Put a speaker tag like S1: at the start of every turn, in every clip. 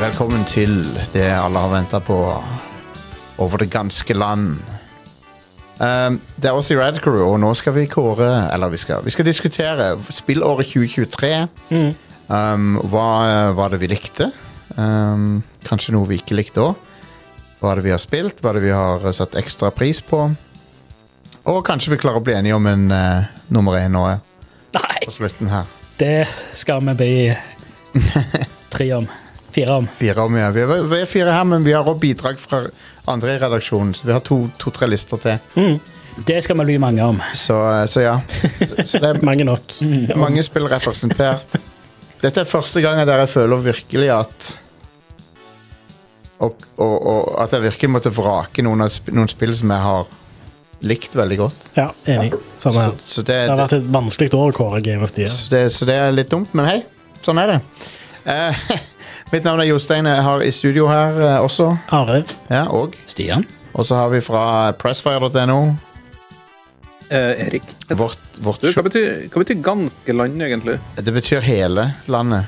S1: Velkommen til det alle har venta på over det ganske land. Ehm, det er oss i Rad Crew, og nå skal vi kåre Eller vi skal, vi skal diskutere spillåret 2023. Ehm, hva eh, var det vi likte? Ehm, kanskje noe vi ikke likte òg. Hva er det vi har spilt? Hva er det vi har eh, satt ekstra pris på? Og kanskje vi klarer å bli enige om en eh, nummer én nå eh,
S2: Nei,
S1: på slutten her.
S2: det skal vi bli tre om. Fire om.
S1: fire om, ja. Vi er, vi er fire her, men vi har også bidrag fra andre i redaksjonen. Så vi har to- to-tre lister til.
S2: Det skal vi bli mange om.
S1: Så, eh, så ja. Så, så det
S3: Mange nok.
S1: er mange spill representert. Dette er første gangen der jeg føler virkelig at og, og, og at jeg virkelig måtte vrake noen, av, sp- noen spill som jeg har likt veldig godt.
S3: Ja, enig. Samme her.
S1: Så det,
S3: Det har vært et vanskelig år å kåre Game of the Year.
S1: Så det, så det er litt dumt, men hei, sånn er det. Eh, mitt navn er Jostein. Jeg har i studio her eh, også.
S3: Arild.
S1: Ja, og
S2: Stian?
S1: Og så har vi fra pressfire.no
S4: Eh, Erik.
S1: vårt, vårt
S4: Du, hva,
S1: shop.
S4: betyr, hva betyr ganske land, egentlig?
S1: Det betyr hele landet.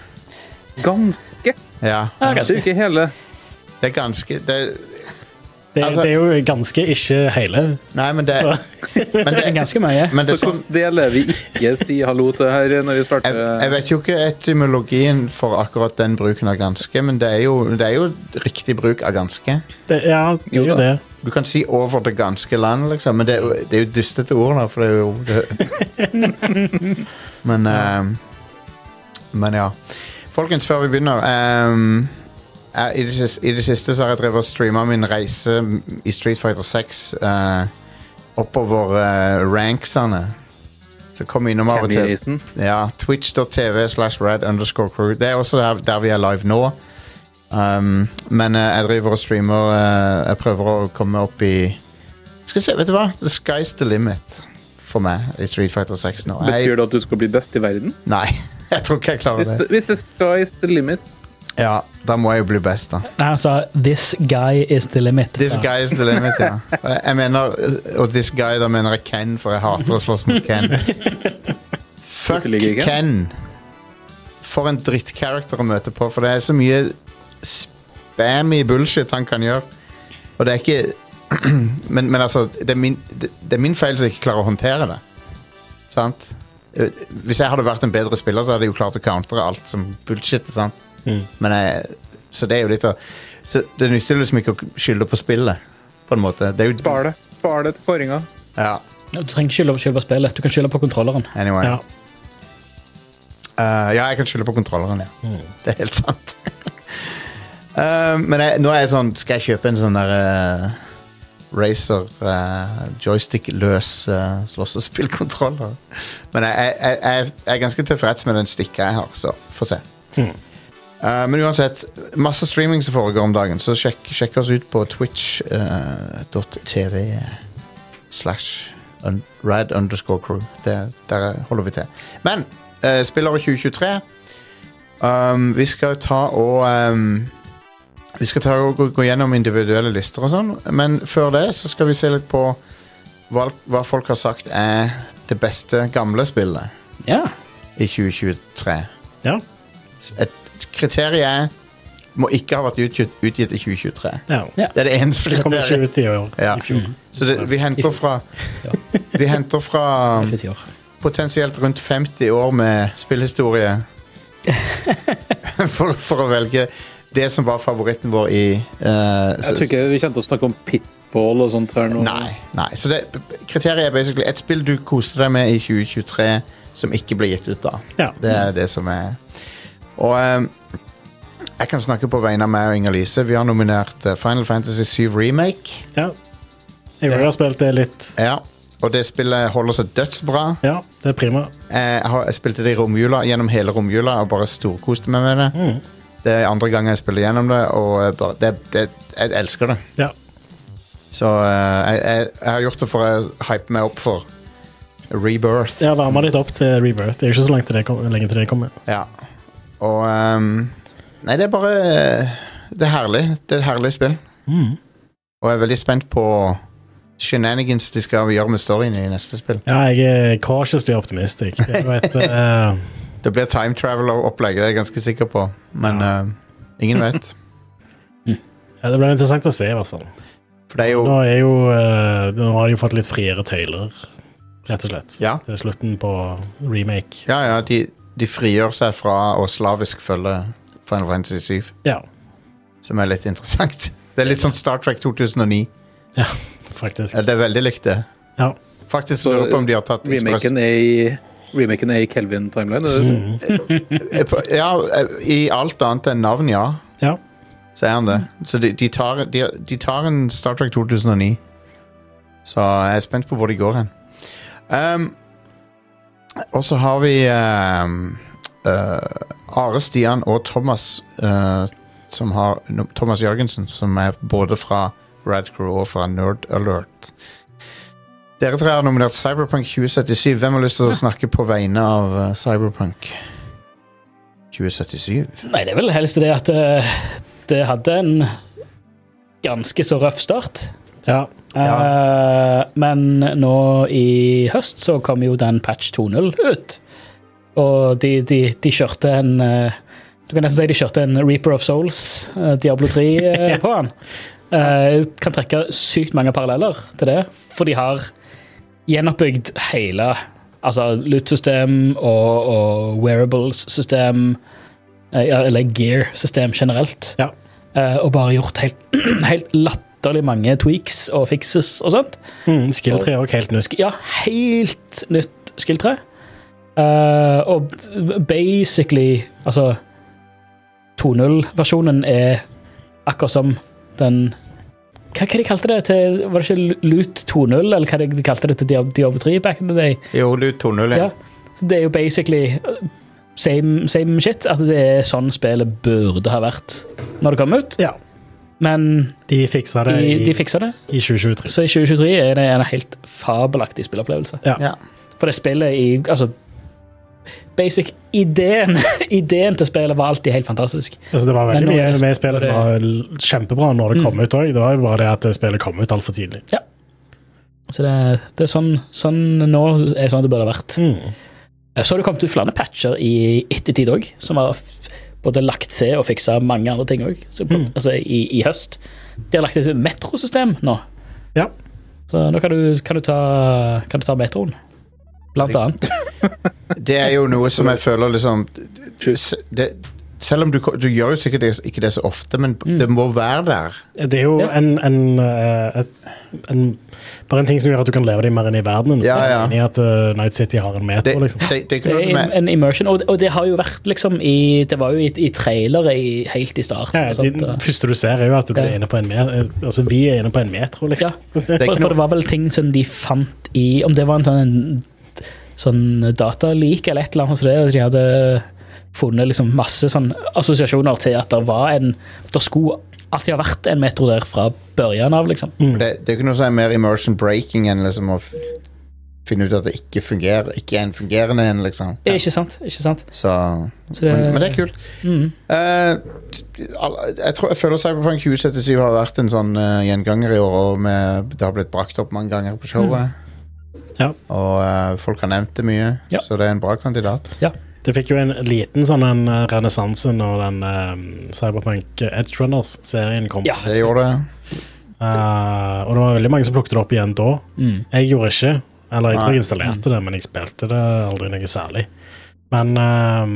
S4: Ganske?
S1: Ja.
S2: Ja,
S4: Det er jo
S2: ganske.
S4: ikke hele.
S1: Det er ganske det,
S3: Det,
S1: Altså-
S3: det er jo ganske ikke hele.
S1: Nei, men det,
S3: Så
S1: men det,
S2: ganske mye.
S1: men det sånn-
S4: Så hvordan deler vi ikke si hallo til her når vi starter?
S1: jeg, jeg vet jo ikke etymologien for akkurat den bruken av ganske, men det er jo, det er jo riktig bruk av ganske.
S3: det, ja, det er
S4: Jo
S3: jo
S4: da.
S3: det.
S1: Du kan si 'over det ganske land', liksom, men det, er jo- det er jo dustete ord, da, for det er jo det. Men ehm, Men ja. Folkens, før vi begynner ehm, jeg, i, det siste, I det siste så har jeg drevet og streama min reise i Street Fighter 6 eh, oppover eh, ranksene. Så kom innom av og til.
S4: Candyreisen.
S1: Ja, Twitch.tv slash red underscore crew. Det er også der, der vi er live nå. Um, men eh, jeg driver og streamer. eh, jeg prøver å komme opp i Skal vi se, vet du hva? The sky's the limit for meg i Street Fighter 6 nå.
S4: Betyr
S1: Jeg,
S4: det at du skal bli best i verden?
S1: nei, jeg tror ikke jeg
S4: Hvis
S1: klarer
S4: det,
S1: det.
S4: hvis det skal is the limit
S1: Ja, Da må jeg jo bli best, da.
S2: Nei, han sa 'this guy is the limit'.
S1: This
S2: Ja.
S1: guy is the limit, ja. Og Jeg mener, og this guy, da mener jeg Ken, for jeg hater å slåss mot Ken. Fuck
S4: Dette liker jeg ikke.
S1: Ken! For en drittkarakter å møte på, for det er så mye spammy bullshit han kan gjøre. Og det er ikke Men, men altså, det er, min, det, det er min feil som ikke klarer å håndtere det. Sant? Eh, Hvis jeg hadde vært en bedre spiller, så hadde jeg jo klart å countere alt som bullshit. Sant? Men jeg, så det er jo litt av Så det nytter liksom ikke å skylde på spillet, på en måte. Det er jo
S4: Spar det. Spar det til kåringa.
S1: Ja,
S2: Du trenger ikke skylde på selve spillet, du kan skylde på kontrolleren.
S1: anyway.
S3: Ja.
S1: Eh, ja, jeg kan skylde på kontrolleren, ja. Det er helt sant. Eh, men jeg, nå er jeg sånn Skal jeg kjøpe en sånn der eh, Razer eh, joystick-løs eh, slåssespillkontroller? Men jeg, jeg, jeg- jeg, jeg er ganske tilfreds med den stikka jeg har, så få se. Eh, men uansett, masse streaming som foregår om dagen, så sjekk, sjekk oss ut på eh, twitch.tv slash un- rad underscore crew. Det, der holder vi til. Men eh, spillåret 2023 um, Vi skal ta og um, Vi skal ta og gå, gå gjennom individuelle lister og sånn, men før det så skal vi se litt på hva, hva folk har sagt er det beste gamle spillet
S2: Ja.
S1: i 2023.
S3: ja.
S1: Et kriterium er må ikke ha vært utgitt, utgitt i 2023.
S3: ja.
S2: Ja.
S1: Det er det eneste
S3: Det kommer ikke
S1: kriteriet.
S3: ut i år.
S1: Ja. Mm. Så det, vi henter fra Vi henter fra
S2: Litt i år.
S1: potensielt rundt 50 år med spillhistorie for, for å velge det som var favoritten vår i eh,
S4: Jeg tror ikke vi kommer til å snakke om pitball og sånt her nå.
S1: Nei. nei. Så det, kriteriet er basically et spill du koste deg med i 2023 som ikke ble gitt ut da.
S3: Ja.
S1: Det er det som er Og eh, jeg kan snakke på vegne av meg og Inger-Lise. Vi har nominert eh, Final Fantasy 7 Remake.
S3: ja. Jeg har spilt det litt.
S1: Ja. Og det spillet holder seg dødsbra.
S3: Ja, det er prima.
S1: Eh, Jeg, har, jeg spilte det i romjula, gjennom hele romjula og bare storkoste meg med det. Det er andre gang jeg spiller gjennom det, og jeg, bare, det, det, jeg elsker det.
S3: Ja.
S1: Så eh, jeg, jeg, jeg har gjort det for å hype meg opp for rebirth.
S3: Jeg har varma litt opp til Rebirth. Det er jo ikke så langt til det kom, lenge til det kommer.
S1: Ja. Og ehm, Nei, det er bare eh, Det er herlig. Det er et herlig spill. Og jeg er veldig spent på shenanigans de skal gjøre med storyen i neste spill.
S3: Ja, jeg er cautiously optimistic. Det er jo et eh,
S1: Det blir time traveler-opplegg, det er jeg ganske sikker på. Men eh, ingen vet.
S3: Ja, det blir interessant å se, i hvert fall.
S1: For det er jo
S3: Nå, er jo, eh, nå har de jo fått litt friere tøyler, rett og slett.
S1: Ja.
S3: Til slutten på remake.
S1: Ja, ja, de, de frigjør seg fra å slavisk følge Final Fantasy 7,
S3: Ja,
S1: som er litt interessant. Det er litt sånn Star Trek 2009.
S3: faktisk.
S1: Ja, det er veldig likt det.
S3: Ja.
S1: Faktisk
S4: Så
S1: lurer jeg på om de har tatt
S4: Remaken er i, remaken er i Kelvin Timeline. Er det,
S3: Mm.
S1: Express- Ja, i alt annet enn navn, ja,
S3: Ja.
S1: så er han det. Så de, de, tar, de, de tar en Star Trek 2009. Så jeg er spent på hvor de går hen. Um, og så har vi um, uh, Are Stian og Thomas uh, som har, no, Thomas Jørgensen, som er både fra Radcrew og fra Nerd Alert. Dere tre har nominert Cyberpunk 2077. Hvem har lyst til å snakke på vegne av uh, Cyberpunk 2077?
S2: Nei, det er vel helst det at eh, det hadde en ganske så røff start.
S3: ja.
S2: Eh, men nå i høst så kom jo den patch 2.0 ut. Og de, de, de kjørte en eh, Du kan nesten si de kjørte en Reaper of Souls, eh, Diablo 3, eh, på han. Eh, kan trekke sykt mange paralleller til det, for de har gjenoppbygd hele Altså loot-system og, og wearables-system, eh, ja, eller gear-system generelt.
S3: Ja.
S2: Eh, og bare gjort helt, helt latterlig mange tweaks og fixes og sånt.
S3: Mm, Skill-tre er også helt nysk.
S2: Sk- Ja, helt nytt skill-tre. Eh, og basically Altså 2.0-versjonen er akkurat som den Hva, hva de kalte det til Var det ikke Loot 2.0, eller hva de- de kalte det til Diab- Diablo 3 back in the day?
S1: Jo, Lut 2.0.
S2: Ja.
S1: Ja.
S2: Så det er jo basically eh, same, same shit. At det er sånn spillet burde ha vært når det kom ut.
S3: Ja.
S2: Men
S3: De fiksa det
S2: de,
S3: i,
S2: de fiksa det.
S3: i 2023.
S2: Så i 2023 er det en helt fabelaktig spilleopplevelse.
S1: Ja.
S2: For det spillet i Altså Basic ideen, ideen til spillet var alltid helt fantastisk.
S3: Altså, det var veldig
S2: Men nå
S3: mye
S2: er det-
S3: med spillet som var l- kjempebra når det kom ut òg. Det var jo bare det at spillet kom ut altfor tidlig.
S2: Så det, det er sånn, sånn nå er sånn det burde ha vært. Eh,
S3: Mm.
S2: Så har det kommet ut flere patcher i ettertid òg, som har f- både lagt til og fiksa mange andre ting òg. Altså i, i høst. De har lagt til et metrosystem nå.
S3: Ja.
S2: Så nå kan du, kan du, ta, kan du ta metroen. Blant annet.
S1: Det er jo noe som jeg føler liksom det, Selv om du, du gjør jo sikkert det, ikke det så ofte, men
S2: Mm.
S1: det må være der.
S3: Det er jo
S2: Ja.
S3: en, en, eh, et, en Bare en ting som gjør at du kan leve deg mer inn i verdenen.
S1: Ja, ja.
S3: Enig i at eh, Night City har
S1: Det,
S3: en metro, liksom.
S1: det, det er ikke
S2: Det
S1: noe som
S2: er en,
S1: er
S2: en immersion. Og, det- og det har jo vært liksom i Det var jo i, i trailere i, helt i starten.
S3: Sånn, Ja,
S2: og
S3: det
S2: sånt, og-
S3: første du ser, er jo at du
S2: Ja.
S3: er inne på en metro. Altså, vi er inne på en metro,
S2: Ja.
S3: liksom.
S1: er ikke
S2: For, for det var vel ting som de fant i Om det var en sånn, en, sånn datalik eller et eller annet, så det, de hadde funnet liksom masse sånn assosiasjoner til at det var en Det skulle alltid ha vært en metro der fra børjan av, liksom.
S3: Mm.
S1: det, det er ikke noe som er mer immersion breaking enn liksom å f- finne ut at det ikke fungerer. Ikke er en fungerende en, liksom.
S2: Ikke sant? Ikke sant?
S1: Så,
S2: Så det-
S1: men, men det er kult.
S2: Mm.
S1: Eh, t- al- jeg, tror, jeg føler Cyberpunk 2077 har vært en sånn eh, gjenganger i år, og med, det har blitt brakt opp mange ganger på showet.
S3: Mm. Ja.
S1: Og eh, folk har nevnt det mye,
S2: Ja.
S1: så det er en bra kandidat.
S3: Det fikk jo en liten sånn en eh, renessanse når den eh, Cyberpunk Edge Runners-serien kom.
S2: Ja.
S1: Det gjorde det.
S3: Eh, og det var veldig mange som plukket det opp igjen da.
S2: Mm.
S3: Jeg gjorde ikke. Eller jeg tror
S1: Nei.
S3: jeg installerte det, men jeg spilte det aldri noe særlig. Men ehm,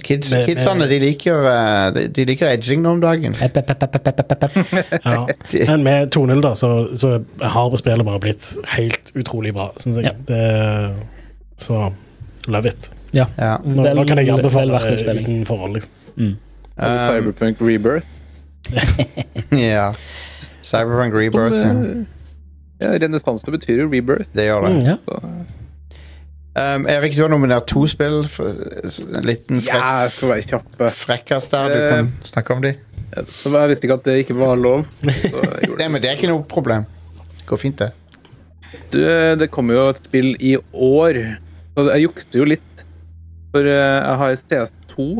S1: Kids,
S3: Med-
S1: kidsene de liker, eh, de, de liker edging nå om dagen.
S2: Epp, epp, epp, epp, epp, epp, epp.
S3: ja. Men med 2.0, da, så, så har spillet bare blitt helt utrolig bra, syns jeg.
S2: Ja.
S3: Det, så love it.
S1: Ja.
S3: Nå, nå kan
S2: Vel-
S3: jeg
S2: vel
S3: anbefale
S2: verdt en
S3: det
S2: spilling.
S3: uten forhold, liksom.
S4: altså
S1: Um,
S4: Cyberpunk Rebirth.
S1: Eh, ja. Cyberpunk Rebirth. Ja.
S4: Ja, Renessanse betyr jo rebirth.
S1: Det gjør det.
S3: Mm.
S2: Ja.
S4: Så.
S1: Um, Erik, du har nominert to spill. for- En liten
S4: Ja, jeg
S1: frekk,
S4: skal være Eh. kjappe.
S1: frekkas der. Du kan snakke om de.
S4: Så jeg visste ikke at det ikke var lov. Så jeg gjorde
S1: Nei, men det er ikke noe problem. Går fint, det.
S4: Du, eh, det kommer jo et spill i år, så jeg jukter jo litt. For eh, jeg har CS2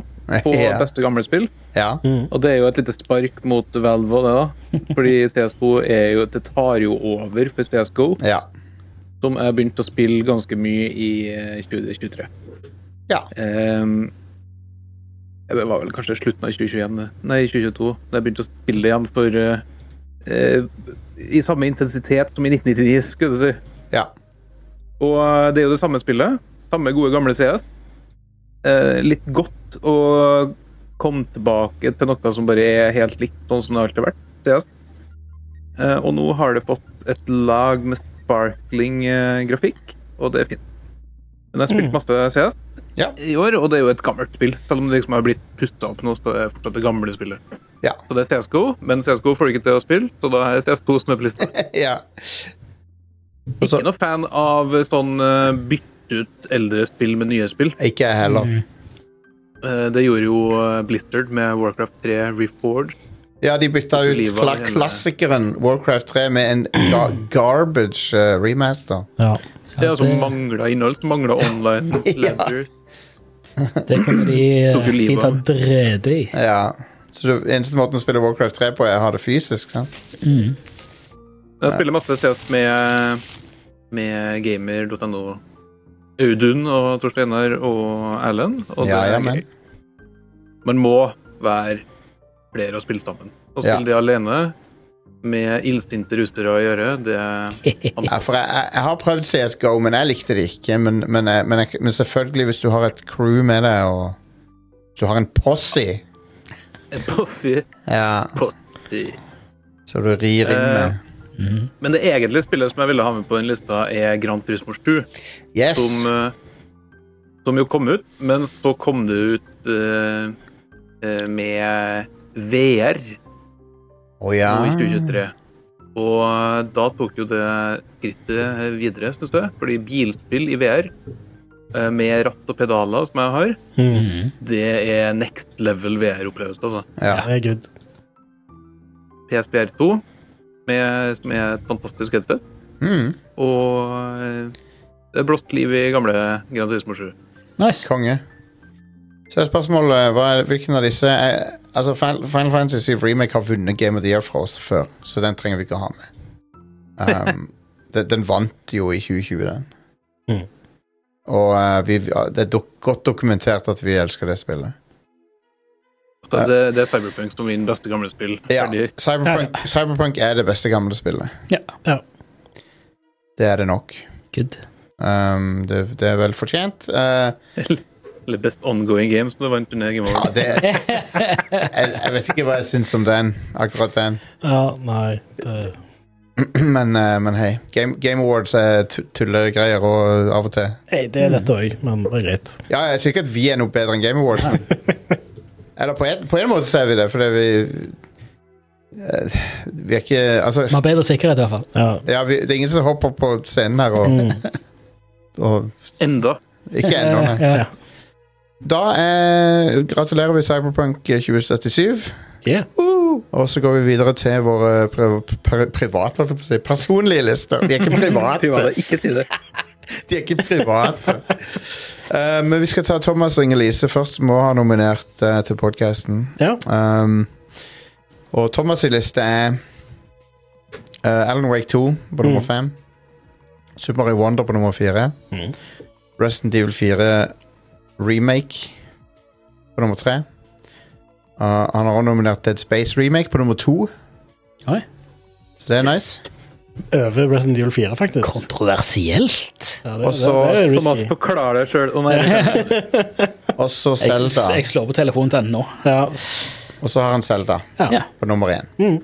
S4: på
S1: Ja.
S4: beste gamle spill,
S1: ja.
S3: Mm.
S4: og det er jo et lite spark mot Valve og det, da. Fordi CS2 er jo Det tar jo over for CSGO,
S1: ja.
S4: som jeg begynte å spille ganske mye i eh, 2023.
S1: Ja.
S4: Ehm, Det var vel kanskje slutten av 2021, det. nei, 2022, da jeg begynte å spille igjen for eh, eh, I samme intensitet som i 1999, skulle du si.
S1: Ja.
S4: Og eh, det er jo det samme spillet. Samme gode, gamle CS. Eh, litt godt å komme tilbake til noe som bare er helt likt sånn som det alltid har vært. CS. Eh, og nå har det fått et lag med sparkling eh, grafikk, og det er fint. Men jeg har spilt masse CS
S1: Mm. Ja.
S4: i år, og det er jo et gammelt spill. Selv om det liksom har blitt pusta opp nå, så er det fortsatt det gamle spillet.
S1: Ja.
S4: Så det er CSGO, men CSGO får du ikke til å spille, så da er CS2 som er på lista.
S1: ja. Og
S4: Ikke
S1: så-
S4: noe fan av sånn eh, bytte ut eldre spill med nye spill.
S1: Ikke jeg heller.
S4: Eh, Det gjorde jo eh, Blizzard med Warcraft 3 Reforged.
S1: Ja, de bytta ut
S4: Livet
S1: kla
S4: hele-
S1: klassikeren Warcraft 3 med en ga garbage eh, remaster.
S3: Ja.
S4: Det er altså
S2: det-
S4: mangla innhold, mangla online
S1: Ja.
S4: ledger.
S2: Det kunne de eh,
S4: Tok jo livet
S2: fint ha
S4: av meg.
S2: drevet i.
S1: Ja. Så det eneste måten å spille Warcraft 3 på er å ha det fysisk, sant?
S2: Mm.
S4: Jeg spiller masse CS med, med gamer.no. Audun og Torsteinar og Erlend. Og det
S1: Ja,
S4: er
S1: ja, men.
S4: gøy. Man må være flere og spille sammen. Å
S1: Ja.
S4: spille det alene med illsinte rustere å gjøre, det
S1: Ja, for jeg, jeg, jeg har prøvd CSGO, men jeg likte det ikke. Men, men, jeg- men, jeg, men selvfølgelig, hvis du har et crew med deg, og du har en posse
S4: er bossy.
S1: ja, så du rir inn
S4: Eh,
S1: med
S2: Mm.
S4: Men det egentlige spillet som jeg ville ha med på den lista, er Grand Turismo 7.
S1: Yes!
S4: som, eh, som jo kom ut, men så kom det ut eh, eh, med VR
S1: Å
S4: nå
S1: ja.
S4: i 2023. Og eh, da tok jo det skrittet videre, syns jeg. Fordi bilspill i VR eh, med ratt og pedaler, som jeg har,
S3: Mm.
S4: det er next level VR-opplevelse, altså.
S1: ja.
S3: Det er good.
S4: PSVR 2, med, som er et fantastisk headset.
S1: Mm,
S4: Og eh, det er blåst liv i gamle Grand Turismo 7.
S2: Nice.
S1: konge. Så er spørsmålet hva er, hvilken av disse er, Altså, Final Final Fantasy 7 Remake har vunnet Game of the Year fra oss før, så den trenger vi ikke å ha med. Um, den, den vant jo i 2020, den.
S3: Mhm.
S1: Og eh, vi, det er dok godt dokumentert at vi elsker det spillet.
S4: Så Det, det er Cyberpunk som vinner beste gamle spill.
S1: Ja,
S4: Ferdig.
S1: Cyberpunk, Cyberpunk er det beste gamle spillet.
S2: Ja.
S3: Ja.
S1: Det er det nok.
S2: Good.
S1: Um, det, det er vel fortjent. Uh,
S4: Eller Best Ongoing Game, som du vant under Game
S1: ja,
S4: Over.
S1: det, jeg, jeg vet ikke hva jeg syns om den, akkurat den.
S3: Ja, nei
S2: Mm.
S3: det,
S1: Men, uh, men hei. Game, Game Awards er tu- tullegreier og av og til.
S3: Nei, Det er dette òg, men det er greit.
S1: Ja, jeg sier ikke at vi er noe bedre enn Game Awards. Eller på en, på en måte så er vi det, fordi vi eh, Vi er ikke Altså
S2: Vi har bedre sikkerhet, i hvert fall.
S3: Ja.
S1: ja, vi, Det er ingen som hopper på scenen her og,
S3: Mm.
S1: og
S4: Enda.
S1: Ikke ennå, nei.
S2: Ja.
S1: Da er, gratulerer vi Cyberpunk 2077.
S3: Yeah.
S1: Og så går vi videre til våre pri pri private, holdt jeg på å si, personlige lister. De er ikke private.
S4: Private, ikke si det.
S1: De er ikke private. Eh, men vi skal ta Thomas og Inger-Lise først, som også har nominert eh, til podkasten.
S3: Ja.
S1: Um, og Thomas' liste er uh, Alan Wake 2 på nummer
S3: Mm.
S1: 5. Super Mario Wonder på nummer 4.
S3: Mm.
S1: Resident Evil 4 Remake på nummer 3. Uh, han har også nominert Dead Space Remake på nummer 2.
S2: Oi.
S1: Så det er nice.
S3: Over Resident Evil 4, faktisk.
S2: Kontroversielt.
S3: Ja, det,
S1: Og så-
S3: det, det er
S4: Thomas
S3: risky.
S4: forklarer deg sjøl. Å nei.
S1: Og så
S2: Jeg,
S1: Zelda.
S2: jeg slår på telefonen til ennå.
S3: Ja.
S1: Og så har han Zelda
S3: Ja.
S2: Ja.
S1: på nummer 1.
S3: Mm.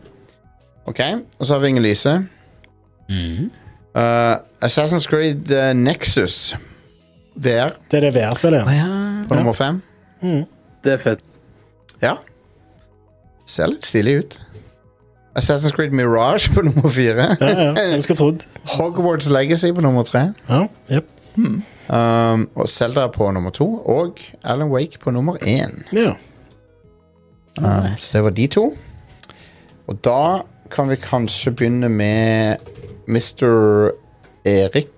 S1: Ok, og så har vi Inger-Lise. Uh, Assassin's Creed uh, Nexus VR
S3: det er det VR-spillet.
S2: Å
S3: ja.
S2: ja.
S1: på nummer 5.
S3: Mm.
S4: Det er fett.
S1: Ja. Ser litt stilig ut. Assassin's Creed Mirage på nummer fire.
S3: Ja, ja. Hvem skulle trodd?
S1: Hogwarts Legacy på nummer tre.
S3: Ja. Yep.
S1: Um, og Zelda på nummer to. Og Alan Wake på nummer én.
S3: ja.
S1: Um, så det var de to. Og da kan vi kanskje begynne med Mr. Erik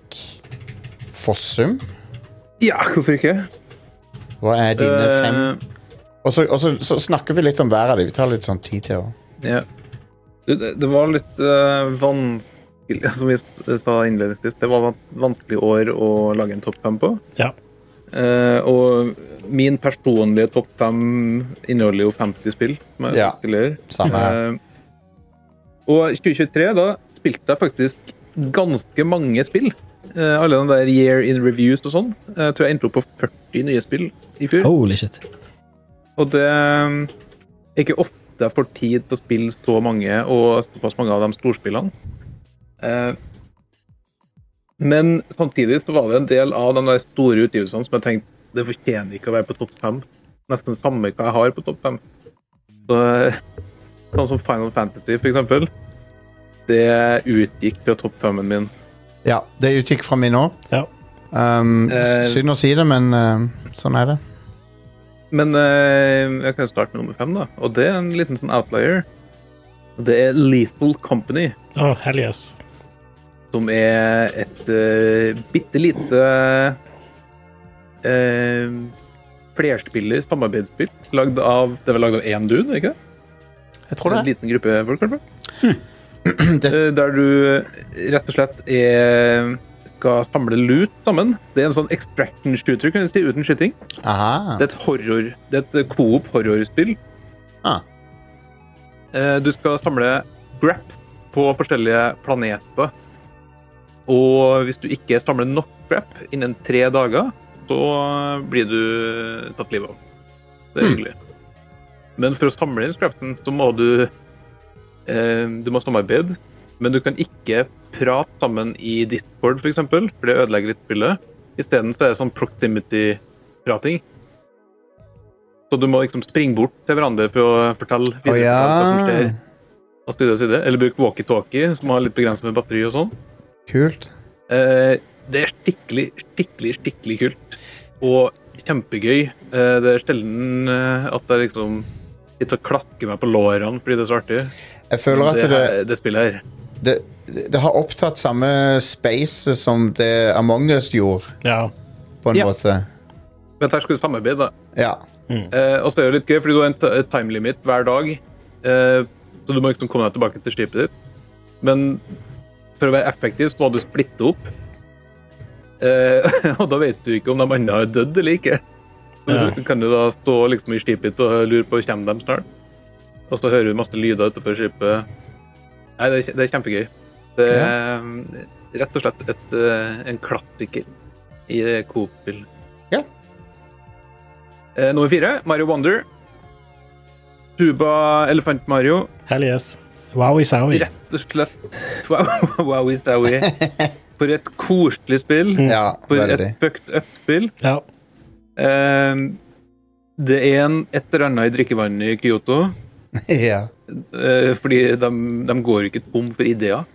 S1: Fossum.
S4: Ja, hvorfor ikke?
S1: Hva er dine fem
S4: Eh,
S1: Og så- og så så snakker vi litt om hver av dem. Vi tar litt sånn tid til å
S4: ja. Du, det, det var litt eh, vanskelig Som vi s- sa innledningsvis, det var van- vanskelig år å lage en topp fem på.
S3: Ja.
S4: Eh, og min personlige topp fem inneholder jo 50 spill. Som jeg
S1: Ja.
S4: ja. tidligere.
S1: Samme her.
S4: Eh, og 2023, da spilte jeg faktisk ganske mange spill. Eh, alle de der year in reviews og sånn. Jeg tror jeg endte opp på 40 nye spill i fjor.
S2: Holy shit.
S4: Og det er ikke ofte jeg får tid til å spille så mange, og såpass mange av de storspillene. Eh, Men samtidig så var det en del av de der store utgivelsene som jeg tenkte det fortjener ikke å være på topp fem. Nesten samme hva jeg har på topp fem. Så, sånn som Final Fantasy, for eksempel. Det utgikk fra topp femmen min.
S1: Ja, det utgikk fra min òg.
S3: Ja.
S1: Um,
S4: Eh.
S1: synd å si det, men eh, sånn er det.
S4: Men eh, jeg kan jo starte med nummer fem, da. Og det er en liten sånn outlier. Det er Lethal Company.
S3: Å, hell yes.
S4: som er et uh, bitte lite eh, flerspiller samarbeidsspill. Lagd av, det var lagd av én dude, ikke det?
S1: Jeg tror
S4: En
S1: det.
S4: liten gruppe folk, kanskje?
S1: Det-
S4: Eh, der du rett og slett er, skal samle lut sammen. Det er en sånn extraction shooter, kan du si, uten skyting.
S1: Aha.
S4: Det er et horror, det er et eh, coop horrorspill.
S1: Ah.
S4: Eh, Du skal samle graps på forskjellige planeter. Og hvis du ikke samler nok grap innen tre dager, så blir du tatt livet av. Det er hyggelig. Men for å samle inn scrapten, så må du eh, Du må samarbeide. Men du kan ikke prate sammen i Discord, f.eks., for, for det ødelegger litt spillet. Isteden så er det sånn proximity-prating. Så du må liksom springe bort til hverandre for å fortelle
S1: Å
S4: videre hva som
S1: ja.
S4: skjer. av side til side. Eller bruk walkietalkie, som har litt begrenset med batteri og sånn.
S1: Kult.
S4: Eh, det er skikkelig, skikkelig, skikkelig kult. Og kjempegøy. Eh, det er sjelden eh, at jeg liksom sitter og klasker meg på lårene fordi det er så artig.
S1: Jeg føler at
S4: det,
S1: det,
S4: her- det spillet her.
S1: det, det har opptatt samme space som det Among us gjorde,
S3: Ja.
S1: på en
S4: Ja.
S1: måte.
S4: Men her skal du samarbeide, da.
S1: Ja. Mm.
S4: Eh, og så er det litt gøy, fordi du har en t- et time limit hver dag. Eh, så du må liksom komme deg tilbake til skipet ditt. Men for å være effektiv så må du splitte opp. Eh, og da vet du ikke om de andre har dødd eller ikke. Så
S3: Ja.
S4: du kan du da stå liksom i skipet ditt og lure på kommer de snart. Og så hører du masse lyder utenfor skipet. Nei, det er, kje- det er kjempegøy. Det er eh, rett og slett et, eh, en klassiker i eh, Coop-spill. Eh, nummer fire, Mario Wonder. Tuba Elefant Mario.
S3: Hell yes. Wowie-sowie.
S4: Rett og slett Wow, wow is that we. For et koselig spill.
S1: ja,
S4: Mm. For
S1: veldig.
S4: et fucked up-spill.
S3: Ja.
S4: Eh, det er en et eller annet i drikkevannet i Kyoto,
S1: ja.
S4: eh, fordi de, de går ikke tom for ideer.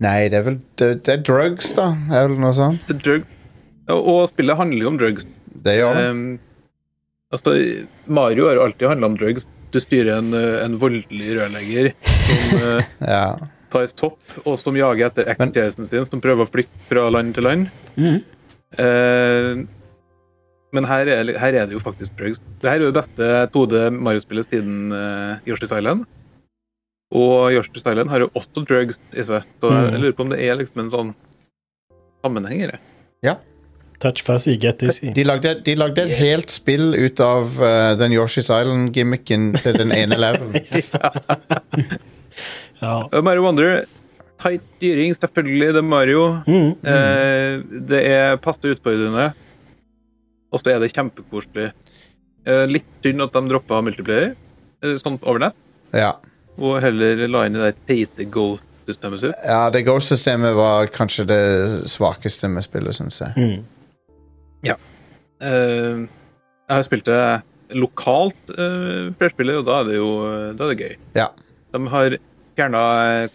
S1: Nei, det er vel det, det er drugs, da, eller noe sånt.
S4: Drug, og spillet handler jo om drugs.
S1: Det gjør det.
S4: Eh, altså, Mario har jo alltid handla om drugs. Du styrer en, eh, en voldelig rørlegger som eh,
S1: Ja.
S4: tar topp, og som jager etter
S1: Men-
S4: ekskjæresten sin, som prøver å flykte fra land til land.
S2: Mhm.
S4: Eh, men her er, her er det jo faktisk drugs. Det her er jo det beste 2D Mario-spillet siden uh, Yoshi's Island. Og Yoshi's Island har jo også drugs i seg, så jeg
S3: Mhm.
S4: lurer på om det er liksom en sånn sammenheng i det.
S3: Touch fuzzy, get dizzy.
S1: De lagde, de lagde et helt spill ut av eh, den Yoshi's Island-gimmicken til den ene levelen.
S3: Ja.
S4: Og Eh, Mario Wonder, tight styring, selvfølgelig, det er Mario.
S3: Mm.
S4: Eh, det er passe utfordrende, og så er det kjempekoselig. Eh, litt synd at de droppa multiplayer eh, sånn over nett,
S1: Ja.
S4: og heller la inn det der teite go-systemet sitt.
S1: ja, det Ghost-systemet var kanskje det svakeste med spillet, syns jeg.
S3: Mm.
S4: Eh, jeg har spilt det lokalt eh, flerspillet, og da er det jo da er det gøy.
S1: Ja.
S4: De har fjerna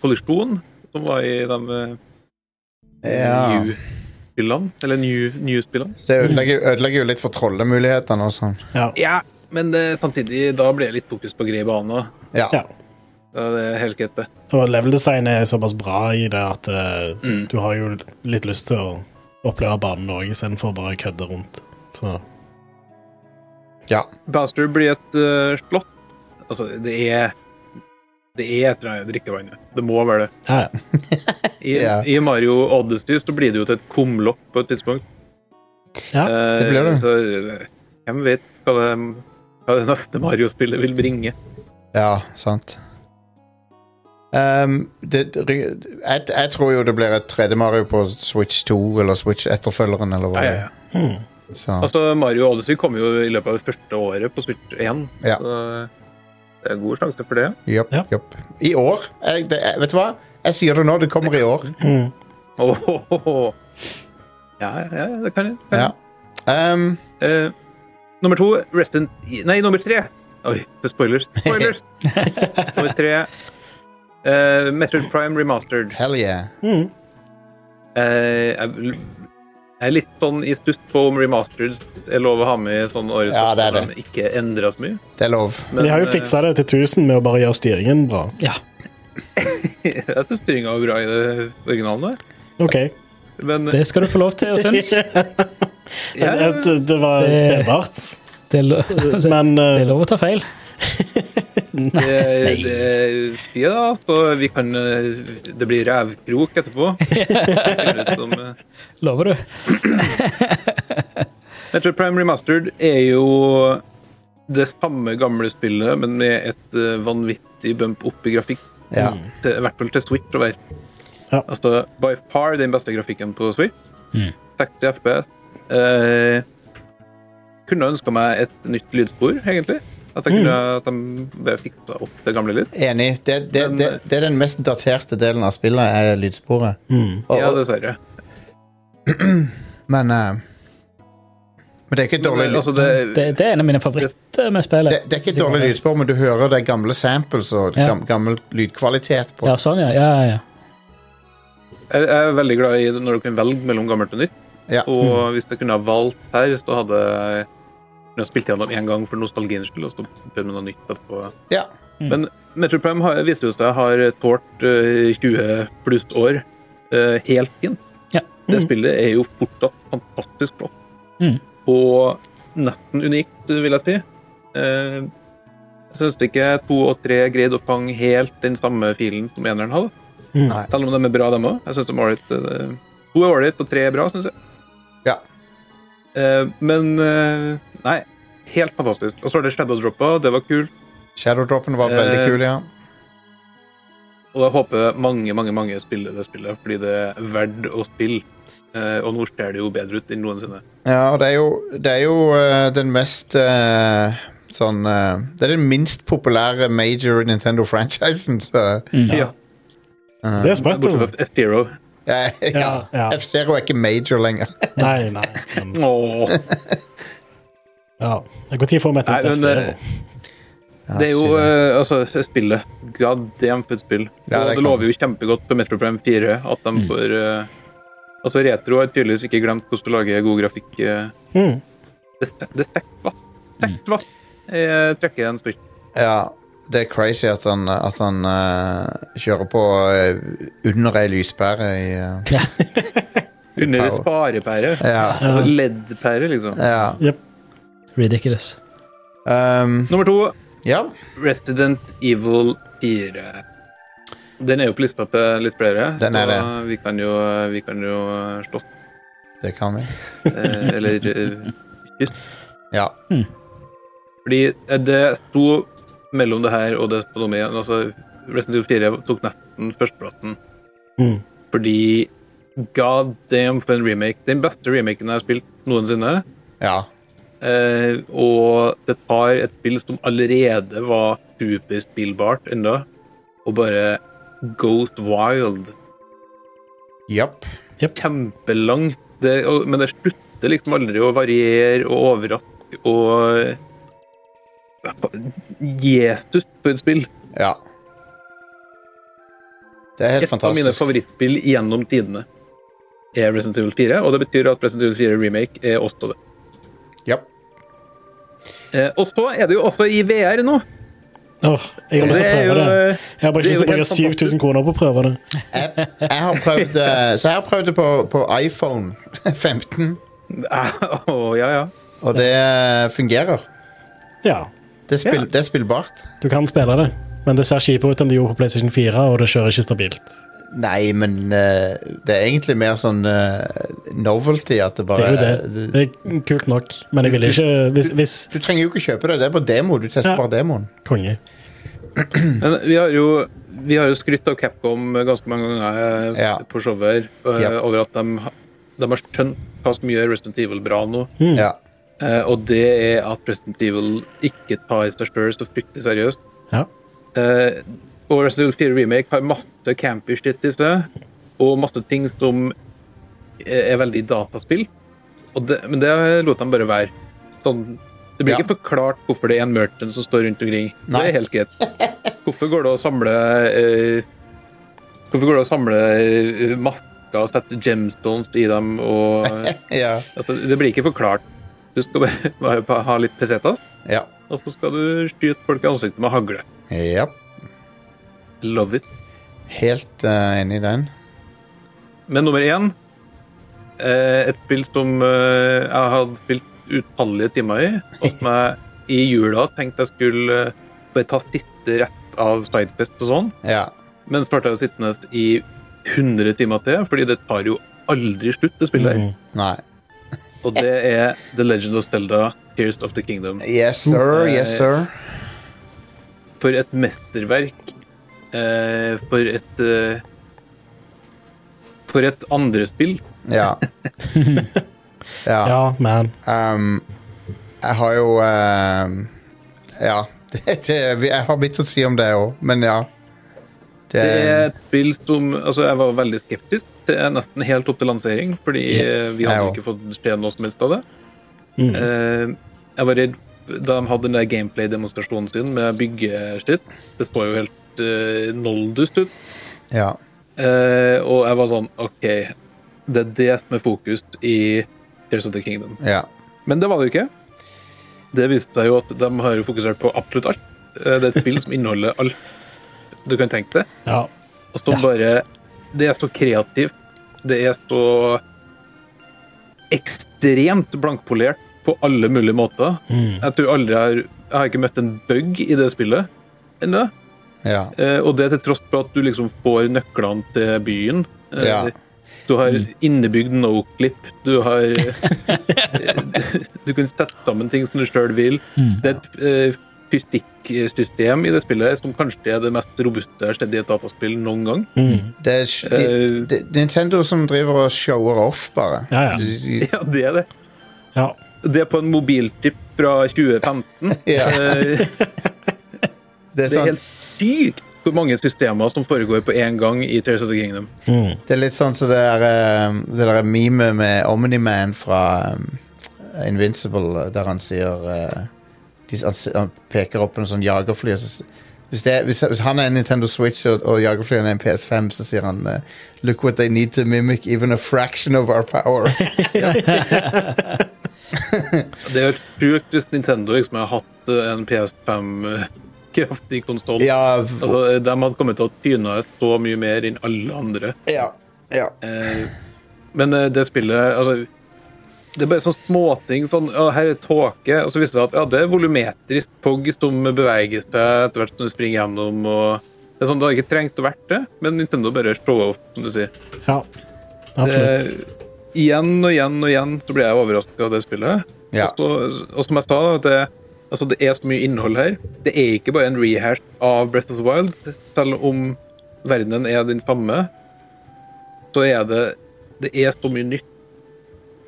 S4: kollisjon, som var i de eh,
S1: Ja.
S4: new-spillene. Eller new- new-spillene.
S1: Så Det ødelegger, ødelegger jo litt for trollemulighetene og sånn.
S3: Ja.
S4: ja, men eh, samtidig, da ble det litt fokus på grei bane.
S1: Ja.
S3: ja.
S4: Da er det helt greit, det.
S3: Og leveldesign er såpass bra i det at eh,
S4: Mm.
S3: du har jo litt lyst til å oppleve banen òg, istedenfor bare å kødde rundt. Så
S1: ja.
S4: Bastard blir et eh, slott. Altså, det er Det er et eller annet i drikkevannet. Det må være det.
S3: ja, ja.
S4: I,
S1: Ja.
S4: i Mario Odyssey så blir det jo til et kumlokk på et tidspunkt.
S3: Ja,
S1: det blir det.
S4: Så, eh, Hvem vet hva det, hva det neste Mario-spillet vil bringe?
S1: Ja, sant. Ehm, det, det- jeg, jeg tror jo det blir et tredje Mario på Switch 2, eller Switch-etterfølgeren, eller hva det er.
S3: Hmm.
S1: Så,
S4: Altså, Mario Odyssey kom jo i løpet av det første året på Switch 1.
S1: Ja.
S4: Så eh, det er god sjanse for det.
S1: jopp,
S3: Ja.
S1: jopp. I år? Jeg, det, jeg, vet du hva? Jeg sier det nå, det kommer i år.
S3: Hmm.
S4: Åhåhå. Ja, ja, ja, det kan jeg. Kan jeg.
S1: Ja. Ehm,
S4: Eh, nummer to Resident Nei, nummer tre. Oi, det er spoilers. Spoilers! nummer tre eh, Metroid Prime Remastered.
S1: hell yeah.
S3: Hmm.
S4: Eh, jeg, jeg er litt sånn i stuss på om remastered er lov å ha med i sånn årets
S1: Ja, det er
S4: første, men ikke endra så mye.
S1: Det er lov.
S4: Men,
S3: De har jo fiksa det til 1000 med å bare gjøre styringen bra.
S2: Ja.
S4: eh, jeg syns styringa var bra i det originale.
S3: OK.
S4: Men
S2: Det skal du få lov til å synes.
S4: ja,
S3: At det var
S2: Det-
S3: spillbart,
S2: Det er, lo det
S3: men
S2: er
S3: eh,
S2: lov å ta feil.
S4: det, det, ja, så vi kan eh, Det blir rævkrok etterpå. Det ser ut som, eh,
S2: Lover du?
S4: Metroid Prime Remastered er jo det samme gamle spillet, men med et eh, vanvittig bump opp i grafikk.
S1: Ja.
S2: Mm.
S4: Til, I hvert fall til Switch. å være.
S3: Ja.
S4: Altså, By far den beste grafikken på Switch.
S2: Mm.
S4: 60 FPS. Eh, kunne ønska meg et nytt lydspor, egentlig. At jeg kunne
S2: Mm.
S4: at de bare fiksa opp det gamle litt.
S1: Enig. Det, det,
S4: Men- eh,
S1: det, det er den mest daterte delen av spillet, er lydsporet.
S3: hmm.
S1: Og,
S4: Ja,
S1: og,
S4: dessverre.
S1: men eh, Men det er ikke et dårlig
S4: Men,
S1: lyd.
S4: altså, det,
S2: Mm, Det, det er en av mine favoritter med spillet.
S1: Det, det er ikke et dårlig lydspor, men du hører det er gamle samples og
S2: Ja.
S1: gam, gammel lydkvalitet på.
S2: Ja, sånn, ja. ja, ja, ja.
S4: jeg jeg er veldig glad i det når du kan velge mellom gammelt og nytt.
S1: Ja.
S4: Og hvis jeg kunne ha valgt her, så hadde jeg kunne jeg spilt gjennom én gang for nostalgiens skyld. og så prøvd med noe nytt etterpå.
S1: Ja.
S2: Mm.
S4: Men Metro Prime har, viser jo seg har tålt eh, 20 pluss år eh, helt fint.
S2: Ja.
S4: Det spillet er jo fortsatt fantastisk flott.
S2: Mm.
S4: Og nesten unikt, vil jeg si. Eh, jeg syns ikke to og tre greide å fange helt den samme filen som eneren hadde.
S2: Mm.
S1: Nei.
S4: Selv om de er bra, dem òg. Jeg synes de er ålreit, eh, To er ålreit, og tre er bra, syns jeg.
S1: Ja.
S4: Eh, men eh, nei, helt fantastisk. Og så har det Shadow-droppa, det var kult.
S1: Shadowdropen var veldig
S4: Eh,
S1: kul, ja.
S4: Og jeg håper mange mange, mange spiller det spillet, fordi det er verdt å spille. Eh, og nå ser det jo bedre ut enn noensinne.
S1: Ja, og det er jo, det er jo eh, den mest eh, sånn eh, Det er den minst populære major Nintendo-franchisen, så
S2: Mm.
S4: Ja,
S3: Det er sprøtt.
S4: Bortsett
S3: altså.
S4: fra F-Zero.
S1: ja, ja.
S3: Ja, ja.
S1: eh, F-Zero er ikke major lenger.
S3: Nei, nei. Men,
S4: Åh,
S3: ja. Når får vi et
S4: Nei,
S3: nytt
S4: men, eh,
S3: FC?
S1: Ja,
S4: Det er jo
S1: sier det.
S4: eh, altså, spillet. God damn for et spill.
S1: Ja,
S4: og
S1: det
S4: det
S1: kan- Mm.
S4: lover jo kjempegodt på Metro Prime 4 at de får eh, Altså, Retro har tydeligvis ikke glemt hvordan du lager god grafikk. eh.
S3: Hmm.
S4: Det ste- det er stekt vatt. Stekt vatt
S1: Mm.
S4: eh, trekker en switch.
S1: ja, det er crazy at han, at han eh, kjører på eh, under ei lyspære i eh,
S4: Under
S1: Power.
S4: sparepære.
S1: Ja.
S4: Altså LED-pære, liksom.
S1: ja.
S2: Ridiculous.
S1: Um,
S4: Nummer to
S1: ja.
S4: Resident Evil 4. Den er jo på lista til litt flere,
S1: Den er
S4: så
S1: det.
S4: Vi, kan jo, vi kan jo slåss.
S1: Det kan vi.
S4: eh, Eller eh, kyss.
S1: Ja.
S4: Fordi eh, det sto mellom det her og det på noe med altså, Resident Evil 4 tok nesten førsteplassen.
S3: Mm.
S4: Fordi god damn for en remake. Den beste remaken jeg har spilt noensinne.
S1: ja.
S4: Eh, og det tar et spill som allerede var superspillbart ennå, og bare Ghost Wild.
S1: Japp.
S4: Kjempelangt. Det, og, men det slutter liksom aldri å variere og overraske og Jesus på et spill.
S1: Ja. Det er helt
S4: Et av mine
S1: fantastisk.
S4: favorittspill gjennom tidene er Resident Evil 4, og det betyr at Resident Evil 4 Remake er også det.
S1: Japp.
S4: Eh, og så er det jo også i VR nå.
S3: Åh, jeg har lyst til å
S4: Det er
S3: prøve
S4: jo
S3: det.
S4: eh,
S3: Jeg har bare
S4: det
S3: ikke lyst til å
S4: er jo
S3: bruke
S4: helt
S3: 7000 kroner på å prøve det.
S1: Jeg, jeg har prøvd eh, Så jeg har prøvd det på, på iPhone 15,
S4: eh, Å, ja, ja.
S1: og det eh, fungerer.
S3: Ja,
S1: Det er, spill,
S4: Ja.
S1: det er spillbart.
S3: du kan spille det, men det ser kjipere ut enn det gjorde på PlayStation 4, og det kjører ikke stabilt.
S1: Nei, men eh, det er egentlig mer sånn eh, novelty at det
S3: Det
S1: bare eh,
S3: er jo det. Det er kult nok, men jeg ville ikke Hvis, hvis
S1: Du trenger jo ikke kjøpe det, det er på demo. Du tester
S3: Ja.
S1: bare demoen.
S3: Konge.
S4: Men vi har jo, vi har jo skrytt av Capcom ganske mange ganger eh,
S1: Ja.
S4: på showet her, eh,
S1: Yep.
S4: over at de, ha- de har skjønt hva som gjør Resident Evil bra nå.
S1: Ja.
S4: Eh, og det er at Resident Evil ikke tar seg sjøl så fryktelig seriøst.
S3: Ja.
S4: Eh, og Resident Evil 4 Remake har masse campy shit i seg, og masse ting som er veldig dataspill. Og det, men det lot de bare være. Sånn, det blir
S1: Ja.
S4: ikke forklart hvorfor det er en merchant som står rundt omkring.
S1: Nei.
S4: Det er helt greit. Hvorfor går det å samle eh, Hvorfor går det å samle eh, masker og sette gemstones i dem og
S1: Ja.
S4: altså, Det blir ikke forklart. Du skal bare, bare ha litt pesetas,
S1: Ja.
S4: og så skal du skyte folk i ansiktet med hagle.
S1: ja.
S4: Love it.
S1: Helt eh, enig i den.
S4: Men nummer én eh, Et spill som eh, jeg hadde spilt utallige timer i, og som jeg i jula tenkte jeg skulle eh, bare ta siste rett av Sidequest og sånn,
S1: Ja.
S4: men så ble jeg jo sittende i 100 timer til, fordi det tar jo aldri slutt, det spillet her.
S3: Mm.
S1: Nei.
S4: Og det er The Legend of Zelda, Tears of the Kingdom.
S1: Yes, sir. Yes, sir.
S4: For et mesterverk. Eh, for et eh, For et andrespill.
S1: Ja. ja.
S3: ja, man.
S1: Ehm, jeg har jo ehm, Ja. Det, det, jeg har mitt å si om det òg, men ja. Det,
S4: Det er et spill som altså Jeg var veldig skeptisk. Det er nesten helt opp til lansering, fordi eh, vi
S1: Jeg
S4: hadde jo
S1: også.
S4: ikke fått se noe som helst av det. Eh, Jeg var redd da de hadde den der gameplay-demonstrasjonen sin med byggestytt. Det så jo helt eh, noldust ut.
S1: ja.
S4: Eh, og jeg var sånn OK, det er det som er fokus i Tears of the Kingdom.
S1: ja.
S4: Men det var det jo ikke. Det viste seg jo at de har jo fokusert på absolutt alt. Eh, Det er et spill som inneholder alt du kan tenke deg.
S3: Ja.
S4: Og som bare Det er så kreativt. Det er så ekstremt blankpolert på alle mulige måter. Jeg tror aldri jeg har Jeg har ikke møtt en bug i det spillet ennå.
S1: ja.
S4: Eh, og det til tross for at du liksom får nøklene til byen. Eh,
S1: Ja.
S4: Du har innebygd no-clip. Du har eh, Du kan sette sammen ting som du sjøl vil. Det er et eh, fysikksystem i det spillet som kanskje er det mest robuste jeg har sett i et dataspill noen gang.
S1: Det er sj- de,
S4: Eh.
S1: de, Nintendo som driver og shower off, bare.
S3: Ja, ja.
S1: De- de-
S4: Ja, det er det.
S3: ja.
S4: Det er på en mobilchip fra 2015.
S1: Ja.
S4: Eh,
S1: Det, er
S4: det er
S1: sånn,
S4: helt sykt hvor mange systemer som foregår på én gang i Tears of the Kingdom.
S3: Mm.
S1: det er litt sånn som det der, eh, det der memet med Omniman fra um, Invincible, der han sier eh, de, han, s- han peker opp på en sånn jagerfly og så, s- hvis, det, hvis, hvis han er en Nintendo Switch og, og jagerflyet er en PS5, så sier han eh, Look what they need to mimic even a fraction of our power.
S4: Det er jo helt sjukt hvis Nintendo liksom har hatt eh, en PS5-kraftig eh, konsoll.
S1: ja, v-
S4: Altså, eh, de hadde kommet til å tyne så mye mer enn alle andre.
S1: ja, ja.
S4: Eh, Men eh, det spillet altså, Det er bare sånn småting. Sånn, ja, her er tåke, og så viser det seg at ja, det er volumetrisk pogg som beveger seg etter hvert som du springer gjennom. og det er sånn, Det har ikke trengt å vært det, men Nintendo bare showa opp, som du sier.
S3: ja. Absolutt.
S4: Eh, igjen og igjen og igjen så blir jeg overraska av det spillet.
S1: Ja.
S4: Og, så, og som jeg sa, da, det, altså det er så mye innhold her. Det er ikke bare en rehash av Breath of the Wild. Selv om verdenen er den samme, så er det det er så mye nytt.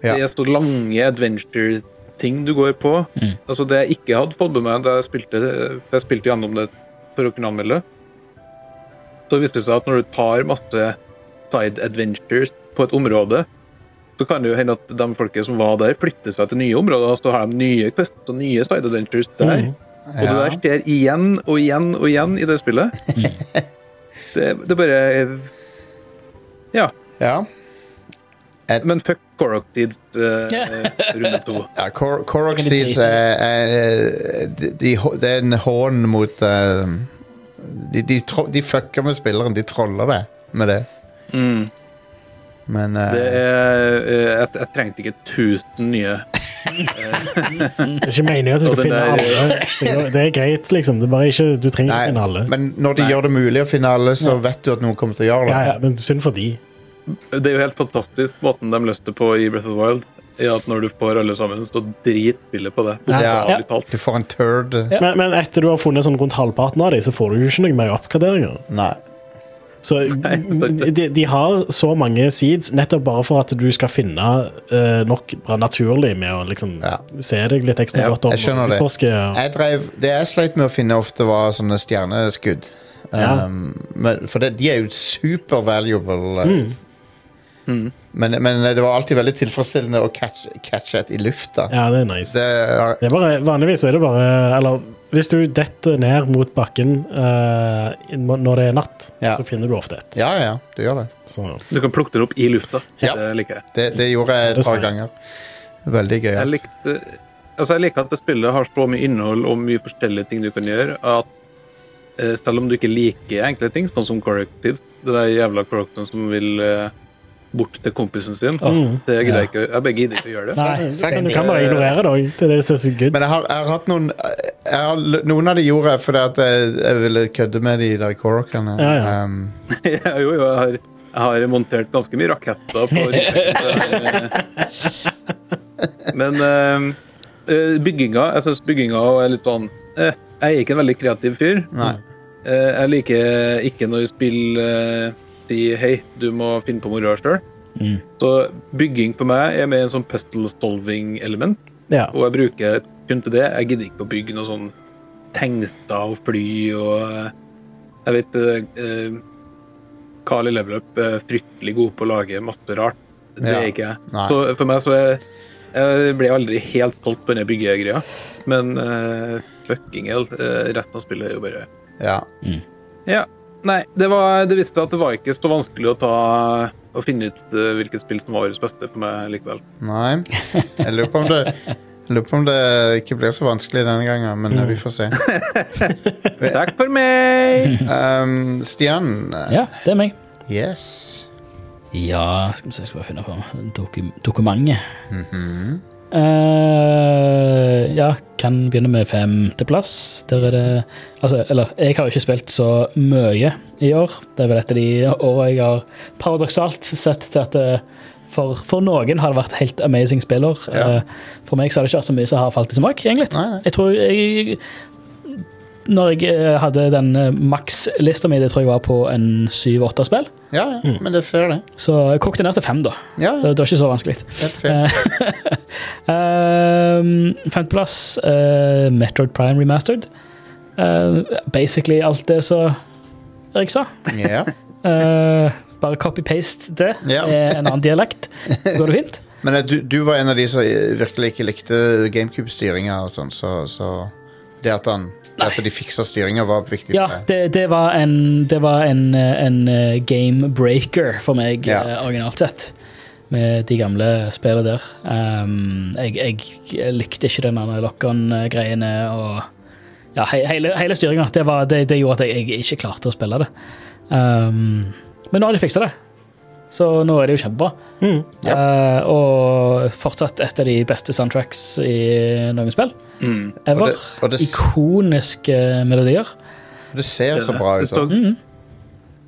S1: Ja.
S4: Det er så lange adventure-ting du går på. Altså Det jeg ikke hadde fått med meg da jeg spilte, da jeg spilte gjennom det for å kunne anmelde, så viste det seg at når du tar masse side adventures på et område, så kan det jo hende at de folket som var der, flytter seg til nye områder, og så har de nye quests og nye side adventures der. Og det
S1: Mm. Ja.
S4: der skjer igjen og igjen og igjen i det spillet. det, det bare Ja.
S1: ja.
S4: Men fuck Corrupted eh, runde to.
S1: Ja, Cor Korok
S2: Kan de
S1: Seeds
S2: drite i
S1: er, er, er de, de, hå- Det er en hån mot eh, de, de, tro- de fucker med spilleren. De troller det med det. Men eh,
S4: eh, Det er, eh, jeg, jeg trengte ikke 1000 nye
S3: Det er ikke meningen at du
S4: Og
S3: skal
S4: den
S3: finne
S4: der-
S3: alle. Det er, det er greit, liksom. Det er bare ikke, du trenger ikke finne alle.
S1: Nei, men når de gjør det mulig å finne alle, så vet du at noen kommer til å gjøre det.
S3: Ja, ja, men synd for de.
S4: Det er jo helt fantastisk måten de løste det på i Breath of the Wild. I at når du får alle sammen, så dritbillig på det.
S3: Ja.
S4: Bokstavelig
S2: Ja.
S4: talt.
S1: Du får en turd.
S2: Ja.
S3: Men, men etter du har funnet sånn rundt halvparten av dem, så får du jo ikke noen mer oppgraderinger.
S1: Nei.
S3: Så mm,
S4: sant det.
S3: de, de har så mange seeds nettopp bare for at du skal finne eh, nok bra naturlig med å liksom
S1: Ja.
S3: se deg litt ekstra
S4: Ja,
S3: godt om
S1: jeg skjønner
S3: og
S1: det.
S3: utforske. og-
S1: Jeg drev, det jeg sleit med å finne ofte, var sånne stjerneskudd.
S3: Ja.
S1: Um, men, for det, de er jo super valuable. uh,
S3: Mm.
S4: Mm.
S1: Men, men eh, det var alltid veldig tilfredsstillende å catch, catche et i lufta.
S3: Ja, det er nice.
S1: Det er,
S3: Det er bare, vanligvis er det bare Eller hvis du detter ned mot bakken eh, inn- når det er natt,
S1: Ja.
S3: så finner du ofte et.
S1: ja, ja, du gjør det.
S3: Så.
S4: Du kan plukke det opp i lufta.
S1: Ja.
S4: Det liker jeg.
S1: Det, det gjorde jeg
S3: Så det
S1: et par
S3: skal-
S1: ganger. Veldig gøy.
S4: Jeg, likte, altså jeg liker at det spillet har så mye innhold og mye forskjellige ting du kan gjøre, at eh, selv om du ikke liker enkle ting, sånn som correctives, det der jævla correcten som vil eh, bort til kompisen sin, det gidder jeg ikke. Jeg bare gidder ikke å gjøre det.
S3: Nei,
S1: Fuck
S3: men du
S1: it.
S3: kan bare ignorere det òg. Det er det som er så good.
S1: Men jeg har, jeg har hatt noen jeg har, Noen av de gjorde jeg fordi at jeg, jeg ville kødde med de der korokene.
S3: Ja, ja.
S1: Um,
S4: Ja, jo, jo, jeg har, jeg har montert ganske mye raketter på ryggsekken. Men eh, eh, bygginga Jeg syns bygginga er litt sånn eh, Jeg er ikke en veldig kreativ fyr.
S1: nei.
S4: Eh, jeg liker ikke når spill eh, sier hei, du må finne på moroa sjøl. Så bygging for meg er mer en sånn pestle solving-element.
S3: Ja.
S4: Og jeg bruker kun til det. Jeg gidder ikke å bygge noe sånn tegnster og fly og eh, Jeg vet eh, Carl i Level Up er fryktelig god på å lage masse rart. Det
S1: Ja.
S4: er ikke jeg.
S1: Nei.
S4: Så for meg så er jeg ble aldri helt holdt på denne byggegreia, men eh, fucking hell, eh, resten av spillet er jo bare
S1: Ja.
S4: ja. Nei, det, var, det visste at det var ikke så vanskelig å, ta, å finne ut eh, hvilket spill som var årets beste for meg likevel.
S1: Nei. Jeg lurer på om det jeg lurer på om det ikke blir så vanskelig denne gangen, men eh, vi får se.
S4: Takk for meg!
S1: Um, Stian,
S2: Ja, det er meg.
S1: yes.
S2: Ja, skal vi se, jeg skal bare finne fram dokum dokumentet.
S1: Mhm.
S2: Eh, ja, kan begynne med femteplass. Der er det Altså, eller, jeg har jo ikke spilt så mye i år. Det er vel et av de årene jeg har paradoksalt sett til at eh, for, for noen har det vært helt amazing spiller.
S1: Ja.
S2: Eh, for meg så har det ikke vært så mye som har falt i smak, egentlig.
S1: Nei, nei.
S2: Jeg tror jeg Når jeg eh, hadde den eh, makslista mi, det tror jeg var på en syv-åtte spill.
S1: Ja, ja, men det er fair, det.
S2: Så jeg kokte ned til fem, da.
S1: Ja,
S2: Så det var ikke så vanskelig.
S1: helt fair.
S2: Um, Femteplass, uh, Metroid Prime Remastered. Uh, basically alt det som Erik sa.
S1: Ja.
S2: Uh, bare copy-paste det
S1: Ja.
S2: med en annen dialekt. Så går det fint.
S1: Men eh, du, du var en av de som eh, virkelig ikke likte GameCube-styringa og sånn, så, så det at, han, det at de fiksa styringa, var viktig. for
S2: Ja,
S1: deg.
S2: det, det var en, det var en, eh, en eh, game breaker for meg,
S1: Ja.
S2: eh, originalt sett. Med de gamle spillene der. Um, jeg, jeg likte ikke den lock-on-greiene og ja, he, hele, hele styringa. Det, var- det, det gjorde at jeg, jeg ikke klarte å spille det. Um, men nå har de fiksa det, så nå er det jo kjempebra.
S3: Mm.
S2: Eh, og fortsatt et av de beste soundtracks i noen spill
S4: Mm.
S1: Og
S2: ever.
S1: det, og det,
S2: Ikoniske melodier.
S1: det ser så bra ut. altså.
S4: Det Mm. så-
S1: også.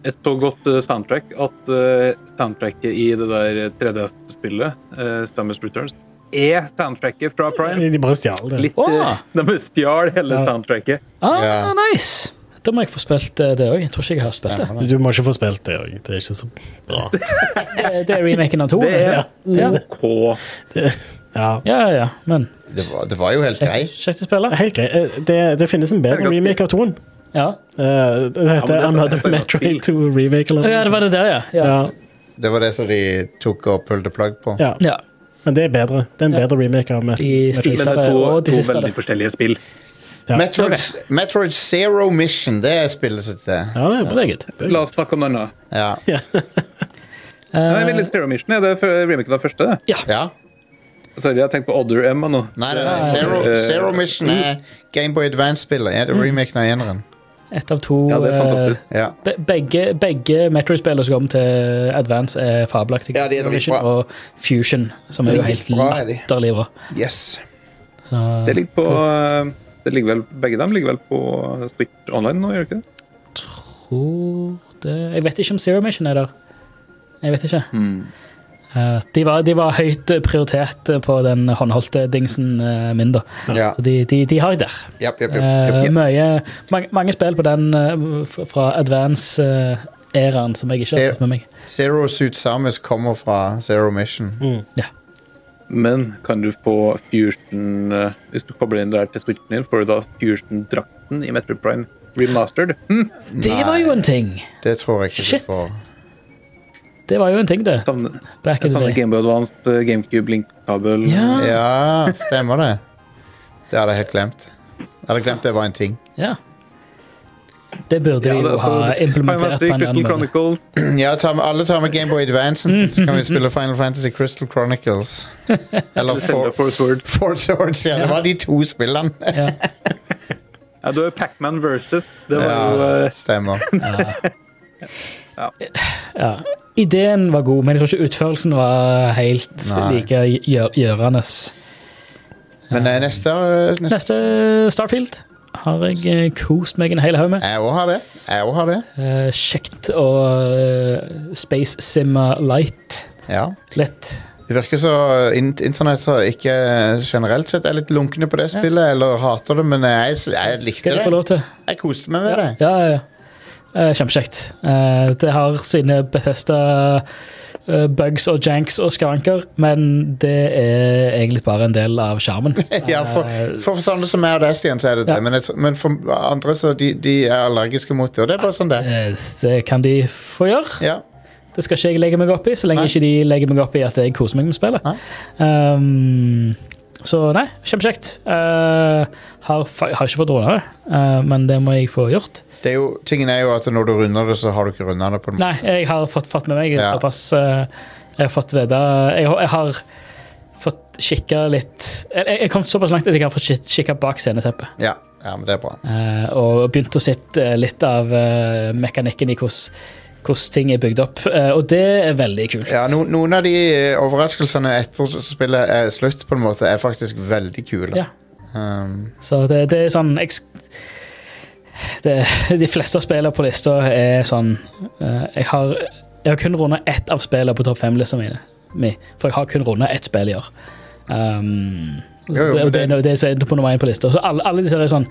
S4: Et så godt eh, soundtrack at eh, soundtracket i det der 3D-spillet, eh, Stammers Returns, er soundtracket fra Prime.
S3: De bare stjal det.
S4: Litt, eh,
S2: Åh!
S4: De stjal hele
S3: Ja.
S4: soundtracket.
S2: Ah,
S1: Ja.
S2: nice! Da må jeg få spilt eh, det òg. Jeg tror ikke jeg har spilt det.
S3: Du må ikke få spilt det òg. Det er ikke så bra.
S2: Eh, Det er remaken av to.
S4: Det er
S2: Ja, ja,
S4: OK.
S3: Det, ja.
S2: ja, ja. men
S1: Det var, det var jo helt greit.
S2: kjekt å spille.
S3: Helt greit. Eh, Det, det finnes en bedre
S4: Det er ganske-
S3: remake av toen.
S2: Ja.
S3: Eh, det
S4: men det
S3: heter
S4: er-
S3: Another
S4: det er-
S3: Metroid 2 Remake. Eller
S2: Å, ja, det var det der, ja. Ja,
S3: Ja,
S1: Det var det som de tok og pulled the plug på.
S3: ja.
S2: ja.
S3: Men det er bedre. Det er en bedre remake av Met-
S2: De
S3: Metroid.
S2: sier-
S4: Men
S2: Lisa
S4: det er
S2: det,
S4: to,
S2: og de
S4: to
S2: siste
S4: veldig
S2: det.
S4: forskjellige spill.
S3: Ja.
S1: Metroid, Metroid Zero Mission, det er spillet sitt, det.
S3: Ja, det er
S2: Men
S3: bra.
S2: det er good.
S4: La oss snakke om noe annet.
S1: Ja.
S4: Nei,
S2: Eh,
S4: men litt Zero Mission er det for- remaken av første. det.
S1: ja.
S4: Sorry, jeg tenkte på Other M nå.
S1: Nei, nei, nei. Zero,
S4: Eh,
S1: mm. Zero Mission er Gameboy Advance-spillet. Er det Remaken av eneren.
S2: Ett av to
S4: Ja, det er
S2: eh,
S4: fantastisk.
S1: Ja.
S2: be- Begge, begge Metroid-spillene som kom til Advance, er fabelaktige.
S1: Ja, de er
S2: Revolution
S1: dritbra.
S2: og Fusion, som
S1: De
S2: er
S1: er
S2: jo
S1: helt
S2: helt
S1: bra, er de.
S2: latterlig bra.
S1: Yes.
S2: Så
S4: Det ligger på eh, det ligger vel, Begge dem ligger vel på Switch online nå, gjør det ikke det?
S2: tror det Jeg vet ikke om Zero Mission er der. Jeg vet ikke. Eh, de, var, de var høyt prioritert på den håndholdte dingsen eh, min, da.
S1: Ja.
S2: Så de, de, de har jeg der.
S1: Japp, japp, japp.
S2: Eh, mye, mange, mange spill på den eh, f- fra advance-æraen som jeg ikke har fått med meg.
S1: Zero Suit Samus kommer fra Zero Mission.
S4: Men kan du få Fusion eh, Hvis du kobler inn det her til Switchen din, får du da Fusion-drakten i Metro Prime remastered?
S2: Mm.
S4: Hm,
S2: Det var jo en ting!
S1: Det tror jeg ikke
S2: Shit.
S1: du får.
S2: Det var jo en ting, det.
S4: savner-
S2: Back
S4: Jeg
S2: in the
S4: savner
S2: day.
S4: Gameboy Advance, eh, GameCube, Link-kabel
S1: Ah.
S2: Ja.
S1: Ja, stemmer det. Det hadde jeg helt glemt. Jeg hadde glemt det var en ting.
S2: Ja. Det burde
S4: Ja,
S2: de
S4: det
S2: jo
S4: er
S2: ha
S4: sånn-
S2: implementert
S4: Fantasy,
S2: på en eller
S4: Crystal
S2: annen måte.
S4: Chronicles.
S1: Ja, ta med, alle tar med Gameboy Advance, så kan vi spille Final Fantasy Crystal Chronicles. Eller
S4: Zelda
S1: For,
S4: Force Word.
S1: Forge Swords. Ja, det var de to spillene.
S2: Ja.
S4: Ja, du er Pac-Man versus. Det var jo
S1: Ja,
S4: eh,
S1: stemmer.
S2: Ja. Ideen var god, men jeg tror ikke utførelsen var helt
S1: Nei.
S2: like gjø gjørende.
S1: Men eh, neste, eh, neste
S2: Neste Starfield har jeg eh, kost meg en hel haug med.
S1: Jeg òg har det. Jeg også har det.
S2: Eh, kjekt å eh, space simma light.
S1: Ja.
S2: Lett.
S1: Det virker så in Internett har ikke eh, generelt sett er litt lunkne på det spillet, eller hater det, men jeg, jeg likte
S2: Skal du få
S1: det.
S2: lov til?
S1: Jeg koste meg med det.
S2: Ja, ja, ja. Eh, Kjempekjekt. Eh, Det har sine Bethesda eh, bugs og janks og skavanker, men det er egentlig bare en del av sjarmen.
S1: Ja, for, for sånne som meg og deg, Stian, så er det det.
S2: Ja.
S1: Men, jeg, men for andre så de, de er allergiske mot det, og det er bare sånn det. er.
S2: Eh, Det kan de få gjøre.
S1: Ja.
S2: Det skal ikke jeg legge meg opp i, så lenge
S1: Nei.
S2: ikke de legger meg opp i at jeg koser meg med spillet.
S1: Nei.
S2: Um, så nei, kjempekjekt. Eh, har, fa- har ikke fått runda det, eh, men det må jeg få gjort.
S1: Det er jo, tingen er jo at når du runder det, så har du ikke runda det på den.
S2: Nei, jeg har fått, fått med meg
S1: Ja.
S2: såpass eh, Jeg har fått vite jeg, har- jeg har fått kikka litt Jeg, jeg- jeg kom såpass langt at jeg har fått kik- kikka bak sceneteppet.
S1: Ja. ja, men det er bra.
S2: eh, og begynt å sitte eh, litt av eh, mekanikken i hvordan hvordan ting er bygd opp. eh, og det er veldig kult.
S1: Ja, no, noen av de eh, overraskelsene etter spillet er slutt, på en måte, er faktisk veldig kule.
S2: Ja.
S1: Um,
S2: Så det, det er sånn jeg, sk- det, De fleste spillene på lista er sånn eh, Jeg har, jeg har kun runda ett av spillene på topp fem-lista mi, mi, for jeg har kun runda ett spill i år. Um,
S1: Jo, jo,
S2: det,
S1: men
S2: det,
S1: det-
S2: det, som er på nummer én på lista. Så alle, alle disse er sånn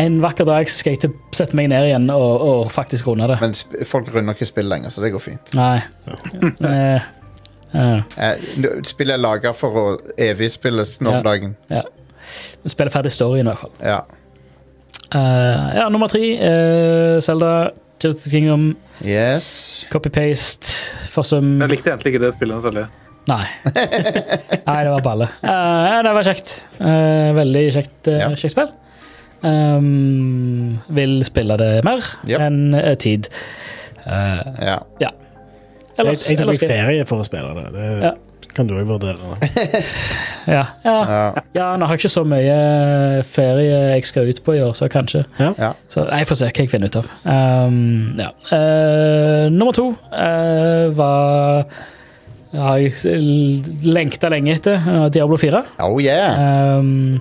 S2: En vakker dag skal jeg til, sette meg ned igjen og, og faktisk runde det.
S1: men sp folk runder ikke spill lenger, så det går fint.
S2: Nei. Eh, eh,
S1: Eh, n- spillet er laga for å evigspilles nå om
S2: Ja.
S1: dagen.
S2: Spille ferdig storyen, i hvert fall.
S1: Ja.
S2: Eh, ja, nummer tre. eh, Zelda, Jazz Kingdom,
S1: Yes.
S2: Copy-paste, forsøm
S4: Jeg likte egentlig ikke det spillet særlig.
S2: Nei. Nei, det var balle. Eh, det var kjekt. Eh, veldig kjekt, eh,
S1: Ja.
S2: kjekt spill. Um, vil spille det mer
S1: Yep.
S2: enn eh, tid. Eh,
S1: Ja.
S3: Jeg,
S2: ellers,
S3: jeg tok
S2: ellers
S3: meg
S2: skal-
S3: ferie for å spille det. Det
S2: Ja.
S3: kan du òg vurdere.
S2: Ja, ja.
S1: ja.
S2: ja, nå har jeg ikke så mye eh, ferie jeg skal ut på i år, så kanskje.
S3: Ja.
S1: Ja.
S2: Så jeg får se hva jeg finner ut av. Um, ja. Eh, nummer to eh, var har jeg s- lengta lenge etter eh, Diablo 4.
S1: Oh yeah.
S2: Ehm,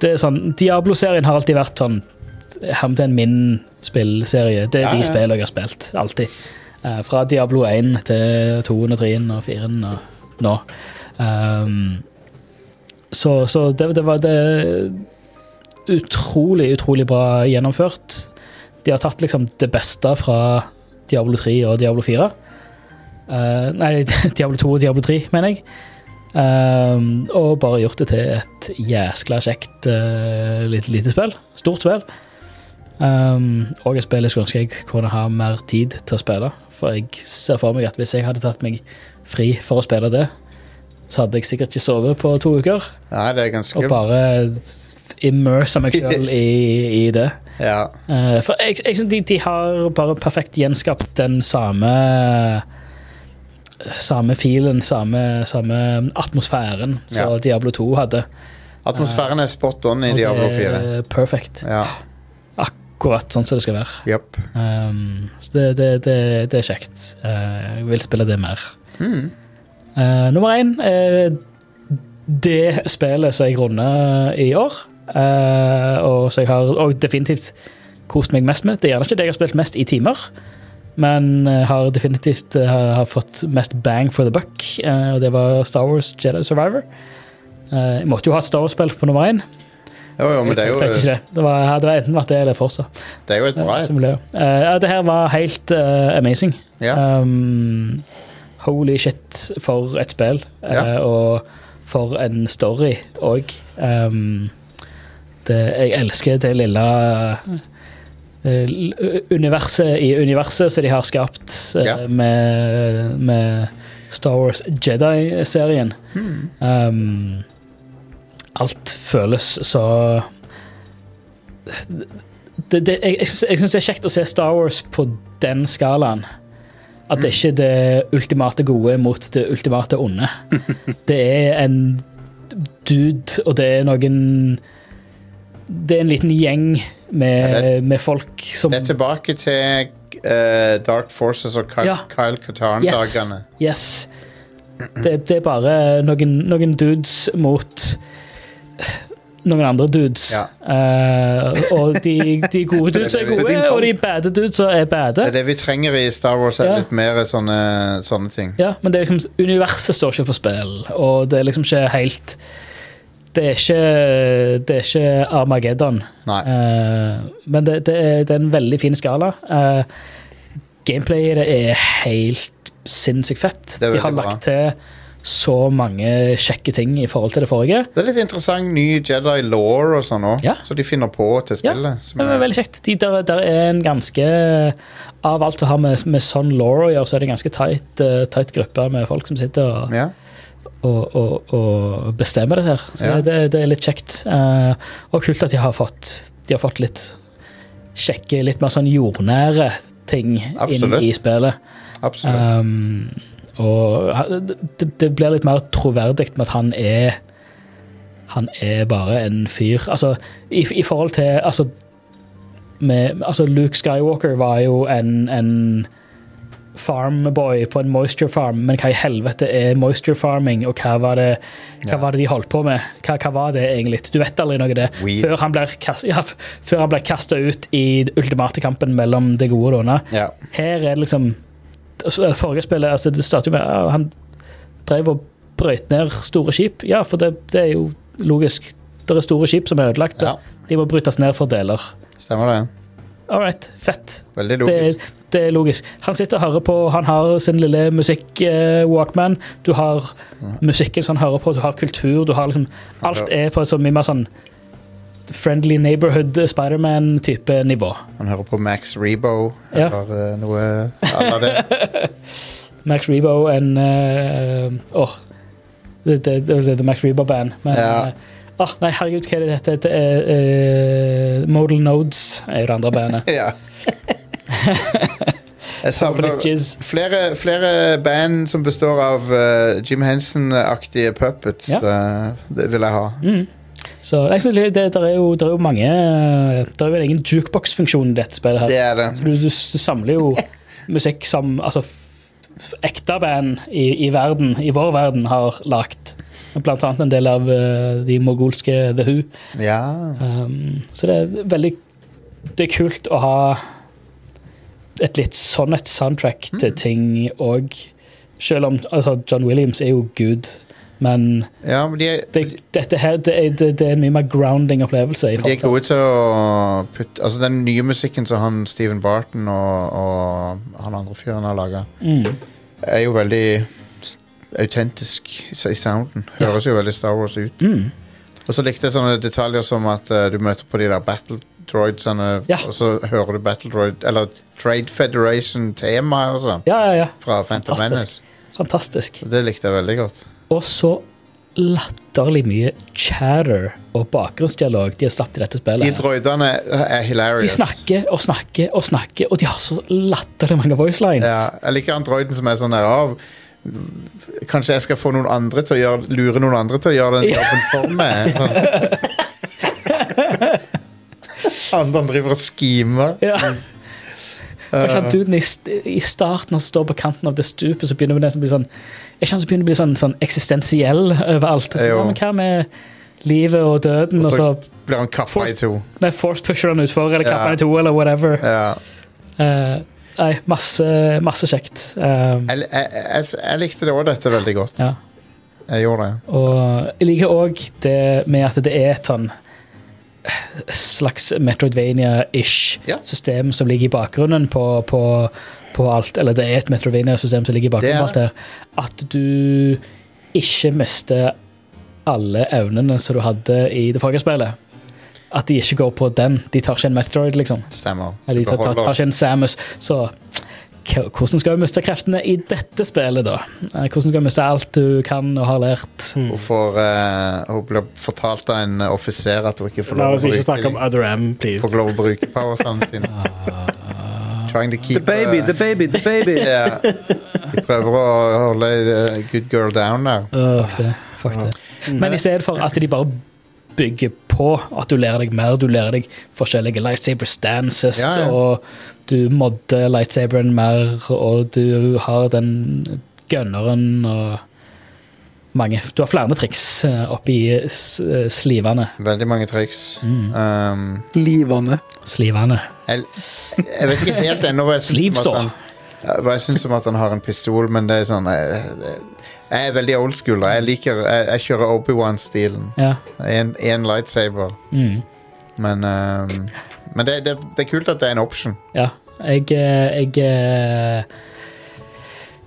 S2: det er sånn, Diablo-serien har alltid vært sånn Hermeten min spillserie. Det er
S1: Ja, ja.
S2: de spillene jeg har spilt. Alltid. Eh, fra Diablo 1 til 2-en og 3-en og 4-en og nå. Ehm, så så det, det var det Utrolig, utrolig bra gjennomført. De har tatt liksom det beste fra Diablo 3 og Diablo 4. Eh, nei, Diablo 2 og Diablo 3, mener jeg. Ehm, og bare gjort det til et jæskla kjekt eh, lite, lite spill. Stort spill. Ehm, og et spill jeg skulle ønske jeg kunne ha mer tid til å spille. For jeg ser for meg at hvis jeg hadde tatt meg fri for å spille det, så hadde jeg sikkert ikke sovet på to uker.
S1: Nei, det er
S2: Og
S1: ganske
S2: bare immersa meg sjøl i, i det.
S1: Ja.
S2: Eh, for jeg, jeg synes de, de har bare perfekt gjenskapt den samme samme filen, samme, samme atmosfæren som
S1: Ja.
S2: Diablo 2 hadde.
S1: Atmosfæren er spot on i
S2: Og det
S1: Diablo 4.
S2: er Perfekt.
S1: Ja.
S2: Ak akkurat sånn som det skal være.
S1: Japp.
S2: Um, så det, det, det, det er kjekt. Eh, jeg vil spille det mer.
S1: Mm.
S2: Eh, nummer én er det spillet som jeg runder i år, eh, og som jeg har og definitivt kost meg mest med. Det er gjerne ikke det jeg har spilt mest i timer, men eh, har definitivt eh, har, har fått mest bang for the buck, eh, og det var Star Wars Jedi Survivor. Eh, jeg måtte jo ha et Star Wars-spill på nummer én.
S1: Jo, jo, men det er
S2: Jeg tenkte
S1: jo,
S2: ikke det. Det var, hadde enten vært det eller Forsa.
S1: det er jo et bra
S2: Ja,
S1: et.
S2: som ble- Eh, ja, det her var helt eh, amazing.
S1: Ja.
S2: Um, holy shit for et spill, eh,
S1: Ja.
S2: og for en story òg. Um, det- jeg elsker det lille eh, l- universet i universet som de har skapt eh,
S1: Ja.
S2: med, med Star Wars Jedi-serien.
S1: Hmm.
S2: Um, alt føles så det, det, jeg, jeg syns- jeg syns det er kjekt å se Star Wars på den skalaen.
S1: Mm.
S2: At det ikke er det ultimate gode mot det ultimate onde. Det er en dude, og det er noen Det er en liten gjeng med,
S1: Ja, det-
S2: med folk som
S1: Det er tilbake til eh, Dark Forces og Kyle,
S2: Ja.
S1: Kyle Katarn-dagene.
S2: Yes. Det, det er bare noen, noen dudes mot noen andre dudes.
S1: Ja.
S2: Eh, og de, de gode dudes er gode, og de bade dudes er bade.
S1: Det er det vi trenger i Star Wars, er
S2: Ja.
S1: litt mer sånne, sånne ting.
S2: Ja, men det er liksom, universet står ikke for spill, og det er liksom ikke helt Det er ikke, det er ikke Armageddon.
S1: Nei.
S2: Eh, men det, det, er, det er en veldig fin skala. Eh, gameplayet i det er helt sinnssykt fett.
S1: Det er
S2: De har
S1: veldig bra.
S2: lagt til så mange kjekke ting i forhold til det forrige.
S1: Det er litt interessant ny Jedi law og sånn òg,
S2: Ja.
S1: så de finner på til
S2: Ja,
S1: spillet. som
S2: Det
S1: er-
S2: var veldig kjekt. De der, der er en ganske Av alt som har med, med Son Laura å gjøre, så er det en ganske tight, eh, tight gruppe med folk som sitter og
S1: ja.
S2: og, og, og bestemme det her. Så
S1: Ja.
S2: det, det er litt kjekt. Eh, og kult at de har fått, de har fått litt kjekke, litt mer sånn jordnære ting inn
S1: Absolutt.
S2: i spillet.
S1: Absolutt.
S2: Um, og ha- det, det blir litt mer troverdig med at han er Han er bare en fyr. Altså, i, i forhold til Altså, med, altså Luke Skywalker var jo en, en farmboy på en moisture farm, men hva i helvete er moisture farming, og hva var det, hva
S1: Ja.
S2: var det de holdt på med? Hva, hva var det egentlig? Du vet aldri noe av det.
S1: Weed.
S2: Før han blir kast- ja, f- før han blir kasta ut i den ultimate kampen mellom det gode og det onde.
S1: ja.
S2: Her er det liksom altså, det Forrige spillet altså, det startet jo med at han drev og brøyt ned store skip. Ja, for det, det er jo logisk. Det er store skip som er ødelagt.
S1: ja.
S2: og De må brytes ned for deler.
S1: Stemmer det.
S2: All right, fett.
S1: Veldig
S2: Det,
S1: logisk.
S2: det er logisk. Han sitter og hører på Han har sin lille musikk-walkman. du har musikken som han hører på, du har kultur, du har liksom Alt er på et sånn mye mer sånn friendly neighborhood Spiderman-type nivå.
S1: Han hører på Max Rebo
S2: Ja.
S1: eller eh, noe eller det.
S2: Max Rebo en eh, Åh, det det- det er The Max Rebo-band. Men
S1: Ja.
S2: eh, ah, nei, herregud, hva er det dette? Det er eh, Modal Nodes er jo det andre bandet.
S1: Ja. Jeg savner
S2: Glitches.
S1: flere, flere band som består av eh, Jim Henson-aktige puppets.
S2: Ja.
S1: eh, det vil jeg ha.
S2: Mm. Så nei, så det, det der er jo, der er jo mange eh, Der er jo en egen jukebox-funksjon i dette spillet. her.
S1: Det er det.
S2: Så du, du, du samler jo musikk som altså, f- ekte band i, i verden, i vår verden, har lagt. Blant annet en del av eh, de mogulske The Who.
S1: Ja.
S2: Um, så det er veldig Det er kult å ha et litt sånn et soundtrack
S1: Mm.
S2: til ting òg. Selv om altså, John Williams er jo gud, men
S1: ja, men de er
S2: det, dette her det er, det, det er en mye mer grounding opplevelse. i
S1: De er
S2: forhold til
S1: gode til å putte Altså den nye musikken som han Steven Barton og, og han andre fyren har laga,
S2: Mm.
S1: er jo veldig s- autentisk i s- i sounden. Høres jo veldig Star Wars ut.
S2: Mm.
S1: Og så likte jeg sånne detaljer som at eh, du møter på de der battle droidsene,
S2: Ja.
S1: og så hører du battle droid Eller Trade Federation-temaet, altså.
S2: Ja, ja, ja.
S1: Fra Phantom Menace.
S2: Fantastisk. Fantastisk.
S1: Det likte jeg veldig godt.
S2: Og så latterlig mye chatter og bakgrunnsdialog de har stappet i dette
S1: De
S2: spillet. her.
S1: droidene er
S2: De
S1: hilarious.
S2: snakker og snakker og snakker, og de har så latterlig mange voicelines.
S1: Ja, jeg liker han droiden som er sånn der av Kanskje jeg skal få noen andre til å gjøre, lure noen andre til å gjøre den jobben for meg. Sånn. Han han driver og Eh, schemer.
S2: Ja. Og ikke han duden i, st- I starten han står på kanten av det stupet, så begynner det nesten å bli sånn Er ikke han som begynner å bli sånn, sånn eksistensiell overalt? Så,
S1: Jo.
S2: ja, men hva med livet og døden,
S1: Og
S2: og så
S1: så blir han kappa i to.
S2: Nei, force pusher han utfor, eller kapper
S1: Ja.
S2: han i to, eller whatever.
S1: Ja.
S2: Eh, nei, masse, masse kjekt. Eh,
S1: Jeg, jeg, jeg, jeg likte det òg, dette, veldig godt.
S2: ja.
S1: Jeg gjorde det.
S2: Og jeg liker òg det med at det er et sånn slags Metroidvania-ish
S1: Ja.
S2: system som ligger i bakgrunnen på, på, på alt. Eller det er et Metroidvania-system som ligger i bakgrunnen på alt
S1: Det
S2: der. At du ikke mister alle evnene som du hadde i det forrige spillet. At de ikke går på den. De tar ikke en Metroid, liksom.
S1: Stemmer.
S2: Eller de tar, tar,
S1: Beholder.
S2: tar ikke en Samus. Så k- hvordan skal vi miste kreftene i dette spillet, da? Eh, Hvordan skal vi miste alt du kan og har lært?
S3: Hmm.
S1: Hun, får, eh, hun blir fortalt av en offiser at hun ikke får
S3: La
S1: lov
S3: oss
S1: å
S3: ikke snakke om
S1: bruke,
S3: Ah. Other M, please.
S1: får lov å bruke powersene sine. Trying to keep eh,
S4: The baby, the baby, the baby.
S1: Ja. De prøver å holde eh, good girl down der.
S2: Fuck det. Fuck det. Men i stedet for at de bare bygger på at du lærer deg mer, du lærer deg forskjellige lightsaber stances,
S1: Ja, ja.
S2: og du modder lightsaberen mer, og du har den gunneren og mange. Du har flere triks eh, oppi eh, s- eh, slivene.
S1: Veldig mange triks. Um,
S4: Livende.
S2: Slivene.
S1: jeg, jeg vet ikke helt ennå hva jeg syns om,
S2: Sleeves
S1: at han- hva jeg syns om at han har en pistol, men det er sånn Jeg, jeg er veldig old school. da. Jeg liker Jeg, jeg kjører Obi-Wan-stilen.
S2: Ja.
S1: Én lightsaber.
S2: Mm.
S1: Men, um, men det, det, det er kult at det er en option.
S2: Ja, jeg, eh, jeg eh,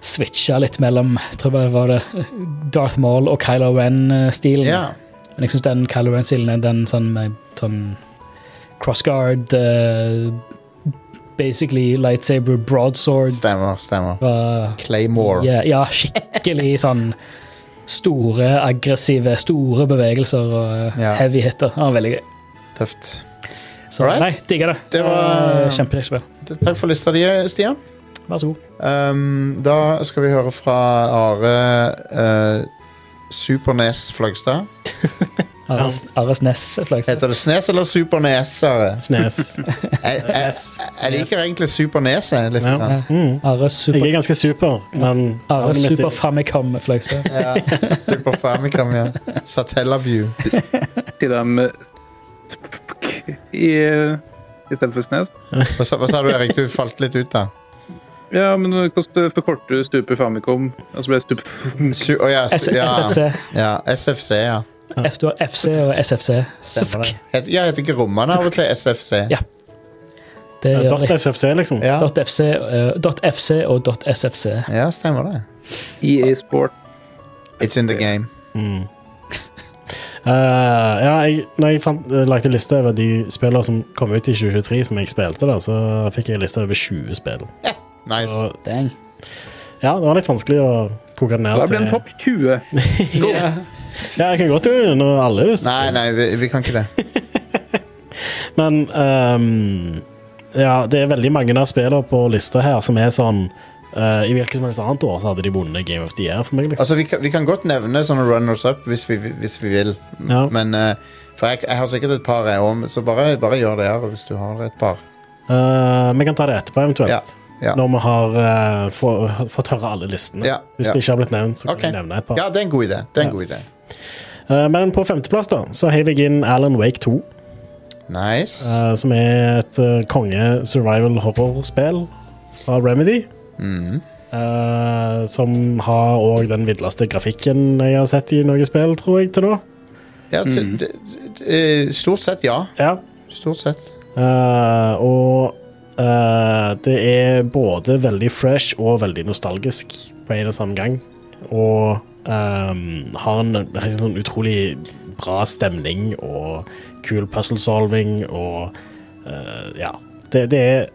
S2: switcha litt mellom tror jeg var det eh, Darth Maul og Kylo eh, Ren-stilen.
S1: Ja.
S2: Men jeg syns den Kylo Ren-stilen er den sånn, med- sånn crossguard eh, Basically lightsaber broadsword.
S1: Stemmer, stemmer.
S2: Fra-
S1: Claymore.
S2: ja, ja, skikkelig sånn store, aggressive, store bevegelser og eh,
S1: Ja.
S2: heavy hitter. Ja, veldig gøy.
S1: Tøft.
S2: Så
S1: Alright.
S2: nei, digger det.
S1: Det var-
S2: Eh, Kjempekjekt spill.
S1: Takk for lista di, Stian.
S2: Vær så god.
S1: Um, da skal vi høre fra Are eh, Super-Nes Fløgstad.
S2: Ares, Ares Ness. fløy.
S1: Heter det Snes eller Super-Nes, Are?
S3: Snes.
S1: Jeg, jeg,
S3: Nes.
S1: jeg liker egentlig Super-Nes. jeg, Litt.
S3: Ja.
S1: grann.
S3: Mm.
S2: Ares
S3: Jeg
S2: Super
S3: er ganske super, men
S2: Are
S3: navnet mitt er-
S2: Super Famicom Fløgstad.
S1: Ja. Super Famicom, ja. Satellaview.
S4: Til dem eh, i istedenfor snes.
S1: Hva, sa- hva sa du, Erik? Du falt litt ut, da.
S4: Ja, men hvordan forkorter du stupet Famicom? Og så ble det stup...
S1: Su å ja,
S2: S-
S1: su ja.
S2: SFC.
S1: ja. SFC, ja.
S2: F, du har FC og SFC.
S1: Stemmer
S2: Sfk.
S1: det. Het- Ja, heter ikke rommene av og til SFC?
S2: Ja. Det
S3: Ja,
S2: gjør
S3: Dot
S2: de.
S3: FFC, liksom.
S1: Ja,
S2: Dot .fc, eh, dot .fc og dot .sfc.
S1: ja stemmer det.
S4: EA Sport.
S1: It's in the game.
S3: Mm. Eh, ja, jeg, når jeg fant, eh, lagde liste over de spillene som kom ut i 2023, som jeg spilte, da, så fikk jeg en liste over 20 spill.
S1: Nice.
S3: Og,
S2: Dang.
S3: ja, det var litt vanskelig å koke det ned
S4: Da blir det en topp 20.
S2: Ja.
S3: Ja, jeg kan godt gå gjennom alle, hvis
S1: Nei, nei, vi, vi kan ikke det.
S3: Men ehm, ja, det er veldig mange av spillene på lista her som er sånn eh, I hvilket som helst annet år så hadde de vunnet Game of the Year for meg. liksom.
S1: Altså, Vi kan, vi kan godt nevne sånne runners up hvis vi, hvis vi vil,
S3: Ja.
S1: men eh, For jeg, jeg har sikkert et par, jeg òg, så bare, bare gjør det her hvis du har et par.
S3: Eh, vi kan ta det etterpå, eventuelt.
S1: Ja, ja.
S3: Når vi har eh, få, fått høre alle listene.
S1: Ja,
S3: Hvis
S1: ja.
S3: det ikke har blitt nevnt, så kan
S1: Ok.
S3: vi nevne et par.
S1: Ja, det er en god idé. Det er en god idé.
S3: Eh, men på femteplass da, så heiv jeg inn Alan Wake 2,
S1: Nice.
S3: eh, som er et eh, konge-survival-horrorspill fra Remedy. Eh, som har òg den villeste grafikken jeg har sett i noe spill, tror jeg, til nå.
S1: Ja, t- d- d- eh, stort sett, ja.
S3: Ja.
S1: Stort sett.
S3: Eh, og eh, det er både veldig fresh og veldig nostalgisk på en og samme gang. Og ehm, har en, en sånn utrolig bra stemning og kul puzzle solving og eh, Ja. Det, det er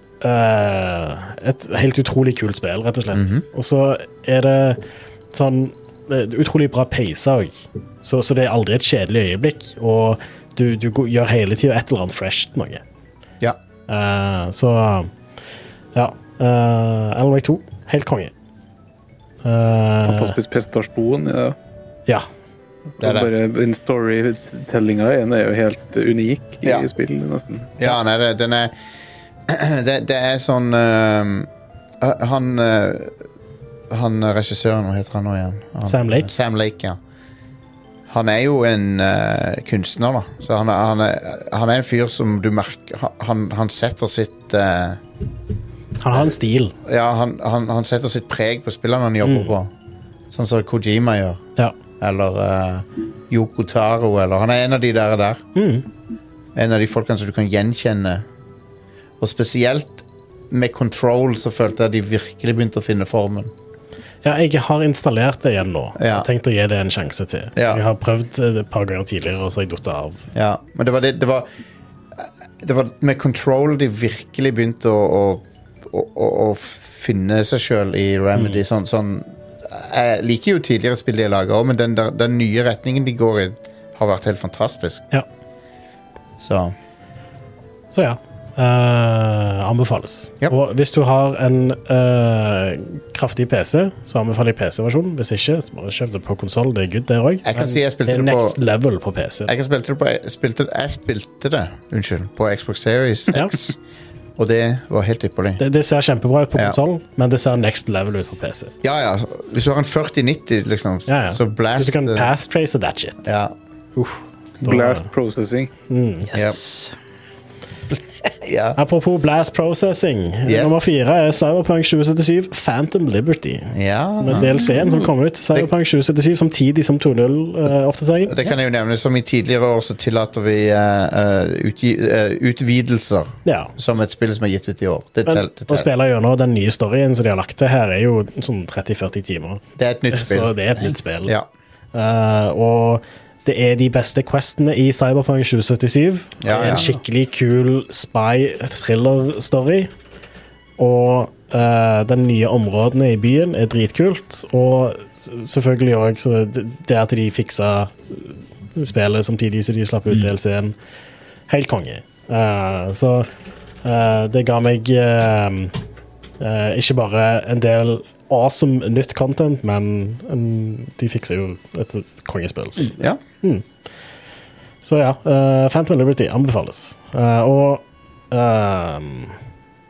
S3: eh, et helt utrolig kult spill, rett og slett. Og så er det sånn det er utrolig bra pace òg, så, så det er aldri et kjedelig øyeblikk. Og du, du går- gjør hele tida et eller annet fresh til noe.
S1: Ja.
S3: Eh, så ja. Uh, Alan Wake 2, helt konge. Eh,
S4: Fantastisk prestasjon. Ja.
S3: Ja.
S1: Det er det.
S4: Bare den storytellinga i den er jo helt unik i
S1: Ja.
S4: spill, nesten.
S1: Ja, nei, det, den er det, det er sånn ehm, eh, Han eh, Han regissøren, hva heter han nå igjen? Han,
S3: Sam Lake.
S1: Sam Lake, ja. Han er jo en eh, kunstner, da. Så han er, han, er, han er en fyr som du merker han- Han, han setter sitt eh,
S3: Han har en stil.
S1: Ja, han, han, han setter sitt preg på spillene han
S3: Mm.
S1: jobber på. Sånn som Kojima gjør.
S3: Ja.
S1: Eller eh, Yoko Taro, eller Han er en av de der. der. En av de folkene som du kan gjenkjenne. Og spesielt med Control så følte jeg de virkelig begynte å finne formen.
S3: ja, jeg har installert det igjen nå. Jeg
S1: Ja.
S3: har tenkt å gi det en sjanse til.
S1: Ja.
S3: Jeg har prøvd det et par ganger tidligere, og så har jeg datt av.
S1: Ja, Men det var det Det var, det var med Control de virkelig begynte å, å, å, å, å finne seg sjøl i Remedy. Sånn, sånn Jeg liker jo tidligere spill de har laga òg, men den, der, den nye retningen de går i, har vært helt fantastisk.
S3: Ja.
S1: Så
S3: Så ja. eh, anbefales.
S1: Yep.
S3: Og hvis du har en eh, kraftig PC, så anbefaler jeg PC-versjonen. Hvis ikke, så bare kjøp det på konsoll. Det er good, det òg.
S1: Jeg kan si jeg
S3: Det
S1: spilte
S3: er
S1: det på
S3: next level på PC.
S1: Jeg kan spilte det på spilte, Jeg spilte det, unnskyld, på Xbox Series
S3: Ja.
S1: X, og det var helt ypperlig.
S3: Det, det ser kjempebra ut på
S1: Ja.
S3: konsoll, men det ser next level ut på PC.
S1: Ja, ja, så- hvis du har en 4090, liksom,
S3: Ja, ja.
S1: så blast eh,
S3: Hvis du kan
S1: det.
S3: pathtrace that shit.
S1: Ja.
S3: da-
S4: Blast processing.
S2: Yes.
S1: ja.
S3: Apropos blast processing.
S1: Yes.
S3: Nummer fire er Cyberpunk 2077 Phantom Liberty. Med
S1: ja.
S3: DLC-en som kom ut. Cyberpunk 2077 samtidig som eh, 2.0-oppdateringen.
S1: Det kan jeg jo nevne, som i tidligere år så tillater vi eh, eh, utgi, eh, utvidelser
S3: ja.
S1: som et spill som er gitt ut i år. Det,
S3: Men
S1: tel, det,
S3: å
S1: tel.
S3: spille gjennom den nye storyen som de har lagt til her, er jo sånn 30-40 timer.
S1: det er et nytt
S3: Så
S1: spill.
S3: det er et nytt spill.
S1: Ja.
S3: Eh, og det er de beste questene i Cyberpunk 2077.
S1: Ja,
S3: Det er
S1: ja.
S3: En skikkelig kul spy-thriller-story. Og eh, de nye områdene i byen er dritkult. Og s- selvfølgelig òg så det det at de fiksa spillet samtidig som de
S1: Mm.
S3: slapp ut DLC-en. Helt konge. Eh, så eh, det ga meg eh, Eh, ikke bare en del awesome nytt content, men en, de fikser jo et, et kongespill. Så,
S1: ja.
S3: så ja, eh, Phantom Liberty anbefales. Eh, og eh,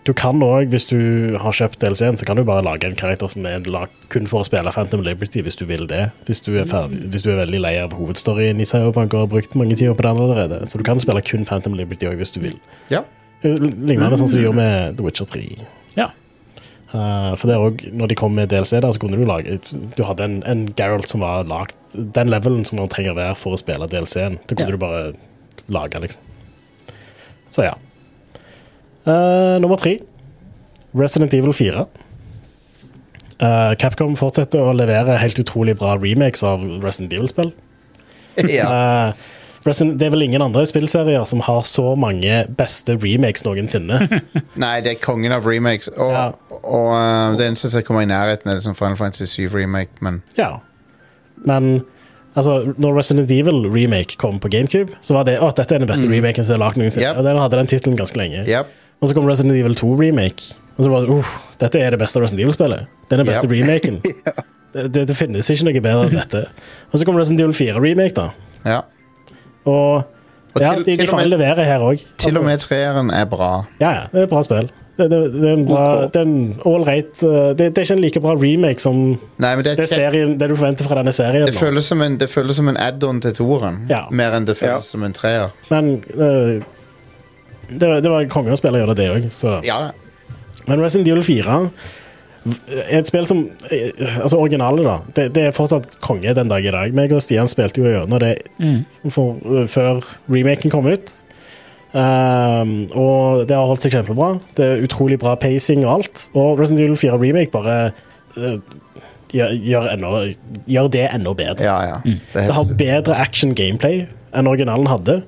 S3: du kan òg, hvis du har kjøpt DLC-en, så kan du bare lage en karakter som er lag, kun for å spille Phantom Liberty, hvis du vil det. Hvis du er, ferdig, hvis du er veldig lei av hovedstoryen i Cyberpunk og har brukt mange timer på den allerede. Så du kan spille kun Phantom Liberty òg, hvis du vil.
S1: ja.
S3: Lignende sånn som de gjorde med The Witcher 3. Ja. Eh, for det er også, når de kom med DLC, der, så kunne du lage Du hadde en, en Geralt som var lagt Den levelen som man trenger å være for å spille DLC-en. Det kunne
S2: Ja.
S3: du bare lage, liksom. Så ja. Eh, nummer tre. Resident Evil 4. Eh, Capcom fortsetter å levere helt utrolig bra remakes av Resident Evil-spill.
S1: ja.
S3: Eh, Resident, det er vel ingen andre spillserier som har så mange beste remakes noensinne.
S1: Nei, det er kongen av remakes. Og,
S3: Ja.
S1: og eh, det eneste som kommer i nærheten, er liksom Final Fantasy 7 remake, men
S3: Ja. Men altså, når Resident Evil remake kom på GameCube, så var det at dette er den beste remaken som er lagd noensinne.
S1: Mm. Yep.
S3: Og den hadde den tittelen ganske lenge.
S1: Yep.
S3: Og så kom Resident Evil 2 remake. Og så bare uff, dette er det beste Resident Evil-spillet. Det er den beste
S1: Yep.
S3: remaken. det, det, det finnes ikke noe bedre enn dette. Og så kom Resident Evil 4 remake, da.
S1: Ja.
S3: Og,
S1: Og
S3: ja,
S1: til-
S3: de, de
S1: til og
S3: faller
S1: med-
S3: levere her òg.
S1: Til og
S3: Altså-
S1: med treeren er bra.
S3: Ja, ja. Det er et bra spill. Det, det, det er en bra Det er en all right uh, det, det er ikke en like bra remake som
S1: Nei, men det, er
S3: det,
S1: kjekt.
S3: serien, det du forventer fra denne serien.
S1: det,
S3: nå.
S1: føles som en, det føles som en add-on til toeren,
S3: Ja.
S1: mer enn det
S4: Ja.
S1: føles som en treer.
S3: Men eh, det, var- det var konge å spille gjennom det òg, så
S1: Ja,
S3: Men Resident Evil 4 er et spill som eh, Altså originalet, da. Det, det er fortsatt konge den dag i dag. Meg og Stian spilte jo gjennom det for, eh, før remaken kom ut. Ehm, og det har holdt seg kjempebra. Det er utrolig bra pacing og alt. Og Resident Evil 4 remake bare eh, gjør, gjør, enda, gjør det enda bedre.
S1: ja. ja. Det er
S3: Mm. Det har
S1: helt,
S3: bedre action gameplay enn originalen hadde.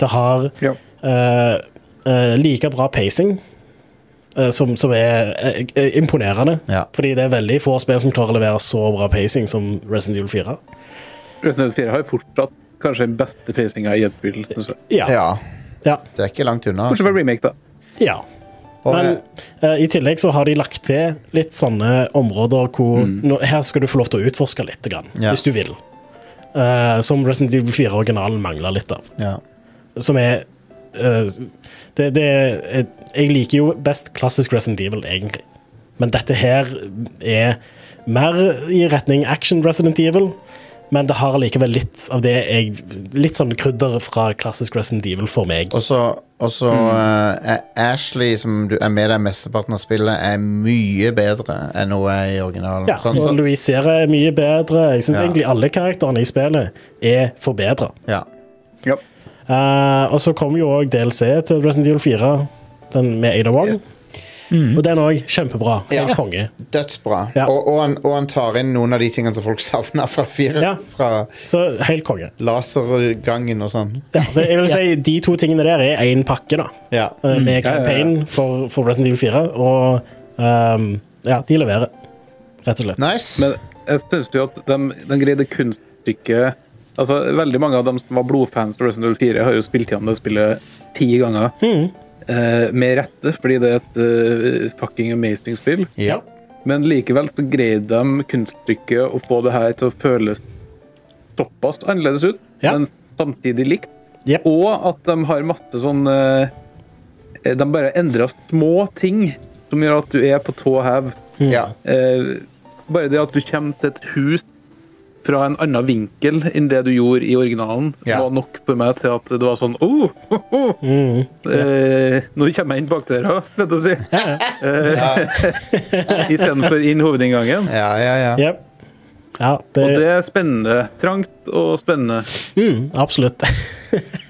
S3: Det har
S4: Ja.
S3: eh, eh, like bra pacing, eh, som, som er eh, eh, imponerende.
S1: Ja.
S3: Fordi det er veldig få spill som klarer å levere så bra pacing som Resident Evil 4.
S4: Resident Evil 4 har jo fortsatt kanskje den beste pacinga i et spill. synes jeg.
S3: Ja. Ja.
S1: ja,
S3: ja.
S1: det er ikke langt unna. altså.
S4: Bortsett fra remake, da.
S1: Og,
S3: Men
S1: eh,
S3: eh, i tillegg så har de lagt til litt sånne områder hvor nå, Her skal du få lov til å utforske litt, grann,
S1: Ja.
S3: hvis du vil. eh, som Resident Evil 4-originalen mangler litt av.
S1: Ja.
S3: Som er eh, det, det er Jeg liker jo best klassisk Resident Evil, egentlig. Men dette her er mer i retning action Resident Evil. Men det har likevel litt av det jeg Litt sånn krydder fra klassisk Resident Evil for meg.
S1: Og så og så,
S3: Mm.
S1: eh, Ashley, som du er med deg mesteparten av spillet, er mye bedre enn hun er i originalen.
S3: Ja,
S1: Sånn-
S3: og
S1: sånn-
S3: Louise Serre er mye bedre. Jeg syns
S1: Ja.
S3: egentlig alle karakterene i spillet er forbedra.
S1: ja.
S4: Ja.
S3: Eh, og så kommer jo òg DLC til Resident Evil 4, den med Ada Wong.
S4: Yes.
S3: Og den òg kjempebra. Helt
S1: Ja.
S3: konge.
S1: Dødsbra.
S3: Ja.
S1: Og, og, han, og han tar inn noen av de tingene som folk savner fra fire.
S3: Ja.
S1: Fra
S3: Så helt konge.
S1: lasergangen og sånn.
S3: Ja, så jeg vil si De to tingene der er én pakke, da.
S1: Ja.
S3: Eh, Med
S4: ja, ja.
S3: campaign for, for Resident Evil 4. Og ehm, ja, de leverer, rett og slett.
S1: Nice.
S4: Men jeg syns jo at de, de greide kunststykket Altså, Veldig mange av dem som var blodfans av Resident Evil 4, har jo spilt igjen det spillet ti ganger.
S1: Hmm.
S4: Eh, med rette, fordi det er et eh, fucking amazing spill.
S1: ja.
S4: Men likevel så greide de kunststykket å få det her til å føles såpass annerledes ut,
S3: Ja.
S4: men samtidig likt.
S3: Jep.
S4: Og at de har masse sånn eh, De bare endrer små ting som gjør at du er på tå hev.
S1: ja.
S4: Eh, bare det at du kommer til et hus fra en annen vinkel enn det du gjorde i originalen,
S1: Ja.
S4: var nok for meg til at det var sånn oh, ho, ho, eh, Nå kommer jeg inn bakdøra, skulle jeg til å si. Eh, Istedenfor inn hovedinngangen.
S1: Ja, ja, ja.
S3: Jep. Ja,
S4: Og det er spennende. Trangt og spennende.
S3: Mm, absolutt.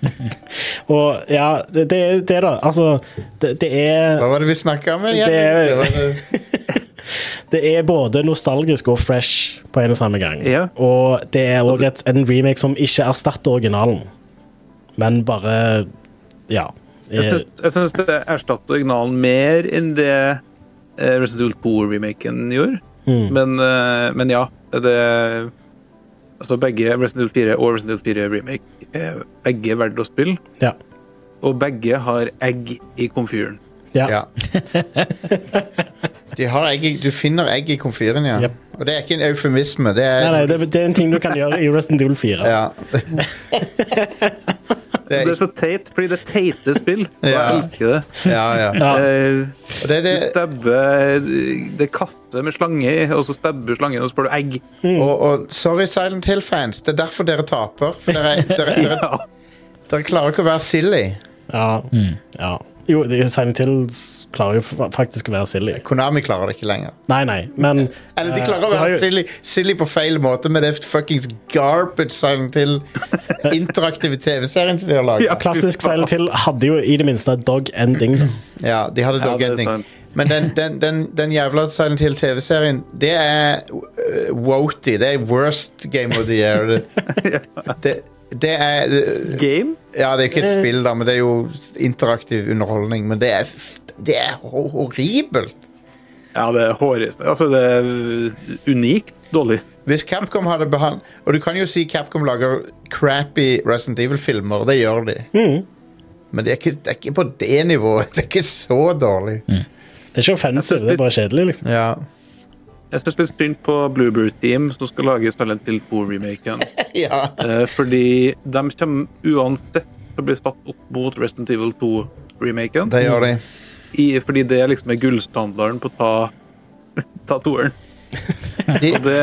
S3: og ja, det det er det, da. Altså, det, det er
S1: Hva var det vi snakka om? igjen?
S3: Det er-
S1: Det var det-
S3: Det er både nostalgisk og fresh på en og samme gang.
S4: Ja.
S3: Og det er òg en remake som ikke erstatter originalen, men bare Ja.
S4: Jeg syns- Jeg syns det erstatter originalen mer enn det eh, Resident Evil 2-remaken gjorde. Men, eh, men ja, det Altså begge Resident Evil 4 og Resident Evil 4 Remake er begge verdt å spille,
S3: Eh, ja.
S4: og begge har egg i komfyren.
S3: ja.
S1: Ja. De har egg, i- du finner egg i komfyren, ja.
S3: Jep.
S1: Og det er ikke en eufemisme. Det er,
S3: Nei, nei, det, det er en ting du kan gjøre i Resident Evil 4.
S1: Ja. det
S4: Det
S1: er,
S4: er så teit, fordi det er teite spill. Og jeg
S1: Ja.
S4: elsker det.
S1: ja, ja.
S3: Ja.
S4: Eh,
S1: Og Det er
S4: Du
S1: det,
S4: stabber eh, Det kaster med slange, i, og så stabber slangen, og så får du egg.
S3: Mm.
S1: og, og sorry, Silent Hill-fans. Det er derfor dere taper. For dere, dere, dere,
S4: Ja.
S1: dere klarer ikke å være silly.
S3: Ja. ja. Jo, det- Silent Hills klarer jo fa- faktisk å være silly.
S1: Konami klarer det ikke lenger.
S3: Nei, nei, men
S1: Eller de
S3: eh,
S1: klarer å
S3: det har
S1: være
S3: jo-
S1: silly, silly på feil måte med det fuckings garbage Silent Hill interaktive TV-serien som de har laget.
S4: Ja.
S3: Klassisk Silent Hill hadde jo i det minste et dog ending. da.
S1: Ja, de hadde
S4: Ja,
S1: dog
S4: det er
S1: ending.
S4: sant.
S1: Men den, den, den, den jævla Silent Hill TV-serien, det er uh, Woty. Det er worst game of the year. Det, det, det er øh,
S4: Game?
S1: Ja, det er ikke et spill, da, men det er jo interaktiv underholdning. Men det er, f- det er ho- horribelt.
S4: Ja, det er hårreisende. Altså, det er unikt dårlig.
S1: Hvis Capcom hadde behand... Og du kan jo si Capcom lager crappy Resident Evil-filmer, og det gjør de. Men det er, ikke, det er ikke på det nivået. Det er ikke så dårlig.
S3: Det er ikke offensive, det er bare kjedelig. liksom.
S1: Ja.
S4: Jeg syns litt synd på Bluebird Team, som skal lage Silent Hill 2-remaken.
S1: ja.
S4: Eh, fordi de kommer uansett til å bli satt opp mot Resident Evil 2-remaken.
S1: Det gjør de.
S4: Fordi det liksom er gullstandarden på å ta, ta toeren.
S1: de
S4: Og det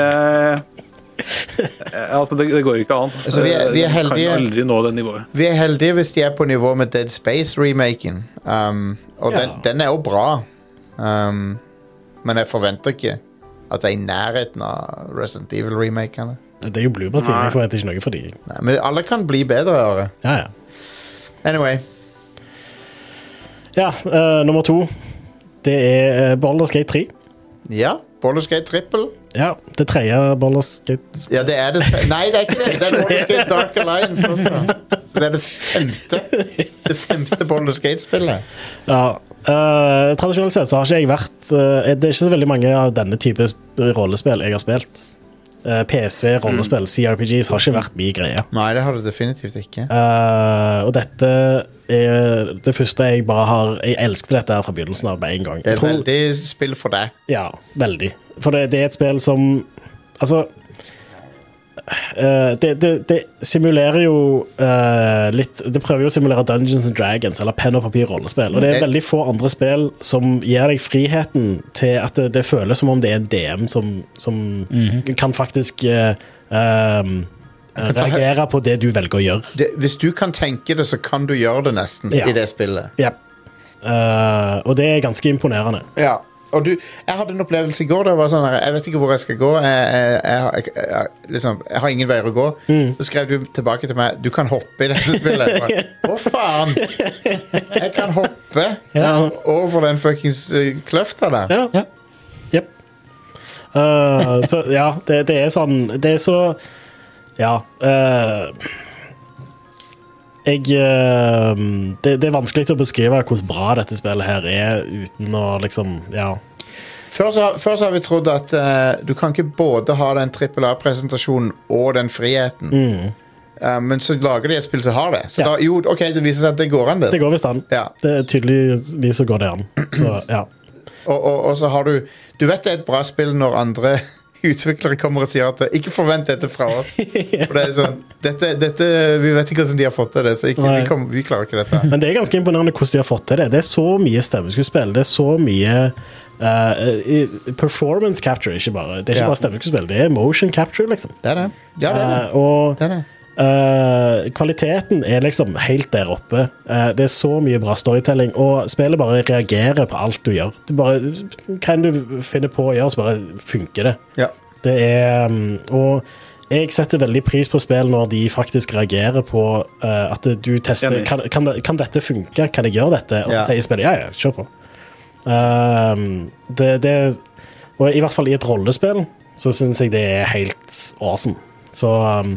S4: eh, Altså, det, det går ikke an.
S1: Altså, vi er- vi er
S4: Eh, de
S1: heldige.
S4: Kan aldri nå det nivået.
S1: vi er heldige hvis de er på nivå med Dead Space-remaken. Um, og
S3: Ja.
S1: den, den er jo bra. Um, men jeg forventer ikke at det er i nærheten av Resident Evil-remakene.
S3: Det er jo Bluebird Team,
S4: Nei.
S3: jeg forventer ikke noe for de.
S1: Nei, Men alle kan bli bedre. Are.
S3: Ja, ja.
S1: Anyway.
S3: ja eh, nummer to. Det er uh, Baldur's Gate 3.
S1: Ja, Baldur's Gate Triple.
S3: Ja, det tredje Baldur's Gate
S1: Ja, det er det. Nei, det er ikke det. Det er Baldur's Gate Dark Alliance også. Så det er det femte Det femte Baldur's Gate-spillet.
S3: Ja. eh, tradisjonelt sett så har ikke jeg vært eh, Det er ikke så veldig mange av denne type sp- rollespill jeg har spilt. Eh, PC,
S1: Mm.
S3: rollespill, CRPGs har ikke vært min greie.
S1: Nei, det har det definitivt ikke.
S3: Eh, og dette er det første jeg bare har Jeg elsket dette her fra begynnelsen av med en gang.
S1: Det
S3: Jeg
S1: er
S3: tror-
S1: veldig spill for deg.
S3: Ja, veldig. For det, det er et spill som Altså eh, det, det, det simulerer jo eh, litt Det prøver jo å simulere Dungeons and Dragons eller penn og papir-rollespill. Og det er
S1: Ok.
S3: veldig få andre spill som gir deg friheten til at det, det føles som om det er en DM som, som kan faktisk eh, ehm,
S1: Mhm. kan ta hø-
S3: reagere på det du velger å gjøre.
S1: Det, hvis du kan tenke det, så kan du gjøre det nesten
S3: Ja.
S1: i det spillet.
S3: Ja. Eh, og det er ganske imponerende.
S1: Ja. Og du, jeg hadde en opplevelse i går. Det var sånn her, Jeg vet ikke hvor jeg skal gå. Jeg, jeg, jeg, jeg, jeg, liksom, jeg har ingen veier å gå. Så skrev du tilbake til meg Du kan hoppe i dette spillet. Jeg bare, Å, faen! Jeg kan hoppe
S2: Ja.
S1: over den fuckings eh, kløfta der.
S3: Ja.
S2: Ja.
S3: Jep. Eh, så ja, det, det er sånn Det er så Ja. eh, jeg eh, det, det er vanskelig å beskrive hvor bra dette spillet her er uten å liksom Ja.
S1: Før så, før så har vi trodd at eh, du kan ikke både ha den trippel A-presentasjonen og den friheten. Eh, men så lager de et spill som har det. Så
S3: Ja.
S1: da, jo, ok, det viser seg at det går an, det.
S3: Det går visst an.
S1: Ja.
S3: Det er Tydeligvis så går det an. Så ja.
S1: Og, og, og så har du Du vet det er et bra spill når andre utviklere kommer og sier at ikke forvent dette fra oss. For det er sånn, dette, dette, Vi vet ikke hvordan de har fått til det, så ikke, vi,
S3: Nei.
S1: kommer- vi klarer ikke dette.
S3: Men det er ganske imponerende hvordan de har fått til det. Det er så mye stemmeskuespill. Det er så mye eh, i- performance capture, ikke bare. Det er ikke
S1: Ja.
S3: bare stemmeskuespill, det er motion capture, liksom.
S1: Det er det. Ja, det er det.
S3: Eh, og
S1: det, er det.
S3: eh, kvaliteten er liksom helt der oppe. Eh, det er så mye bra storytelling, og spillet bare reagerer på alt du gjør. Du bare, hva enn du finner på å gjøre, så bare funker det.
S1: Ja.
S3: Det er um, Og jeg setter veldig pris på spill når de faktisk reagerer på uh, at du tester
S4: Enig.
S3: kan, kan, det- kan dette funke, kan jeg gjøre dette? Og så
S1: Ja.
S3: sier spillet ja, ja, kjør på. Um, det, det Og i hvert fall i et rollespill så syns jeg det er helt awesome. Så um,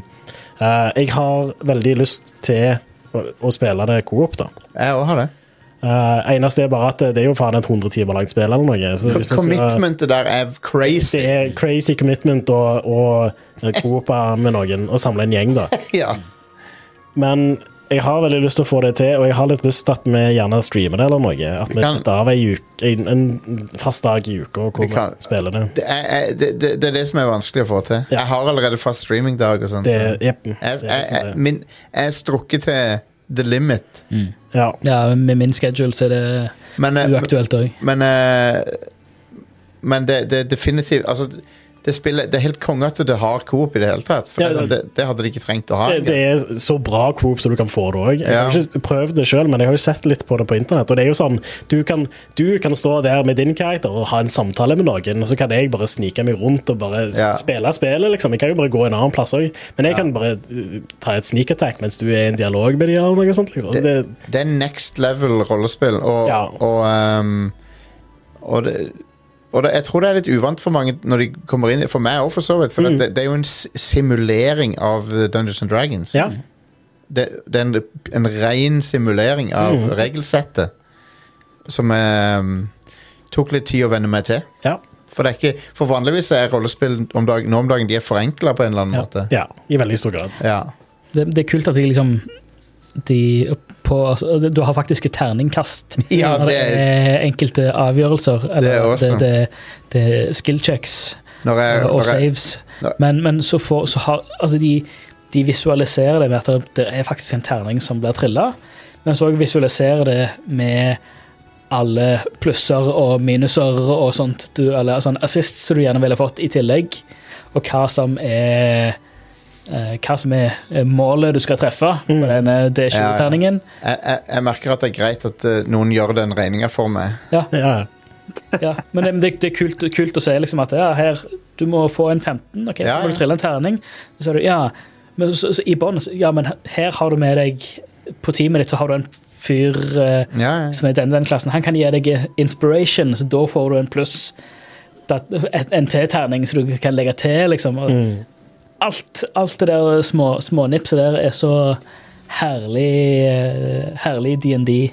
S3: uh, jeg har veldig lyst til å, å spille det co-op, da.
S1: Jeg òg har det.
S3: Uh, eneste er bare at det, det er jo faen et 100 timer langt spill eller noe. Så hvis vi skal-
S1: Commitmentet der er crazy.
S3: det er crazy commitment å, eh, å coope med noen og samle en gjeng, da.
S1: Ja.
S3: Men jeg har veldig lyst til å få det til, og jeg har litt lyst til at vi gjerne streamer det eller noe. At vi
S1: Kan-
S3: setter av ei uke, en, en fast dag i uka hvor
S1: Vi
S3: vi
S1: kan-
S3: spiller det.
S1: Det er, er- det, det, det er det som er vanskelig å få til.
S3: Ja.
S1: Jeg har allerede fast streamingdag og sånn.
S3: Det,
S1: så-
S3: jep,
S1: Jeg,
S3: det er Mm.
S1: jeg, jeg,
S3: liksom det.
S1: min, jeg er strukket til the limit.
S3: Ja.
S2: Ja, med min schedule så er det
S1: Men, eh,
S2: uaktuelt òg.
S1: men, eh, men det, det er definitivt altså, det, spillet, det er helt konge at det har coop i det hele tatt. For
S3: Ja,
S1: det, er sånn,
S3: ja.
S1: det, det hadde de ikke trengt å ha.
S3: Det, det er så bra coop som du kan få det òg. Jeg har
S1: Ja.
S3: ikke prøvd det sjøl, men jeg har jo sett litt på det på internett. Og det er jo sånn, du kan, du kan stå der med din karakter og ha en samtale med noen, og så kan jeg bare snike meg rundt og bare s-
S1: Ja.
S3: spille spillet, liksom. Jeg kan jo bare gå en annen plass òg. Men jeg kan bare uh, ta et sneak attack mens du er i en dialog med dem eller noe sånt. liksom. Altså, det,
S1: Det er next level rollespill, og,
S3: Ja.
S1: og, ehm, og, det, og det, jeg tror det er litt uvant for mange når de kommer inn, for meg òg, for så vidt. For
S3: Mm.
S1: det, det er jo en s- simulering av eh, Dungeons and Dragons.
S3: ja.
S1: Det, det er en, en ren simulering av
S2: Mhm.
S1: regelsettet som ehm, tok litt tid å venne meg til.
S3: Ja.
S1: For, det er ikke, for vanligvis er rollespill om dagen, nå om dagen de er forenkla på en eller annen
S2: Ja.
S1: måte.
S3: ja. I veldig stor grad.
S1: Ja.
S2: Det, det er kult at de liksom de på, altså, Du har faktisk et terningkast.
S1: Ja,
S2: Når det
S1: det-
S2: er enkelte avgjørelser. Eller,
S1: Det er
S2: det,
S1: awesome.
S2: det, det, er skill checks
S1: Når jeg,
S2: og
S1: når jeg,
S2: saves.
S1: når-
S2: Men, men så, får, så har Altså, de, de visualiserer det med at det- det er faktisk en terning som blir trilla, men så visualiserer det med alle plusser og minuser og sånt, du, eller sånn assist som du gjerne ville fått i tillegg, og hva som er eh, hva som er eh, målet du skal treffe på denne D20-terningen.
S1: jeg, jeg, jeg merker at det er greit at eh, noen gjør den regninga for meg.
S3: Ja.
S2: Ja, men det, det, det er kult, kult å se liksom at ja, her, du må få en 15, ok,
S1: Ja,
S2: så må
S1: ja.
S2: du trille en terning. Så er du, ja, men så, så, i bånn, så- ja, men her har du med deg, på teamet ditt så har du en fyr eh,
S1: Ja, ja.
S2: som er i den, den klassen, han kan gi deg inspiration, så da får du en pluss, da- et- en T-terning som du kan legge til, liksom. Og
S1: Mm.
S2: alt, alt det der små, små nipset der er så herlig, eh, herlig D&D.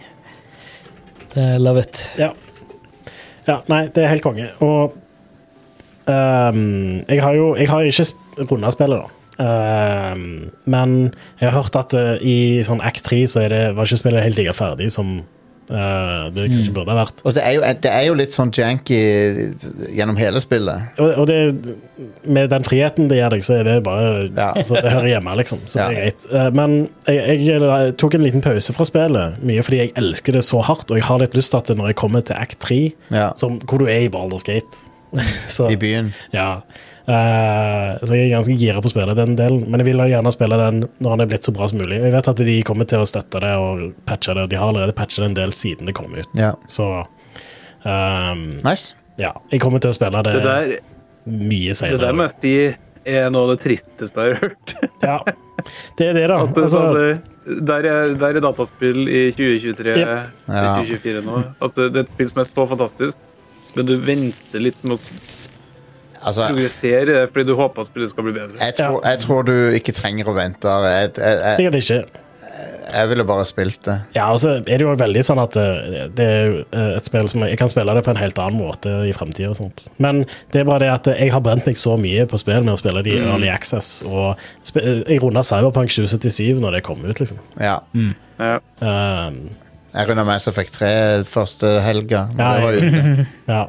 S2: Eh, Love it.
S3: Ja. ja. Nei, det er helt konge. Og ehm, jeg har jo jeg har ikke runda spillet, da. Ehm, men jeg har hørt at eh, i sånn Act 3 så er det, var ikke spillet helt like ferdig som eh, det kanskje
S1: Mm.
S3: burde ha vært.
S1: Og det er, jo, det er jo litt sånn janky gjennom hele spillet.
S3: Og, og det, med den friheten det gir deg, så er det bare
S1: Ja.
S3: altså, Det hører hjemme, liksom. Så
S1: Ja.
S3: det er greit. Eh, Men jeg, jeg tok en liten pause fra spillet, mye fordi jeg elsker det så hardt, og jeg har litt lyst til at det når jeg kommer til act 3,
S1: Ja,
S3: som, hvor du er i Baldur's Gate så,
S1: I byen.
S3: ja. Eh, så jeg er ganske gira på å spille den delen, men jeg vil gjerne spille den når den er blitt så bra som mulig. Jeg vet at de kommer til å støtte det og patche det, og de har allerede patcha det en del siden det kom ut.
S1: Ja.
S3: Så ehm,
S1: Nice.
S3: ja, jeg kommer til å spille det,
S4: Det der,
S3: mye
S4: det der
S3: senere.
S4: møtet i er noe av det tristeste jeg har hørt.
S3: ja. det er det, da.
S4: At det,
S3: Altså,
S4: sånn, det, der, er, der er dataspill i 2023
S3: Ja.
S4: eller
S1: Ja.
S4: 2024 nå. At det, det er et spill som er så fantastisk, men du venter litt med å
S1: Altså,
S4: progressere i det, fordi du håper at spillet skal bli bedre.
S1: jeg tror, jeg tror du ikke trenger å vente. Jeg, jeg,
S4: eh,
S1: jeg,
S3: sikkert ikke.
S1: jeg ville bare spilt det.
S3: Ja, og så er det jo veldig sånn at det, det er jo eh, et spill som jeg kan spille det på en helt annen måte i fremtiden og sånt. Men det er bare det at jeg har brent meg så mye på spill med å spille
S1: Mm.
S3: de i Early Access, og sp eh, jeg runda Cyberpunk 2077 når det kom ut, liksom.
S1: Ja.
S4: Ja.
S3: Um,
S1: Jeg runda Mass Effect 3 første helga. men
S3: Ja,
S1: det var
S3: jeg-
S1: ute.
S3: ja.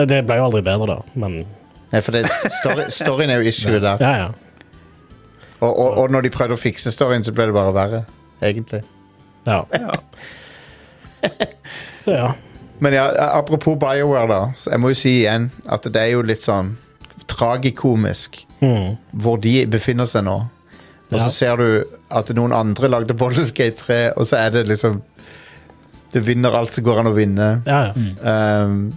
S3: Det ble jo aldri bedre, da, men
S1: Nei, for det, story, storyen er jo issue der.
S3: ja, ja.
S1: Og, og, og når de prøvde å fikse storyen, så ble det bare verre. Egentlig.
S3: ja.
S4: Ja.
S3: Så ja.
S1: Men ja, apropos BioWare, da. Så jeg må jo si igjen at det er jo litt sånn tragikomisk
S3: Mm.
S1: hvor de befinner seg nå. Og så
S3: Ja.
S1: ser du at noen andre lagde Baldur's Gate 3, og så er det liksom Det vinner alt som går an å vinne.
S3: ja, ja.
S1: Um,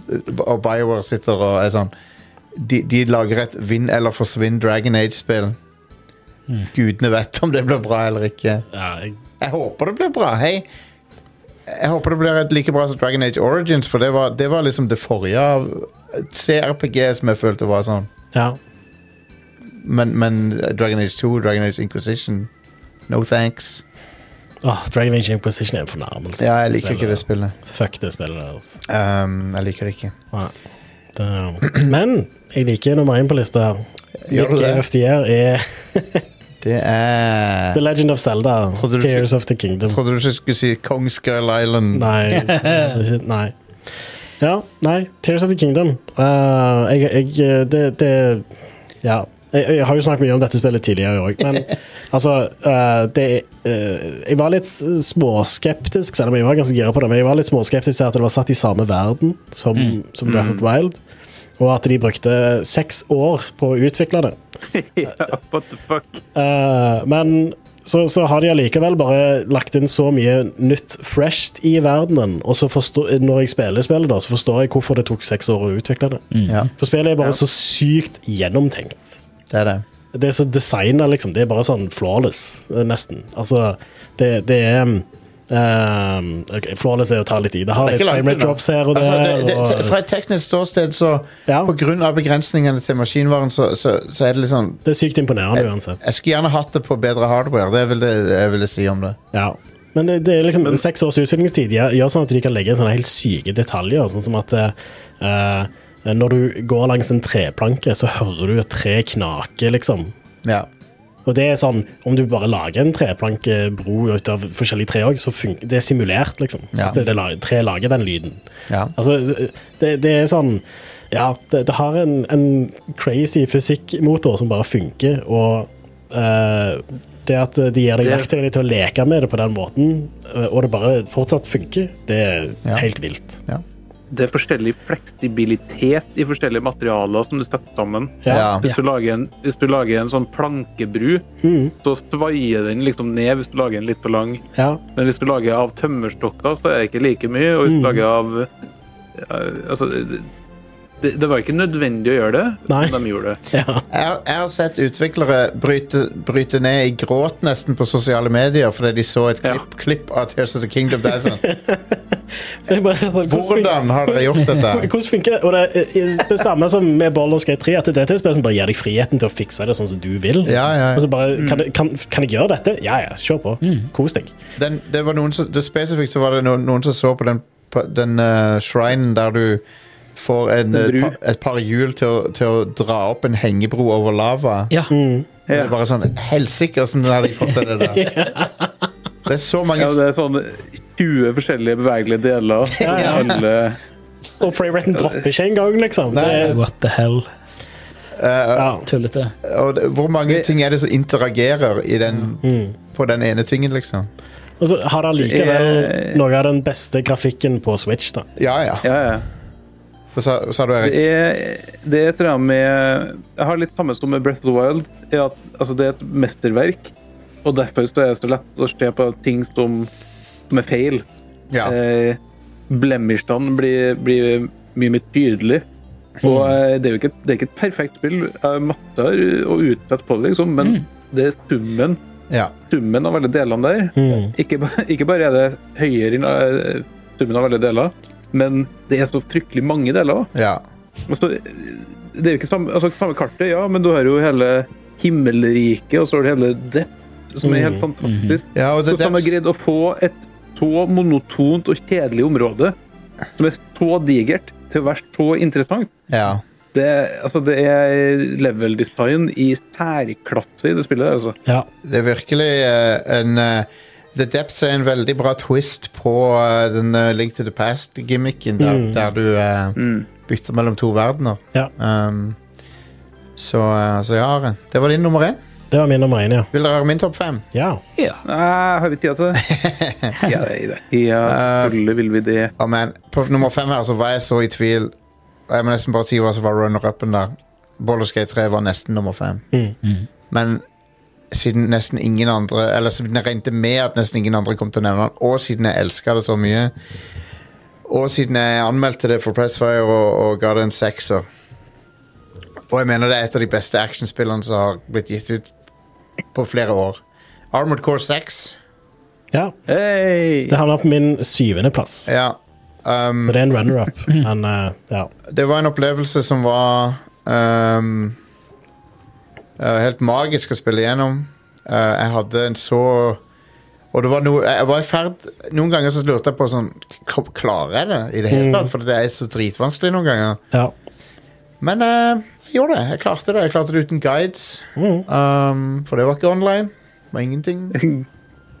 S1: og BioWare sitter og er sånn De, de lager et vinn eller forsvinn Dragon Age-spill. Gudene vet om det blir bra eller ikke.
S3: ja jeg,
S1: Jeg håper det blir bra. Hei. Jeg håper det blir et like bra som Dragon Age Origins, for det var, det var liksom det forrige av CRPG som jeg følte var sånn.
S3: ja.
S1: Men, men Dragon Age 2, Dragon Age Inquisition No thanks.
S3: Åh, Dragon Age Inquisition er en fornærmelse.
S1: Ja, jeg liker ikke det spillet.
S3: Fuck det spillet der, altså.
S1: Um, jeg liker det ikke.
S3: Nei. Det, men jeg liker nummer én på lista her.
S1: Gjør
S3: Mitt
S1: du det?
S3: game of the year er
S1: Det er
S3: The Legend of Zelda.
S1: Trodde du
S3: Tears of the Kingdom.
S1: Trodde du ikke skulle si Kong Skull Island.
S3: Nei. det er ikke- nei. Ja, nei. Tears of the Kingdom. Eh, jeg, jeg det, det Ja. Jeg, jeg har jo snakket mye om dette spillet tidligere òg, men altså eh, det, eh, Jeg var litt småskeptisk, selv om jeg var ganske gira på det, men jeg var litt småskeptisk til at det var satt i samme verden som, som Breath of the Wild, og at de brukte seks år på å utvikle det.
S4: ja, what the fuck?
S3: Eh, men så, så har de allikevel bare lagt inn så mye nytt fresht i verdenen. Og så forstår, når jeg spiller spillet, da, så forstår jeg hvorfor det tok seks år å utvikle det.
S1: Ja,
S3: For spillet er
S4: Ja.
S3: bare så sykt gjennomtenkt.
S1: det er det.
S3: Det er så designa, liksom. Det er bare sånn flawless, eh, nesten. Altså, det, det er ehm, ok, flawless er å ta litt i. Det har
S1: Det er
S3: litt
S1: ikke langt
S3: frame rate
S1: unna.
S3: drops her og der.
S1: Altså, det, det,
S3: og,
S1: fra et teknisk ståsted, så
S3: Ja.
S1: på grunn av begrensningene til maskinvaren, så, så, så er det liksom
S3: det er sykt imponerende uansett.
S1: Jeg skulle gjerne hatt det på bedre hardware. Det er vel det jeg ville si om det.
S3: Ja. Men det, det er liksom seks års utviklingstid gjør, gjør sånn at de kan legge inn sånne helt syke detaljer. Sånn som at eh, når du går langs en treplanke, så hører du et tre knake, liksom.
S1: Ja.
S3: Og det er sånn, om du bare lager en treplankebro ut av forskjellige tre òg, så funker det er simulert, liksom.
S1: Ja.
S3: At det, det, la- tre lager den lyden.
S1: ja.
S3: Altså, det, det er sånn Ja, det, det har en, en crazy fysikkmotor som bare funker, og eh, det at de gir deg
S4: Det-
S3: verktøyene til å leke med det på den måten, eh, og det bare fortsatt funker, det er
S1: Ja.
S3: helt vilt.
S1: ja.
S4: Det er forskjellig fleksibilitet i forskjellige materialer som du setter sammen.
S1: Ja.
S4: Hvis, du lager en, hvis du lager en sånn plankebru,
S3: Mm.
S4: så svaier den liksom ned hvis du lager en litt for lang.
S3: ja.
S4: Men hvis du lager av tømmerstokker, så er det ikke like mye. Og hvis
S3: Mm.
S4: du lager av eh, Altså det, det var ikke nødvendig å gjøre det,
S3: Nei.
S4: men de gjorde det.
S3: ja.
S1: Jeg, jeg har sett utviklere bryte, bryte ned i gråt nesten på sosiale medier fordi de så et
S4: Ja.
S1: klipp, klipp av Tears of the Kingdom. Det er sånn.
S3: Det er bare sånn, hvordan funker-
S1: Hvordan har dere gjort dette?
S3: Hvordan funker det? Og det er i- det samme som med Baldur's Gate 3, at det er et spill som bare gir deg friheten til å fikse det sånn som du vil.
S1: Ja, ja, ja.
S3: Og så bare, kan, det- kan, kan jeg gjøre dette? Ja, ja, kjør på. Kos deg.
S1: den, det var noen som, det spesifikt så var det noen, noen som så på den, på den eh, shrinen der du får en,
S4: En
S1: eh,
S4: bru.
S1: pa, et par hjul til, å- til å dra opp en hengebro over lava.
S2: Ja.
S3: Mm.
S1: Det er
S4: Ja.
S1: bare sånn Helsike, åssen hadde jeg fått til det der? Det er så mange
S4: Ja, det er sånn 20 forskjellige bevegelige deler.
S3: ja.
S4: Alle,
S3: Og frameraten dropper ikke engang, liksom. Det,
S1: Nei.
S3: er-
S2: What the hell?
S1: Eh,
S3: ja.
S2: Tullete.
S1: og det, hvor mange ting er det som interagerer i den,
S3: Mm.
S1: på den ene tingen, liksom?
S3: Og så har det
S4: Det
S3: allikevel
S4: er-
S3: noe av den beste grafikken på Switch, da.
S1: Ja, ja.
S4: ja, ja.
S1: Hva sa, hva sa du, Erik?
S4: Det er, det er et eller annet med Jeg har litt sammenstått med Breath of the Wild. Er at, altså, det er et mesterverk, og derfor så er det så lett å se på ting som, som er feil.
S1: Ja.
S4: Eh, Blemmingstanden blir, blir mye mer tydelig. Og eh, det er jo ikke, det er ikke et perfekt spill. Jeg matter og utsette på det, liksom, men det er summen,
S1: ja.
S4: summen av alle delene der. Ikke, ba- ikke bare er det høyere enn eh, summen av alle deler, men det er så fryktelig mange deler òg.
S1: ja.
S4: Altså, det er jo ikke samme, altså, samme kartet, ja, men du har jo hele himmelriket, og så har du hele Depth, som er helt fantastisk.
S1: ja og det,
S4: Hvordan har man
S1: det,
S4: greid å få et så monotont og kjedelig område, som er så digert, til å være så interessant?
S1: ja.
S4: Det, altså, det er level design i særklasse i det spillet. der, Altså.
S3: Ja.
S1: det er virkelig eh, en eh, The Depths er en veldig bra twist på eh, den eh, Link to the Past-gimmicken, der, der du eh,
S4: Mm.
S1: bytter mellom to verdener.
S3: Ja.
S1: Um, så, eh, så jeg har en. Det var din nummer én.
S3: Det var min nummer én, ja.
S1: Vil dere høre min topp fem?
S3: ja.
S2: Ja.
S4: Nei, har vi tid til det? Ja, nei, nei. ja, selvfølgelig vil vi det.
S1: Å, men, på nummer fem her så var jeg så i tvil. Og Jeg må nesten bare si hva som var runner-upen der. Bollerskate 3 var nesten nummer fem.
S3: Mm.
S2: Mm.
S1: Men siden nesten ingen andre Eller siden jeg regnet med at nesten ingen andre kom til å nevne den, og siden jeg elska det så mye, og siden jeg anmeldte det for Pressfire og, og ga det en sekser Og jeg mener det er et av de beste actionspillene som har blitt gitt ut på flere år. Armored Core 6.
S3: ja.
S4: Hei!
S3: Det havna på min syvendeplass.
S1: Ja. Um,
S3: Så det er en runner-up. Men eh, ja.
S1: det var en opplevelse som var ehm, eh, helt magisk å spille gjennom. Eh, jeg hadde en så Og det var noe Jeg var i ferd Noen ganger så lurte jeg på sånn k- Klarer jeg det i det hele
S3: Mm.
S1: tatt? For det er så dritvanskelig noen ganger.
S3: ja.
S1: Men eh, jeg gjorde det. Jeg klarte det. Jeg klarte det uten guides.
S3: Mm.
S1: ehm, for det var ikke online. Det var ingenting.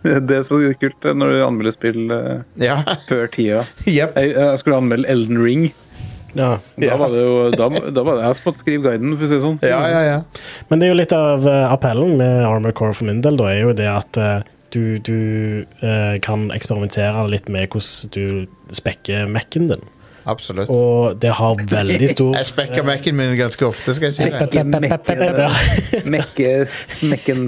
S4: Det er så kult eh, når du anmelder spill eh,
S1: Ja.
S4: før tida.
S1: Jepp.
S4: Jeg, eh, jeg skulle anmelde Elden Ring.
S3: ja.
S4: Da var det jo da, da var det jeg som måtte skrive guiden, for å si det sånn.
S1: Ja, ja, ja.
S3: Men det er jo litt av eh, appellen med Armored Core for min del, da, er jo det at eh, du, du eh, kan eksperimentere litt med hvordan du spekker Mac-en din.
S1: Absolutt.
S3: Og det har veldig stor
S1: Jeg spekker Mac-en min ganske ofte, skal jeg si det.
S2: Pe- pe- pe- pe- pe-
S3: Ja.
S4: Mekke, mekken.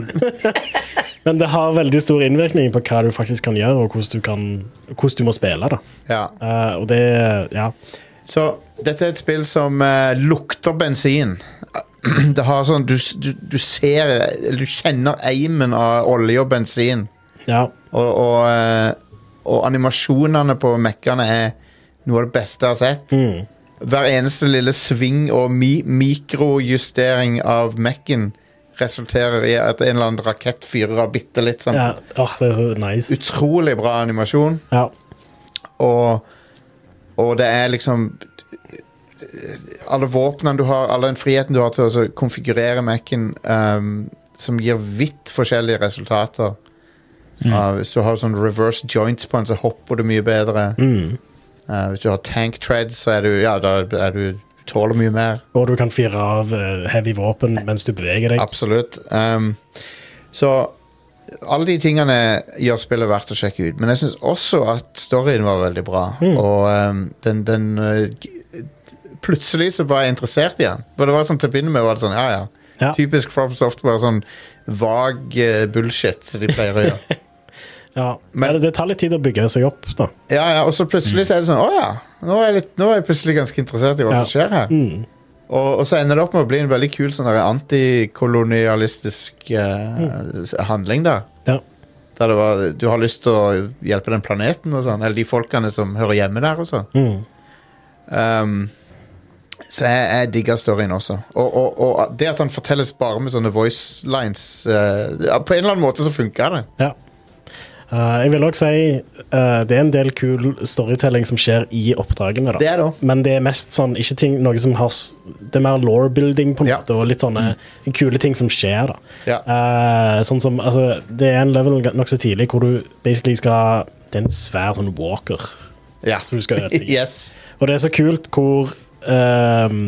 S3: Men det har veldig stor innvirkning på hva du faktisk kan gjøre, og hvordan du, kan, hvordan du må spille. da.
S1: Ja.
S3: Eh, og det Ja.
S1: Så dette er et spill som eh, lukter bensin. Det har sånn Du, du, du ser eller Du kjenner eimen av olje og bensin.
S3: ja.
S1: Og, og, eh, og animasjonene på mekkene er noe av det beste jeg har sett.
S3: Mm.
S1: Hver eneste lille sving og mi mikrojustering av mekken resulterer i at en eller annen rakett fyrer av bitte litt. Sånn.
S3: ja. Åh, det er så nice.
S1: Utrolig bra animasjon.
S3: Ja.
S1: Og, og det er liksom Alle våpnene du har, all den friheten du har til å så konfigurere Mac-en, ehm, som gir vidt forskjellige resultater. Ah, hvis du har sånn reverse joints på den, så hopper du mye bedre.
S3: Mm.
S1: Eh, hvis du har tank treads, så er du Ja, da er du du tåler mye mer.
S3: Og du kan fyre av eh, heavy våpen mens du beveger deg.
S1: Absolutt. Ehm, så alle de tingene gjør spillet verdt å sjekke ut. Men jeg syns også at storyen var veldig bra.
S3: Mm.
S1: Og ehm, den, den eh, g- Plutselig så var jeg interessert igjen. For det var sånn til å begynne med var det sånn, ja, ja.
S3: Ja.
S1: Typisk From Software, sånn vag eh, bullshit som de pleier å gjøre.
S3: Ja.
S1: Men-
S3: det, det tar litt tid å bygge seg opp, da.
S1: Ja, ja, Og så plutselig så er det sånn, å ja. Nå er, jeg litt, nå er jeg plutselig ganske interessert i hva
S3: Ja.
S1: som skjer her.
S3: Mm.
S1: Og, og så ender det opp med å bli en veldig kul sånn der antikolonialistisk eh, s- handling der.
S3: Mm. Ja.
S1: Der det var, du har lyst til å hjelpe den planeten og sånn, eller de folkene som hører hjemme der og sånn.
S3: Mm.
S1: Ehm, så jeg, jeg digger storyen også. Og, og, og det at han fortelles bare med sånne voice lines eh, ja, På en eller annen måte så funker det.
S3: Ja. Eh, jeg vil òg si eh, det er en del kul storytelling som skjer i oppdragene. da.
S1: Det er det også.
S3: Men det er mest sånn ikke ting, noe som har s- Det er mer law building, på en
S1: Ja. Mm.
S3: måte, og litt sånne kule ting som skjer, da.
S1: Ja.
S3: Eh, sånn som, altså, det er en level nokså tidlig hvor du basically skal Det er en svær sånn walker
S1: Ja.
S3: som du skal ødelegge.
S1: Yes.
S3: Og det er så kult hvor ehm,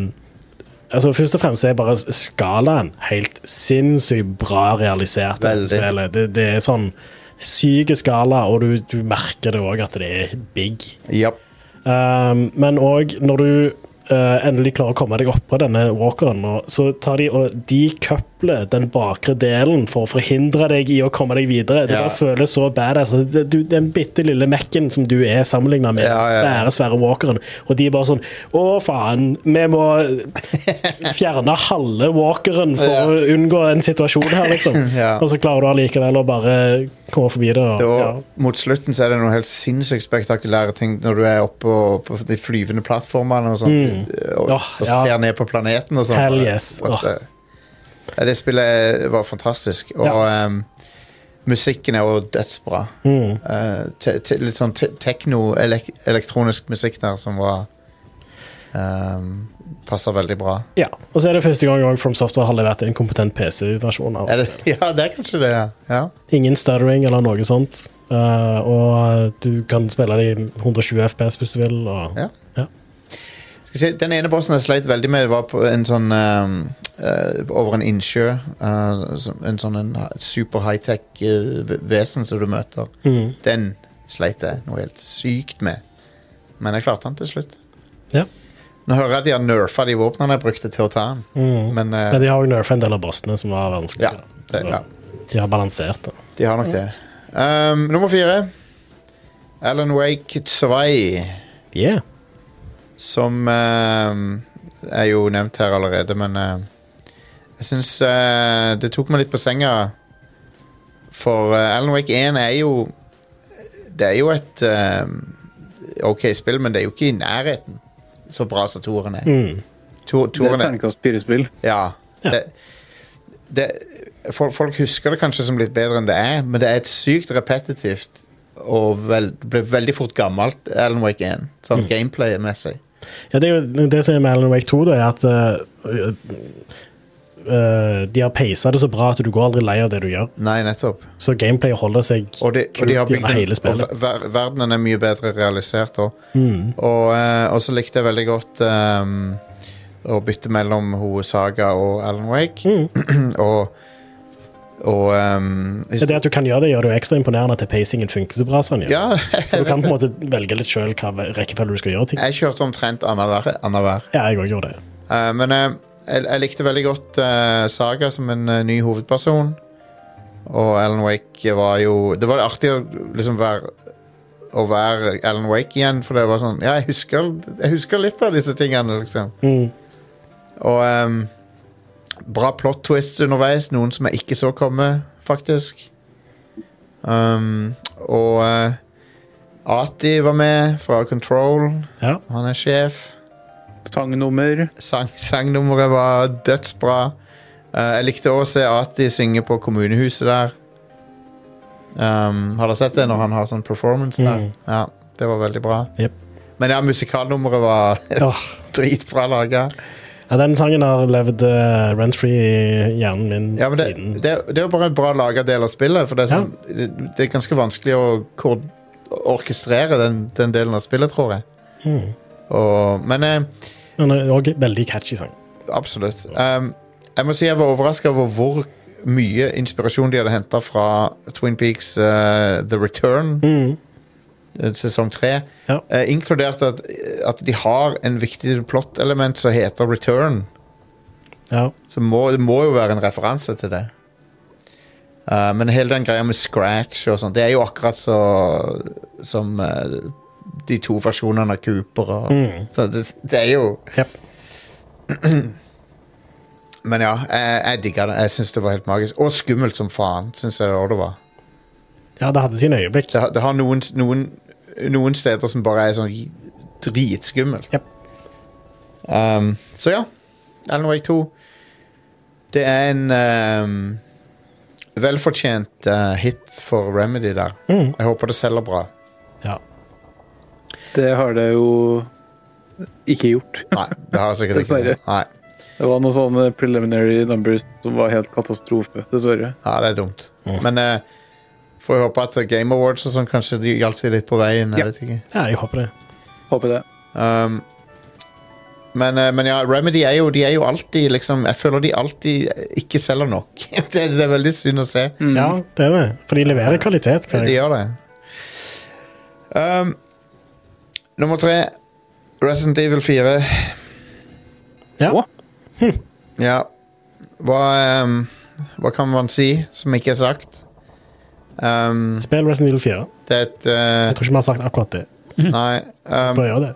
S3: Altså Først og fremst er bare s- skalaen helt sinnssykt bra realisert. i dette
S1: Veldig.
S3: spillet. Det, det er sånn syk skala, og du, du merker det òg at det er big.
S1: Ja.
S3: Ehm, men òg når du eh, endelig klarer å komme deg oppå denne walkeren, og så tar de og decoupler den bakre delen for å forhindre deg i å komme deg videre. Det
S1: Ja.
S3: bare føles så badass. Altså, Det- Du, den bitte lille Mac-en som du er sammenligna med,
S1: Ja, ja,
S3: den
S1: ja.
S3: svære, svære walkeren, og de er bare sånn Å, faen, vi må fjerne halve walkeren for
S1: Ja.
S3: å unngå en situasjon her, liksom.
S1: Ja.
S3: Og så klarer du allikevel å bare komme forbi det. Og,
S1: Det var,
S3: ja.
S1: Mot slutten så er det noen helt sinnssykt spektakulære ting når du er oppe og, på de flyvende plattformene og sånn, og,
S3: Mm. Åh,
S1: og
S3: ja.
S1: ser ned på planeten og sånn.
S3: Hell yes.
S1: What
S3: Åh.
S1: the- Ja, det spillet var fantastisk, og ehm, musikken er jo dødsbra.
S3: Mm.
S1: Eh, te, te, litt sånn te, tekno-elektronisk musikk der som var ehm, Passer veldig bra.
S3: Ja, og så er det første gang også From Software har levert en kompetent PC-versjon. av
S1: Er det, ja, det er kanskje det, ja. ja.
S3: Ingen stuttering eller noe sånt. Eh, og eh, du kan spille det i 120 FPS hvis du vil. Og,
S1: Ja. Skal vi se, Den ene bossen jeg sleit veldig med, var på en sånn ehm, eh, Over en innsjø. eh, som- en sånn en super high-tech eh, v- vesen som du møter.
S3: Mhm.
S1: Den sleit jeg noe helt sykt med. Men jeg klarte den til slutt.
S3: Ja.
S1: Nå hører jeg at de har nerfa de våpnene jeg brukte til å ta den.
S3: Mhm.
S1: Men eh,
S3: Men de har jo nerfa en del av bossene som var
S1: ja,
S3: vanskeligere.
S1: det, ja,
S3: Så de har balansert det.
S1: de har nok det. Ehm, nummer fire. Alan Wake 2.
S3: Yeah.
S1: Som eh, er jo nevnt her allerede, men eh, jeg syns eh, det tok meg litt på senga. For eh, Alan Wake 1 er jo Det er jo et eh, OK spill, men det er jo ikke i nærheten så bra som toeren er.
S3: Mhm.
S1: To,
S4: Det er
S1: toeren
S4: et
S1: er
S4: terningkast fire-spill.
S1: ja. Det, det, folk, folk husker det kanskje som litt bedre enn det er, men det er et sykt repetitivt og vel, ble veldig fort gammelt, Alan Wake 1, sånn gameplay-messig.
S3: Ja, det, er jo, det som er med Alan Wake 2, da, er at eh, eh, de har peisa det så bra at du går aldri lei av det du gjør.
S1: Nei, nettopp.
S3: Så gameplay holder seg
S1: Og, de, og de har
S3: kult
S1: bygd
S3: gjennom
S1: en,
S3: hele
S1: og
S3: spillet.
S1: ver, ver- verdenen er mye bedre realisert òg.
S3: Mhm.
S1: Og, eh, og så likte jeg veldig godt ehm, å bytte mellom ho Saga og Alan Wake.
S3: Mm.
S1: og og ehm,
S3: Ja, det at du kan gjøre det, gjør det jo ekstra imponerende at pacingen funker så bra. sånn,
S1: Ja,
S3: For du kan på en måte velge litt sjøl hva ve- rekkefølge du skal gjøre ting.
S1: jeg kjørte omtrent annenhver. annenhver.
S3: Ja, jeg også gjorde det.
S1: Eh, men eh, jeg, jeg likte veldig godt eh, Saga som en eh, ny hovedperson. Og Alan Wake var jo Det var artig å liksom være å være Alan Wake igjen, for det var sånn Ja, jeg husker, jeg husker litt av disse tingene, liksom.
S3: Mm.
S1: Og ehm, bra plot twists underveis, noen som jeg ikke så komme, faktisk. Ehm, og eh, Ati var med fra Control.
S3: Ja.
S1: Han er sjef.
S4: Sangnummer.
S1: Sang, sangnummeret var dødsbra. Eh, jeg likte også å se Ati synge på kommunehuset der. Um, har dere sett det når han har sånn performance der?
S3: Mm.
S1: Ja, det var veldig bra.
S3: Jep.
S1: Men ja, musikalnummeret var
S3: Åh,
S1: dritbra laga.
S3: ja, den sangen har levd uh, rent-free i hjernen min
S1: Ja, men det,
S3: siden.
S1: det, det er jo bare en bra laga del av spillet, for det er, sånn, det, det er ganske vanskelig å kor- orkestrere den, den delen av spillet, tror jeg.
S3: Mm.
S1: Og, men eh,
S3: Men det er også en veldig catchy sang.
S1: Absolutt. Um, jeg må si jeg var overraska over hvor mye inspirasjon de hadde henta fra Twin Peaks eh, The Return,
S3: Mm.
S1: eh, sesong tre.
S3: Ja.
S1: Eh, inkludert at, at de har en viktig plot-element som heter Return.
S3: Ja.
S1: Så må, det må jo være en referanse til det. Eh, men hele den greia med scratch og sånn, det er jo akkurat så som eh, de to versjonene av Cooper og
S3: Mm.
S1: Så det, det er jo
S3: Jep.
S1: Men ja, jeg, jeg digga det. Jeg syns det var helt magisk. Og skummelt som faen, syns jeg også det var.
S3: ja, det hadde sine øyeblikk.
S1: Det, har- det har noen, noen, noen steder som bare er sånn dritskummelt.
S3: Jep.
S1: Um, så ja. Alan Wake 2. Det er en um, velfortjent uh, hit for Remedy der.
S3: Mm.
S1: Jeg håper det selger bra.
S3: Ja.
S4: Det har det jo ikke gjort.
S1: Nei, det har jeg sikkert ikke.
S4: Dessverre.
S1: Nei,
S4: Det var noen sånne preliminary numbers som var helt katastrofe, dessverre.
S1: ja, det er dumt. Men uh, Får håpe at Game Awards og sånn kanskje de hjalp de litt på veien. Jeg
S4: Ja.
S1: vet ikke.
S3: Ja, jeg håper det.
S4: Håper det.
S1: Um, men, eh, men ja, Remedy er jo, de er jo alltid liksom Jeg føler de alltid eh, ikke selger nok. det, er- det er veldig synd å se.
S3: Mm. Ja, det er det. For de leverer kvalitet.
S1: De
S3: hver gang.
S1: gjør det. Um, nummer tre Resident Evil 4.
S3: Ja.
S4: Å,
S1: Ja. Hva, um, hva kan man si som ikke er sagt? Um,
S3: Spill Resident Evil 4.
S1: det er et eh,
S3: Jeg tror ikke vi har sagt akkurat det.
S1: Nei. Um,
S3: Bør gjøre det.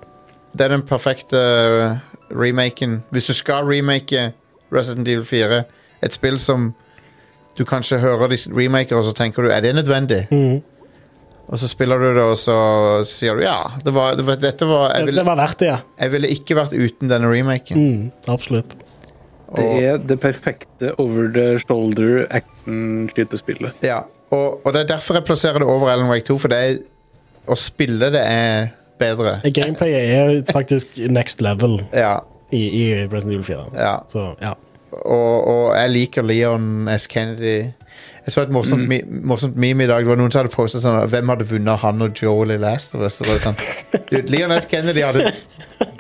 S1: det er den perfekte uh, remaken. Hvis du skal remake Resident Evil 4, et spill som du kanskje hører de remaker, og så tenker du er det nødvendig?
S3: Mhm.
S1: Og så spiller du det, og så sier du ja. Det var, det var, dette var jeg,
S3: Det, det
S1: ville,
S3: var verdt det, ja.
S1: jeg ville ikke vært uten denne remaken.
S3: Mm, absolutt.
S4: Det
S1: Og,
S4: er det perfekte over the shoulder action-skytespillet.
S1: ja. og, og det er derfor jeg plasserer det over Alan Wake 2, for det er, å spille det er bedre.
S3: Gameplayet er faktisk next level
S1: Ja,
S3: i, i Resident Evil 4.
S1: ja.
S3: Så ja.
S1: og, og jeg liker Leon S. Kennedy. Jeg så et morsomt, mi, morsomt meme i dag. Det var Noen som hadde postet sånn Hvem hadde vunnet han og Joel i Last of Us? Det var sånn, Dude, Leon S. Kennedy hadde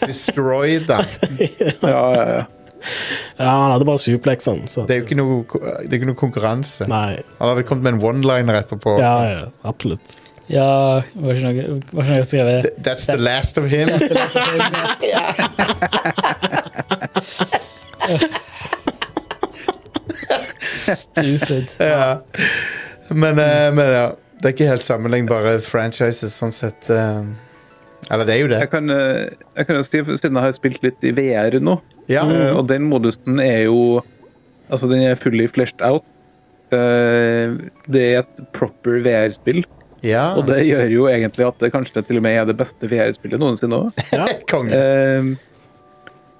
S1: destroyed han.
S4: Ja, ja, ja.
S3: ja, han hadde bare suplex, han. Så.
S1: Det er jo ikke noe, ko- det er ikke noe konkurranse.
S3: Nei.
S1: Han hadde kommet med en one-liner etterpå.
S3: Ja, ja, absolutt.
S2: Ja, var ikke noe, var ikke noe skrevet
S1: That's the last of him.
S2: stupid.
S1: ja. Men, eh, men ja. Det er ikke helt sammenlignbare franchises sånn sett. eh. Eller det er jo det.
S4: Jeg kan, eh, jeg kan jo skrive, siden jeg har spilt litt i VR nå,
S1: Ja.
S4: eh, og den modusen er jo Altså, den er fully fleshed out. Eh, Det er et proper VR-spill,
S1: ja.
S4: og det gjør jo egentlig at det kanskje til og med er det beste VR-spillet noensinne òg.
S1: Konge.
S4: Eh,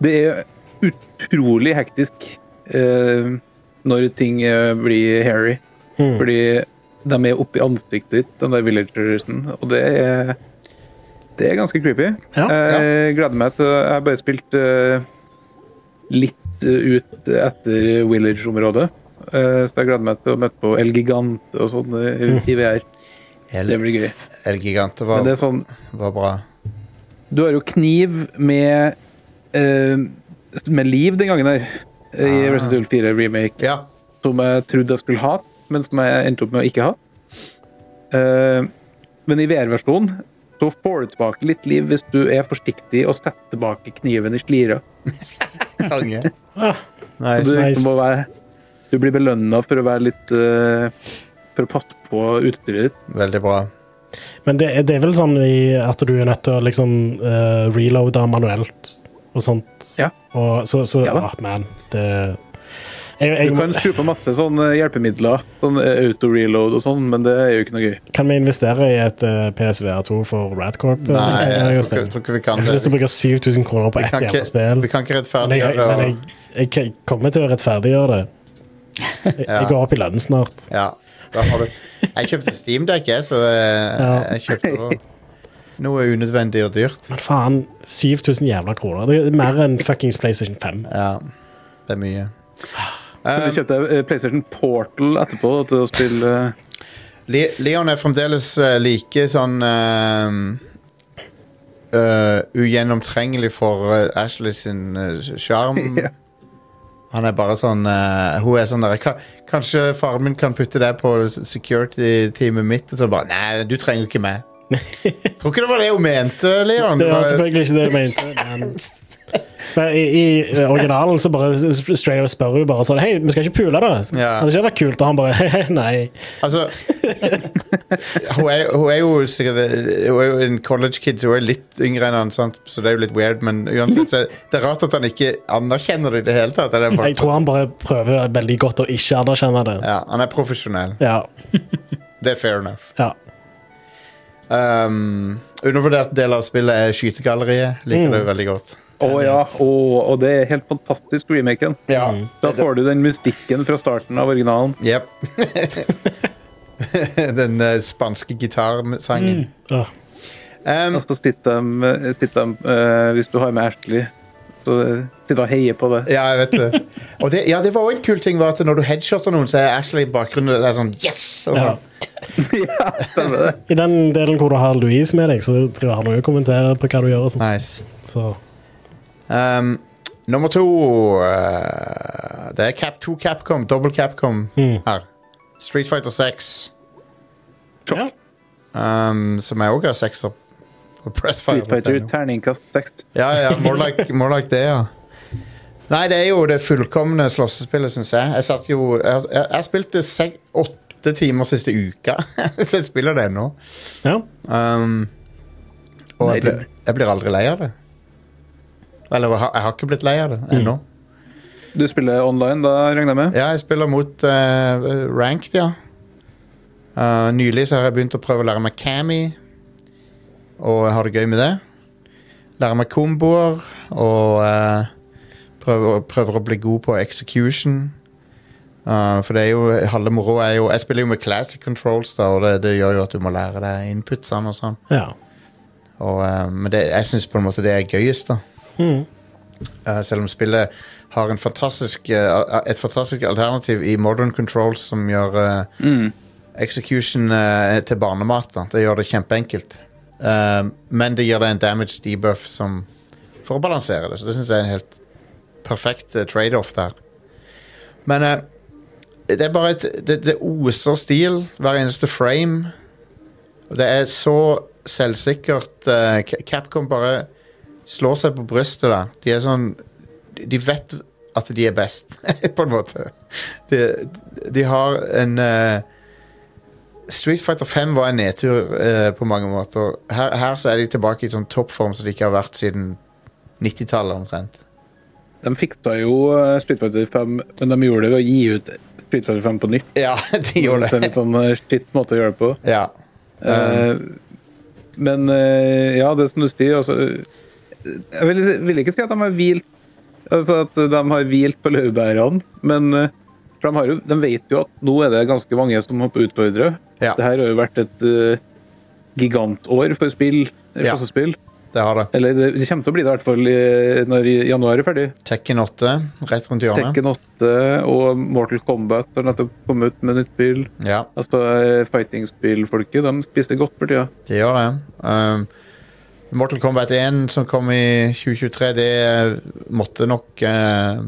S4: det er utrolig hektisk eh, når ting eh, blir hairy.
S1: Hmm.
S3: Mm.
S4: Fordi de er oppi ansiktet ditt, den der villagersen. Og det er, det er ganske creepy.
S3: Ja,
S4: Jeg gleder meg til Jeg har bare spilt eh, litt eh, ut etter village-området. Eh, så jeg gleder meg til å møte på El Gigante og sånn eh,
S3: Mm.
S4: i VR. Eh, Det
S1: El,
S4: blir gøy.
S1: El Gigante
S4: Men
S1: var,
S4: det er sånn
S1: var bra.
S4: Du har jo kniv med eh, Med liv den gangen her. I
S1: Ah.
S4: Resident Evil 4 remake.
S1: Ja.
S4: Som jeg trodde jeg skulle ha, men som jeg endte opp med å ikke ha. Eh, men i VR-versjonen så får du tilbake litt liv hvis du er forsiktig og setter tilbake kniven i slira.
S1: Konge.
S3: Ah,
S4: Så Du, liksom
S1: Nice.
S3: Nice.
S4: må være, du blir belønna for å være litt eh, For å passe på utstyret ditt.
S1: Veldig bra.
S3: Men det, er- det er vel sånn i, at du er nødt til å liksom eh, reloade manuelt og sånt.
S4: Ja.
S3: Og så, så
S4: Ja da.
S3: ah, man, det jeg, jeg,
S4: Du kan skru på masse sånne hjelpemidler, sånn eh, auto-reload og sånn, men det er jo ikke noe gøy.
S3: Kan vi investere i et eh, PSVR2 for Radcorp? Eh,
S1: Nei, jeg tror ikke, jeg tror ikke vi
S3: Jeg
S1: kan
S3: har ikke lyst til å
S1: det.
S3: bruke 7000 kroner på
S1: Vi
S3: ett
S1: kan
S3: jævla
S1: ikke,
S3: spill.
S1: vi kan ikke
S3: Men jeg,
S1: rettferdiggjøre
S3: men jeg,
S1: og-
S3: jeg, jeg kommer til å rettferdiggjøre det. Jeg,
S1: Ja.
S3: jeg går opp i lønn snart.
S1: Ja. Da har du. Jeg kjøpte Steamdeck, jeg, så eh,
S3: Ja.
S1: jeg kjøpte også noe unødvendig og dyrt.
S3: Men faen, 7000 jævla kroner. Det er mer enn fuckings PlayStation 5.
S1: Ja. Det er mye.
S4: Men Du kjøpte eh, PlayStation Portal etterpå da, til å spille eh,
S1: Le Leon er fremdeles eh, like sånn eh, eh, ugjennomtrengelig for eh, Ashley sin eh, sjarm.
S4: Ja.
S1: Han er bare sånn eh, Hun er sånn der "Ka- Kanskje faren min kan putte deg på security-teamet mitt? Og så bare Nei, du trenger jo ikke meg. Tror ikke det var det hun mente, Leon.
S3: Det var altså
S1: Det var-
S3: selvfølgelig ikke det jeg mente. Men, men i, i eh, originalen så bare s- s- straight up spør hun bare sånn Hei, vi skal ikke pule, da?
S1: Ja.
S3: Hadde ikke det vært kult? Og han bare «Hehe, Nei.
S1: Altså hun er, hun er jo sikkert Hun er jo en college kid, så hun er litt yngre enn han, sant? så det er jo litt weird, men uansett så er det er rart at han ikke anerkjenner det i det hele tatt. Det er bare sånn-
S3: Jeg tror han bare prøver veldig godt å ikke anerkjenne det.
S1: Ja, han er profesjonell.
S3: Ja.
S1: Det er fair enough.
S3: ja.
S1: Um, undervurdert del av spillet er skytegalleriet. Liker
S3: Mm.
S1: det veldig godt.
S4: Å ja, å, og det er helt fantastisk remaken.
S1: Ja.
S3: Mm.
S4: Da får du den mystikken fra starten av originalen.
S1: Yep. Den eh, spanske gitarsangen.
S3: Ja.
S1: Um,
S3: Altså-
S4: Og så sitter de, eh, sitter de eh, hvis du har med Ashley, Så eh, sitter og heier på det.
S1: Ja, jeg vet det. Og det, ja, det var også en kul ting var at når du headshotter noen, så er Ashley i bakgrunnen og det er sånn Yes! Og
S3: Ja.
S1: sånn.
S4: ja, stemmer det.
S3: I den delen hvor du har Louise med deg, så driver han også og kommenterer på hva du gjør. og sånt.
S1: Nice.
S3: Så
S1: Um, nummer to eh, Det er Cap 2 Capcom, dobbel Capcom
S4: Hmm.
S3: Mm.
S1: her. Street Fighter 6,
S3: ja.
S1: um, som jeg òg har sekser på Pressfire.
S4: Street Fighter,
S1: vet jeg nå.
S4: terningkast tekst.
S1: Ja, ja, more like, more like det, ja. Nei, det er jo det fullkomne slåssespillet, syns jeg. Jeg satt jo Jeg, jeg, jeg spilte sek, åtte timer siste uka. Så jeg spiller det ennå.
S3: ja.
S1: Um, og jeg,
S4: Nei,
S1: blir- jeg blir aldri lei av det. Eller jeg har, jeg har ikke blitt lei av det
S4: Hmm.
S1: ennå.
S4: Du spiller online, da, regner jeg med?
S1: Ja, jeg spiller mot eh, ranked, ja. Eh, nylig så har jeg begynt å prøve å lære meg cami, og jeg har det gøy med det. Lære meg komboer, og eh, prøver, prøver å bli god på execution. Eh, for det er jo halve moroa er jo Jeg spiller jo med classic controls, da, og det, det gjør jo at du må lære deg inputsene og sånn.
S3: ja.
S1: Og, eh, men det, jeg syns på en måte det er gøyest, da.
S3: Mhm.
S1: Eh, selv om spillet har en fantastisk, eh, et fantastisk alternativ i Modern Controls som gjør eh,
S4: Mm.
S1: execution eh, til barnemat. Da. Det gjør det kjempeenkelt. Eh, men det gir deg en damage debuff som, for å balansere det. Så det syns jeg er en helt perfekt eh, trade-off der. Men eh, det er bare et det, det oser stil hver eneste frame. Og det er så selvsikkert. eh, Ca- Capcom bare slår seg på brystet der. De er sånn De vet at de er best, på en måte. De, de har en eh, Street Fighter 5 var en nedtur eh, på mange måter. Her, her så er de tilbake i sånn toppform som de ikke har vært siden 90-tallet omtrent.
S4: De fiksa jo eh, Street Fighter 5, men de gjorde det ved å gi ut Street Fighter 5 på nytt.
S1: Ja, de
S4: Så
S1: gjorde
S4: Det er en
S1: det.
S4: litt sånn eh, skitt måte å gjøre det på.
S1: Ja.
S4: Eh, men eh, ja, det er som du sier, altså eh, Jeg vil, vil ikke si at de har hvilt Altså at de har hvilt på laurbærene, men eh, for de, har jo, de vet jo at nå er det ganske mange som hopper utfordre.
S1: Ja.
S4: Det her har jo vært et eh, gigantår for spill,
S1: Ja.
S4: klassespill.
S1: Det har det.
S4: Eller det, det kommer til å bli det i hvert fall eh, når januar er ferdig.
S1: Tekken 8 rett rundt hjørnet.
S4: Tekken 8 og Mortal Kombat har nettopp kommet ut med nytt spill.
S1: Ja,
S4: Altså, eh, Fighting-spillfolket de spiser godt for tida.
S1: de gjør det. Um, Mortal Kombat 1 som kom i 2023, det eh, måtte nok eh,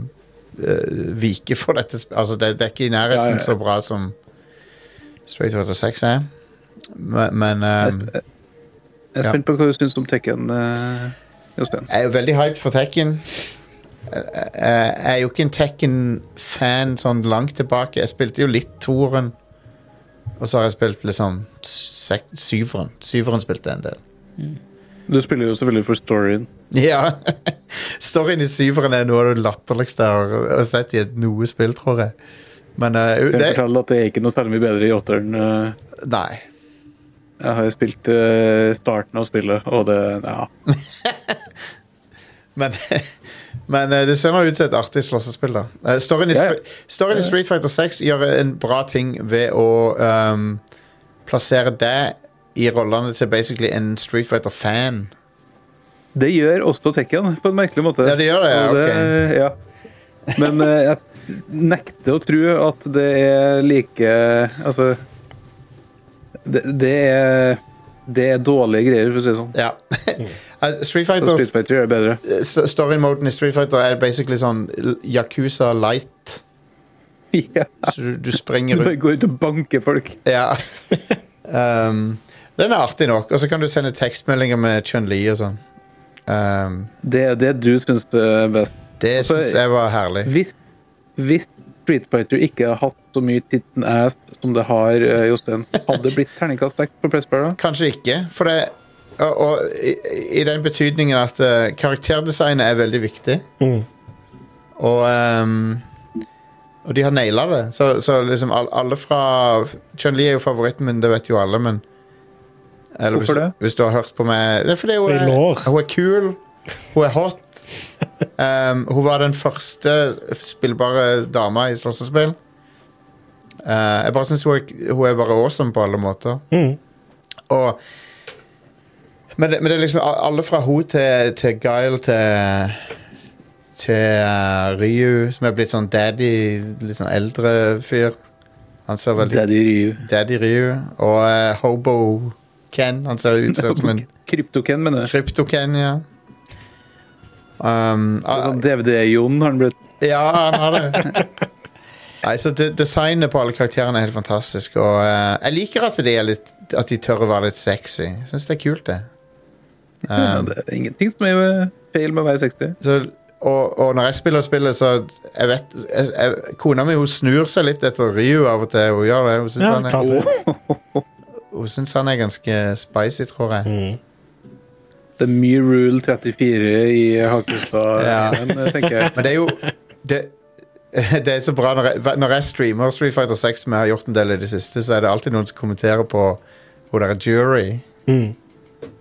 S1: eh, vike for dette sp- Altså, det, det er ikke i
S4: Ja, ja,
S1: nærheten
S4: ja.
S1: så bra som Street Fighter 6 er. Men, men
S4: Jeg
S1: um,
S4: sp- jeg er
S1: ja.
S4: spent på hva du syns om Tekken, eh, Jostein.
S1: Jeg er jo veldig hyped for Tekken. Jeg, jeg, jeg er jo ikke en Tekken-fan sånn langt tilbake. Jeg spilte jo litt toeren, og så har jeg spilt liksom sek- syveren. Syveren spilte jeg en del.
S4: Du spiller jo selvfølgelig for storyen.
S1: Ja. Storyen i syveren er noe av det latterligste jeg har- har sett i et noe spill, tror jeg. Men eh,
S4: Jeg
S1: det,
S4: kan fortelle at det er ikke noe særlig mye bedre i åtteren. eh.
S1: Nei.
S4: Jeg har jo spilt eh, starten av spillet, og det Ja.
S1: Men, men eh, det ser nå ut som et artig slåssespill, da. Eh, Storyen i,
S4: Ja, ja.
S1: Stre- storyen i Street Fighter 6 gjør en bra ting ved å ehm, plassere deg i rollene til basically en Street Fighter-fan.
S4: Det gjør også Tekken, på en merkelig måte.
S1: Ja, det gjør det, ja,
S4: Og ja. Men eh, jeg nekter å tro at det er like Altså Det, det er det er dårlige greier, for å si det sånn.
S1: Ja. Eh, Street eh,
S4: Så
S1: Fighter
S4: Street Fighter er bedre.
S1: st- Story-moden i Street Fighter er basically sånn L- Yakuza light.
S4: Ja.
S1: Så du, du
S4: Du
S1: springer
S4: bare
S1: ut
S4: går ut og banker folk.
S1: Ja. Ehm, den er artig nok. Og så kan du sende tekstmeldinger med Chun-Li og sånn. Ehm,
S4: Det er det du syns er best.
S1: det
S4: Og så-
S1: syns jeg var herlig.
S4: Hvis, hvis Street Fighter ikke har hatt så mye titten ass som det har, eh, Jostein, hadde det blitt terningkast seks på Pressbar da?
S1: Kanskje ikke. For det, og, og i, i den betydningen at eh, karakterdesignet er veldig viktig.
S4: Mm.
S3: Mhm.
S1: Og, ehm, og de har naila det. Så, så liksom all, alle fra Chun-Li er jo favoritten min, det vet jo alle, men eller
S4: Hvorfor
S1: hvis,
S4: det?
S1: Hvis du har hørt på meg Det er fordi hun
S3: Fordi
S1: er,
S3: lår.
S1: hun er kul, hun er hot. Ehm, hun var den første spillbare dama i slåssespill. Eh, jeg bare syns hun, er- hun er bare awesome på alle måter.
S3: Mhm.
S1: Og men det, men det er liksom a- alle fra hun til, til Guile til til eh, Ryu, som er blitt sånn daddy, litt sånn eldre fyr. Han ser veldig
S5: Daddy Ryu.
S1: Daddy Ryu. Og eh, Hobo Ken. Han ser ut ser ut som en
S4: Kryptoken, mener jeg.
S1: Krypto-Ken, ja. Um,
S4: Det er
S1: ah,
S4: Sånn DVD-Jon har han blitt.
S1: ja, han har det. Nei, så de, Designet på alle karakterene er helt fantastisk. Og eh, jeg liker at de, er litt, at de tør å være litt sexy. Jeg syns det er kult, det.
S4: Ja,
S1: Um,
S4: det er ingenting som er eh, feil med å være 60.
S1: så, og, og når jeg spiller spillet, så jeg vet, jeg, jeg, Kona mi hun snur seg litt etter Ryu av og til. Hun gjør det. Hun syns
S3: Ja,
S1: han,
S3: klart
S1: er- sånn
S3: det.
S1: hun synes han er ganske spicy, tror jeg.
S3: Mm.
S4: Det er mye Rule 34 i Hakusta,
S1: Ja.
S4: men, eh, tenker jeg.
S1: Men det er jo det, det er så bra når jeg, når jeg streamer Street Fighter 6, som jeg har gjort en del i det siste, så er det alltid noen som kommenterer på hvor det er jury.
S3: Mm.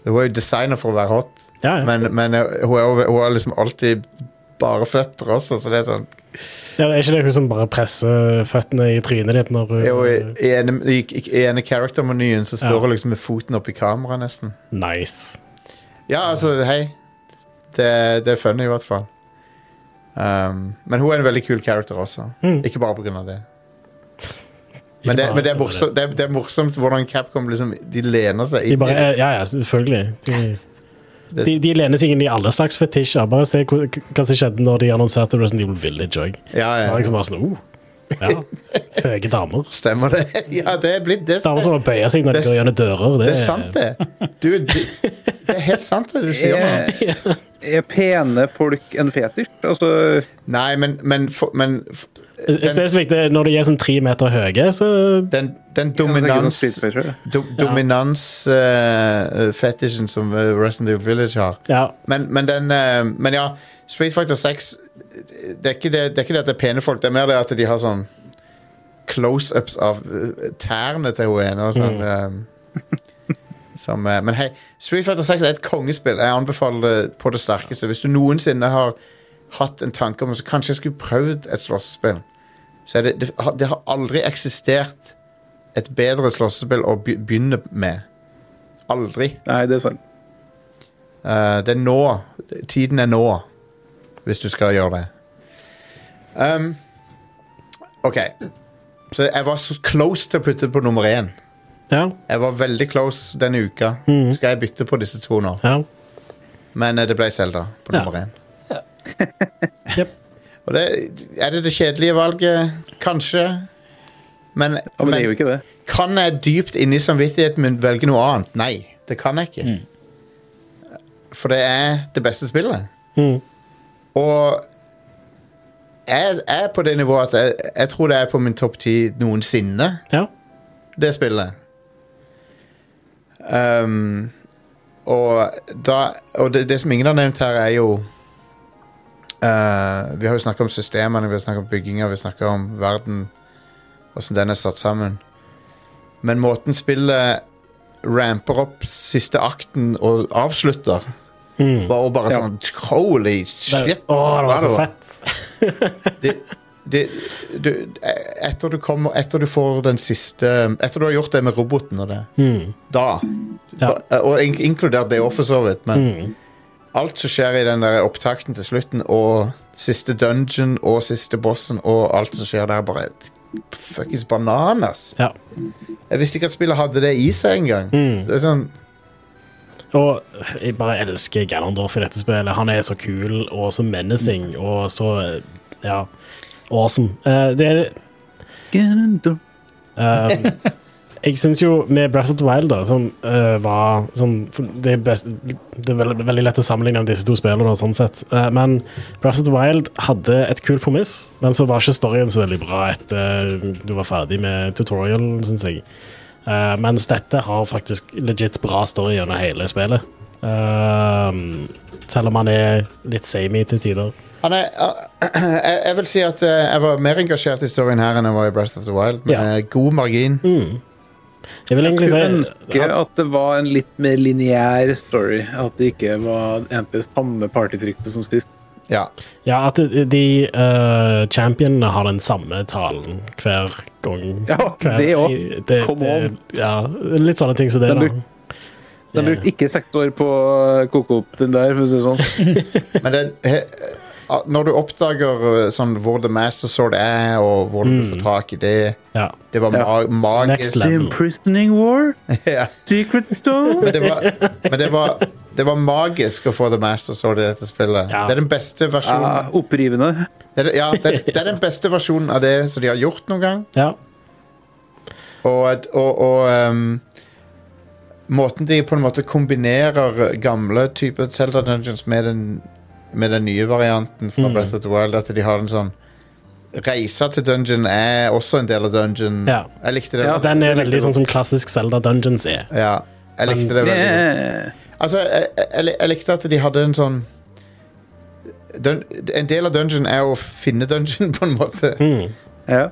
S1: Hun er jo designer for å være hot,
S3: Ja, ja.
S1: men, men eh, hun, er, over- hun har liksom alltid bare føtter også, så det er sånn
S3: ja, det er ikke det hun som bare presser føttene i trynet ditt når hun
S1: jo, I, i ene, i, i ene character-menyen så står
S3: Ja.
S1: hun liksom med foten opp i kamera nesten.
S3: Nice.
S1: Ja, altså, hei. Det, det er funny, i hvert fall. Um, men hun er en veldig kul character også.
S3: Mm.
S1: Ikke bare pga. det. Men, det, men det, er morsomt, det, er, det er morsomt hvordan Capcom liksom De lener seg
S3: De
S1: inn
S3: bare, eh,
S1: i
S3: ja, ja, selvfølgelig. De,
S1: Det-
S3: de, de lener seg inn i alle slags fetisjer. Bare se hva, hva som skjedde når de annonserte Resident Evil Village òg.
S1: ja,
S3: Det var
S1: ja.
S3: liksom bare sånn oh, ja. Høye damer.
S1: Stemmer det? Ja, det er blitt det.
S3: Damer som må bøye seg når de
S1: Det-
S3: går gjennom dører. Det,
S1: Det er sant, det. Du, det, det er helt sant, det du sier. nå.
S4: Er, er pene folk en fetisj? Altså,
S1: Nei, men, men, for- men f- den,
S3: Spesifikt det, når de er sånn tre meter høye, så
S1: den, den
S4: Jeg tenker sånn
S1: dominans
S4: Street Fighter, ja.
S1: do, Dominansfetisjen som eh, Resident Evil Village har.
S3: ja.
S1: Men, men, den, eh, men ja, Street Fighter 6 det er, ikke det, det er ikke det at det er pene folk, det er mer det at de har sånn close-ups av eh, tærne til hun ene. Og sånn, eh, som, eh, men hei, Street Fighter 6 er et kongespill. Jeg anbefaler det på det sterkeste. Hvis du noensinne har hatt en tanke om så kanskje jeg skulle prøvd et slåssespill, så er det, det, har- det har aldri eksistert et bedre slåssespill å be- begynne med. Aldri.
S4: Nei, det er sant.
S1: Eh, det er nå. Tiden er nå, hvis du skal gjøre det. Um, OK. Så jeg var så close til å putte på nummer én.
S3: ja.
S1: Jeg var veldig close denne uka.
S3: Mhm.
S1: Skal jeg bytte på disse to nå?
S3: ja.
S1: Men eh, det ble Selda på
S3: Ja.
S1: nummer én.
S2: Ja.
S3: Jep.
S1: Og det, er det det kjedelige valget? Kanskje. Men,
S4: Ja, men det er
S1: men
S4: jo ikke det.
S1: kan jeg dypt inni samvittigheten min velge noe annet? Nei, det kan jeg ikke.
S4: Mm.
S1: For det er det beste spillet.
S3: Mm.
S1: Og jeg, jeg er på det nivået at jeg, jeg tror det er på min topp ti noensinne,
S3: ja.
S1: det spillet. Ehm, og da, og det, det som ingen har nevnt her, er jo eh, Vi har jo snakka om systemene, vi har snakka om bygginga, vi snakker om verden, åssen den er satt sammen. Men måten spillet ramper opp siste akten og avslutter,
S3: Mm.
S1: var bare
S4: Ja.
S1: sånn Holy shit!
S3: Å, det
S1: hva
S3: var så fett.
S1: det, det, du, etter, du kommer, etter du får den siste Etter du har gjort det med roboten og det,
S3: Mm.
S1: da
S3: Ja.
S1: ba- Og in inkludert det òg, for så vidt, men
S3: Mm.
S1: alt som skjer i den der opptakten til slutten, og siste dungeon og siste bossen og alt som skjer der, bare et fuckings bananas.
S3: Ja.
S1: Jeg visste ikke at spillet hadde det i seg engang.
S3: Mm.
S1: Så det er Sånn,
S3: Og jeg bare elsker Ganondorf i dette spillet. Han er så kul og så menacing og så ja, awesome. Eh, det er Um, jeg syns jo med Breath of the Wild, da, som eh, var som, for det, er best, det er veldig, veldig lett å sammenligne disse to spillene, da, sånn sett. Eh, men Breath of the Wild hadde et kult premiss, men så var ikke storyen så veldig bra etter eh, du var ferdig med tutorialen, syns jeg. Eh, mens dette har faktisk legit bra story gjennom hele spillet. Um, selv om han er litt samey til tider.
S1: han er, ah, jeg, jeg vil si at eh, jeg var mer engasjert i storyen her enn jeg var i Breath of the Wild, med
S3: Ja.
S1: god margin.
S3: Mm. Jeg vil
S4: Jeg
S3: egentlig
S4: skulle
S3: si
S4: ønske at det var en litt mer lineær story. At det ikke var egentlig samme partytrykte som sist.
S3: Mm.
S1: Ja.
S3: Ja, at de- de eh, championene har den samme talen hver gang.
S4: Ja,
S3: Hver-
S4: det òg.
S3: i- det-
S4: Come
S3: det-
S4: on.
S3: Ja, litt sånne ting som det,
S4: Den
S3: da.
S4: bruk- De
S3: Det-
S4: brukte ikke seks år på å koke opp den der, for å si det sånn.
S1: Men den, he, ah, Når du oppdager eh, sånn, hvor The Master Sword er, og hvor du får tak i det
S3: Mm. Ja.
S1: Det var ma magisk.
S3: Next
S4: The
S3: level.
S4: Imprisoning War?
S1: ja.
S4: Secret Stone?
S1: Men, det var, men det, var, det var magisk å få The Master Sword i dette spillet.
S3: Ja. Ah.
S1: Det er den beste versjonen
S4: Ja, opprivende.
S1: det er, ja, det, er, det er den beste versjonen av det som de har gjort noen gang.
S3: ja.
S1: Og, at- og, og ehm, måten de på en måte kombinerer gamle typer Zelda Dungeons med den, med den nye varianten fra Breath of the Wild, at de har en sånn Reisa til dungeon er også en del av dungeon.
S3: Ja.
S1: Jeg likte det.
S4: Ja,
S1: veldig-
S3: Den er veldig sånn som klassisk Zelda Dungeons er.
S1: ja, jeg likte det veldig godt.
S4: Yeah.
S1: Altså, jeg, jeg, jeg likte at de hadde en sånn dun, En del av dungeon er å finne dungeon, på en måte.
S3: Mm.
S4: Ja.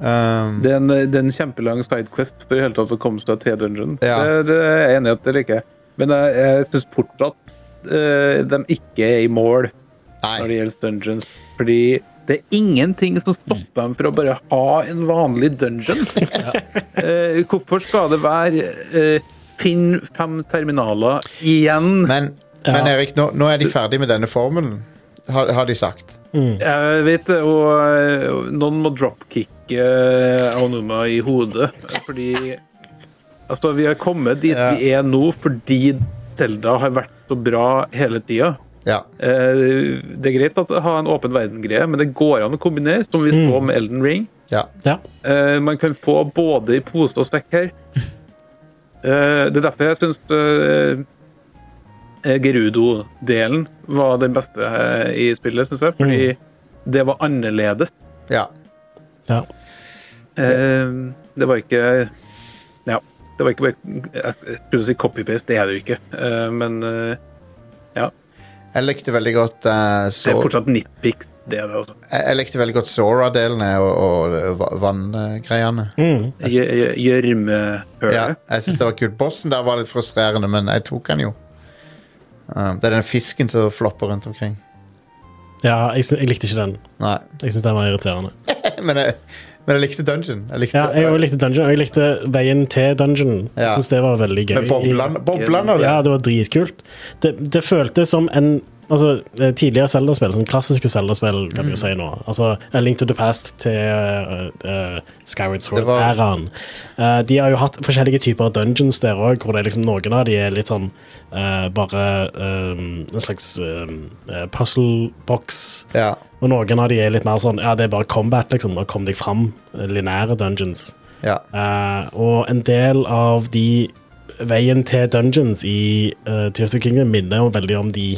S1: Um,
S4: Det er en, det er en kjempelang sidequest for i hele tatt å komme seg til dungeon.
S1: Ja.
S4: Det, det er jeg enig i at det liker jeg. Men jeg, jeg syns fortsatt eh, de ikke er i mål når
S1: nei.
S4: det gjelder dungeons. Fordi det er ingenting som stopper dem fra å bare ha en vanlig dungeon. Eh, hvorfor skal det være eh, Finn fem terminaler igjen?
S1: Men, men Erik, nå, nå er de ferdig med denne formelen, har, har de sagt.
S4: Mm. Jeg vet det, og eh, noen må dropkicke eh, Aonuma i hodet. Fordi Altså, vi har kommet dit
S1: Ja.
S4: vi er nå fordi Zelda har vært så bra hele tida.
S1: Ja.
S4: Eh, Det er greit at å ha en åpen verden-greie, men det går an å kombinere, som vi
S1: Mm.
S4: så med Elden Ring.
S1: ja.
S3: Ja.
S4: Eh, man kan få både i pose og sekk her. Eh, det er derfor jeg syns eh, Gerudo-delen var den beste eh, i spillet, syns jeg. Fordi
S1: Mm.
S4: det var annerledes.
S1: ja.
S3: ja.
S4: Eh, det var ikke Ja. Det var ikke bare Jeg skulle si copy-paste, det er det jo ikke. Eh, men eh,
S1: Jeg likte veldig godt eh,
S4: det er
S1: Sor-
S4: fortsatt nitpic, det er det, altså.
S1: jeg, jeg likte veldig godt Sora-delene og, og, va- vanngreiene.
S3: Mm.
S4: Gj- gj- Gjørmehølet.
S1: Ja, jeg synes det var kult. Bossen der var litt frustrerende, men jeg tok han jo. Um, det er den fisken som flopper rundt omkring.
S3: ja jeg, sy- jeg likte ikke den.
S1: Nei,
S3: Jeg syns den var irriterende.
S1: men jeg, men jeg likte Dungeon. Jeg likte,
S3: Ja, jeg også likte Dungeon, og jeg likte veien til Dungeon.
S1: Ja.
S3: Jeg syns det var veldig gøy.
S1: men boblene- boblene av det.
S3: Ja, det var dritkult. Det, det føltes som en Altså, eh, tidligere Zelda-spill, sånn klassiske Zelda-spill, kan
S1: Mm.
S3: vi jo si nå. Altså, A Link to the Past til eh, eh, Skyward
S1: Det var-
S3: Sword-æraen. Eh, de har jo hatt forskjellige typer av dungeons der òg, hvor det er liksom noen av de er litt sånn eh, bare eh, en slags eh, eh, puzzle box.
S1: Ja.
S3: Og noen av de er litt mer sånn Ja, det er bare combat, liksom. Bare kom deg fram. eh, Lineære dungeons.
S1: Ja.
S3: Eh, og en del av de veien til dungeons i eh, Tears of the Kingdom minner jo veldig om de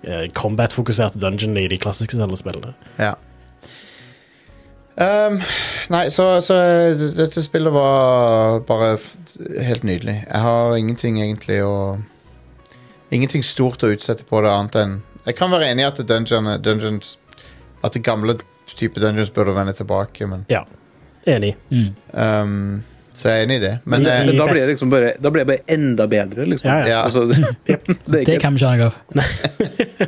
S3: eh, combat-fokuserte dungeonene i de klassiske Zelda-spillene.
S1: ja. Um, nei, så, så dette spillet var bare f helt nydelig. Jeg har ingenting egentlig å Ingenting stort å utsette på det annet enn Jeg kan være enig i at dungeon, dungeons At det gamle type dungeons burde vende tilbake, men
S3: Ja, enig.
S2: Mm.
S1: um, Så jeg er enig i det. Men
S3: Men
S1: eh,
S4: Men da blir det
S3: best-
S4: liksom bare, da blir det bare enda bedre, liksom.
S3: Ja, ja.
S1: Ja.
S4: Altså, det, det er
S2: Det
S4: ikke
S2: kan vi ikke ha noe av.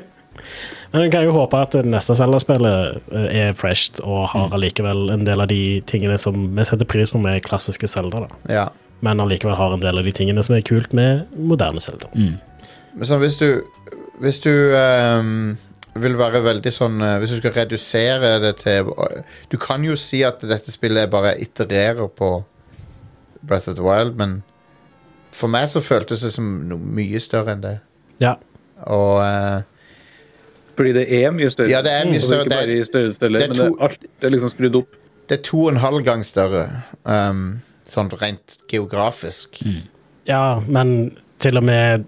S3: Men en kan jo håpe at det neste Zelda-spillet eh, er fresht og
S1: Mm.
S3: har allikevel en del av de tingene som vi setter pris på med klassiske Zelda, da.
S1: eh, ja.
S3: Men allikevel har en del av de tingene som er kult med moderne Zelda.
S1: Men sånn, hvis du Hvis du ehm, vil være veldig sånn eh, Hvis du skal redusere det til eh, Du kan jo si at dette spillet bare itererer på Breath of the Wild, men for meg så føltes det som noe mye større enn det.
S3: Ja.
S1: Og eh,
S4: Fordi det er mye større.
S1: Ja, det er mye
S4: Altså,
S1: større.
S4: Ikke bare
S1: Det er-
S4: i størrelse, eller,
S1: det er
S4: men det,
S1: to-
S4: er alt det er liksom skrudd opp.
S1: det er to og en halv gang større, ehm, sånn rent geografisk.
S3: Ja, men til og med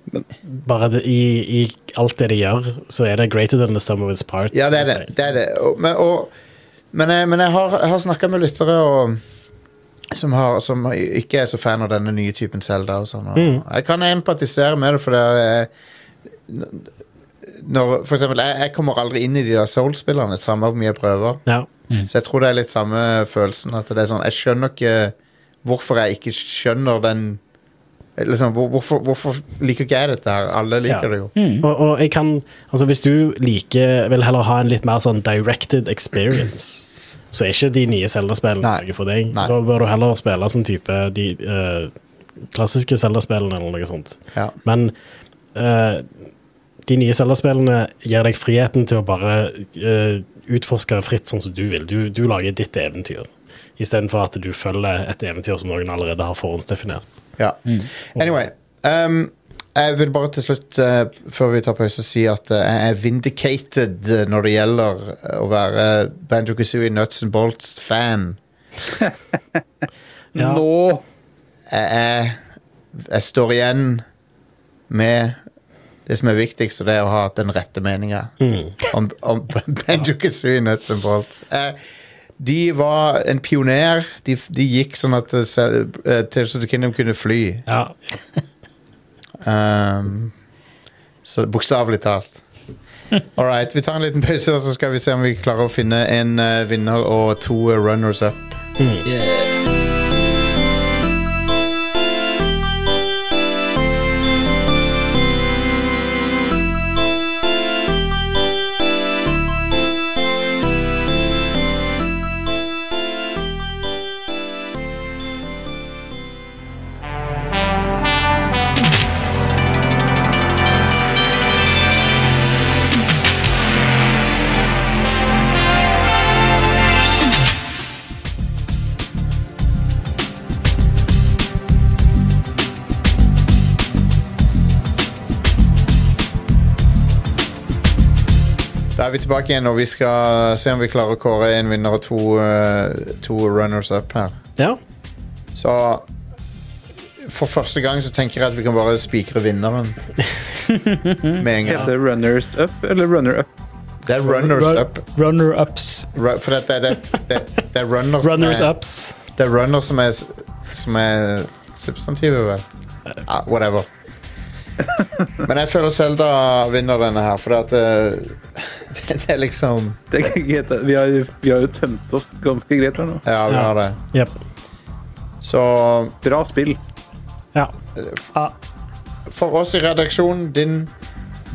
S3: bare det, i, i alt det de gjør, så er det greater than the sum of its parts.
S1: Ja, det er det. det, er det. Og, men, og, men, jeg, men jeg har, jeg har snakka med lyttere og, som, har, som ikke er så fan av denne nye typen Zelda. Og sånn, og, Jeg kan empatisere med det, for det er når, For eksempel, jeg, jeg kommer aldri inn i de der Soul-spillerne, samme hvor mye jeg prøver.
S3: Ja.
S1: Så jeg tror det er litt samme følelsen. At det er sånn, Jeg skjønner ikke hvorfor jeg ikke skjønner den Liksom, hvor, hvorfor, hvorfor liker ikke jeg dette her? Alle liker
S3: Ja.
S1: det jo.
S3: Og, og jeg kan Altså, hvis du liker Vil heller ha en litt mer sånn directed experience, så er ikke de nye Zelda-spillene
S1: Nei.
S3: noe for deg.
S1: Nei.
S3: Da bør du heller spille sånn type de eh, klassiske Zelda-spillene eller noe sånt.
S1: Ja.
S3: Men eh, de nye Zelda-spillene gir deg friheten til å bare eh, utforske fritt sånn som du vil. Du, du lager ditt eventyr, istedenfor at du følger et eventyr som noen allerede har forhåndsdefinert.
S1: Ja. Anyway. ehm, jeg vil bare til slutt, eh, før vi tar pause, si at eh, jeg er vindicated eh, når det gjelder eh, å være Banjo Kazooie Nuts and Bolts-fan.
S3: Ja.
S4: Nå!
S1: Jeg, er- jeg står igjen med det som er viktigst, og det er å ha den rette meninga om, om Banjo Kazooie Nuts and Bolts. Eh, de var en pioner. De, de gikk sånn at eh, se- eh, Tears of the Kingdom kunne fly.
S3: Ja.
S1: Um, så bokstavelig talt. All right, vi tar en liten pause, og så skal vi se om vi klarer å finne en eh, vinner og to eh, runners up. Da er vi tilbake igjen, og vi skal se om vi klarer å kåre en vinner og to, eh, to runners up her.
S3: ja.
S1: Så for første gang så tenker jeg at vi kan bare spikre vinneren med en
S4: Heter
S1: gang.
S4: det Runners Up eller Runner Up?
S1: Det er runners
S2: Ru-
S1: up.
S2: Runner-ups.
S1: Ru- For det, det, det, det, det er runner som
S3: Runners
S1: er-
S3: ups.
S1: Det er runner som er, som er substantivet, vel? Ja, whatever. Men jeg føler Selda vinner denne her, for at eh, det, det er liksom
S4: Det er ikke helt- Vi har, vi har jo tømt oss ganske greit her nå.
S1: Ja, vi
S3: Ja.
S1: har det.
S3: Jep.
S1: Så
S4: Bra spill.
S3: Ja.
S2: Ah,
S1: for oss i redaksjonen, din,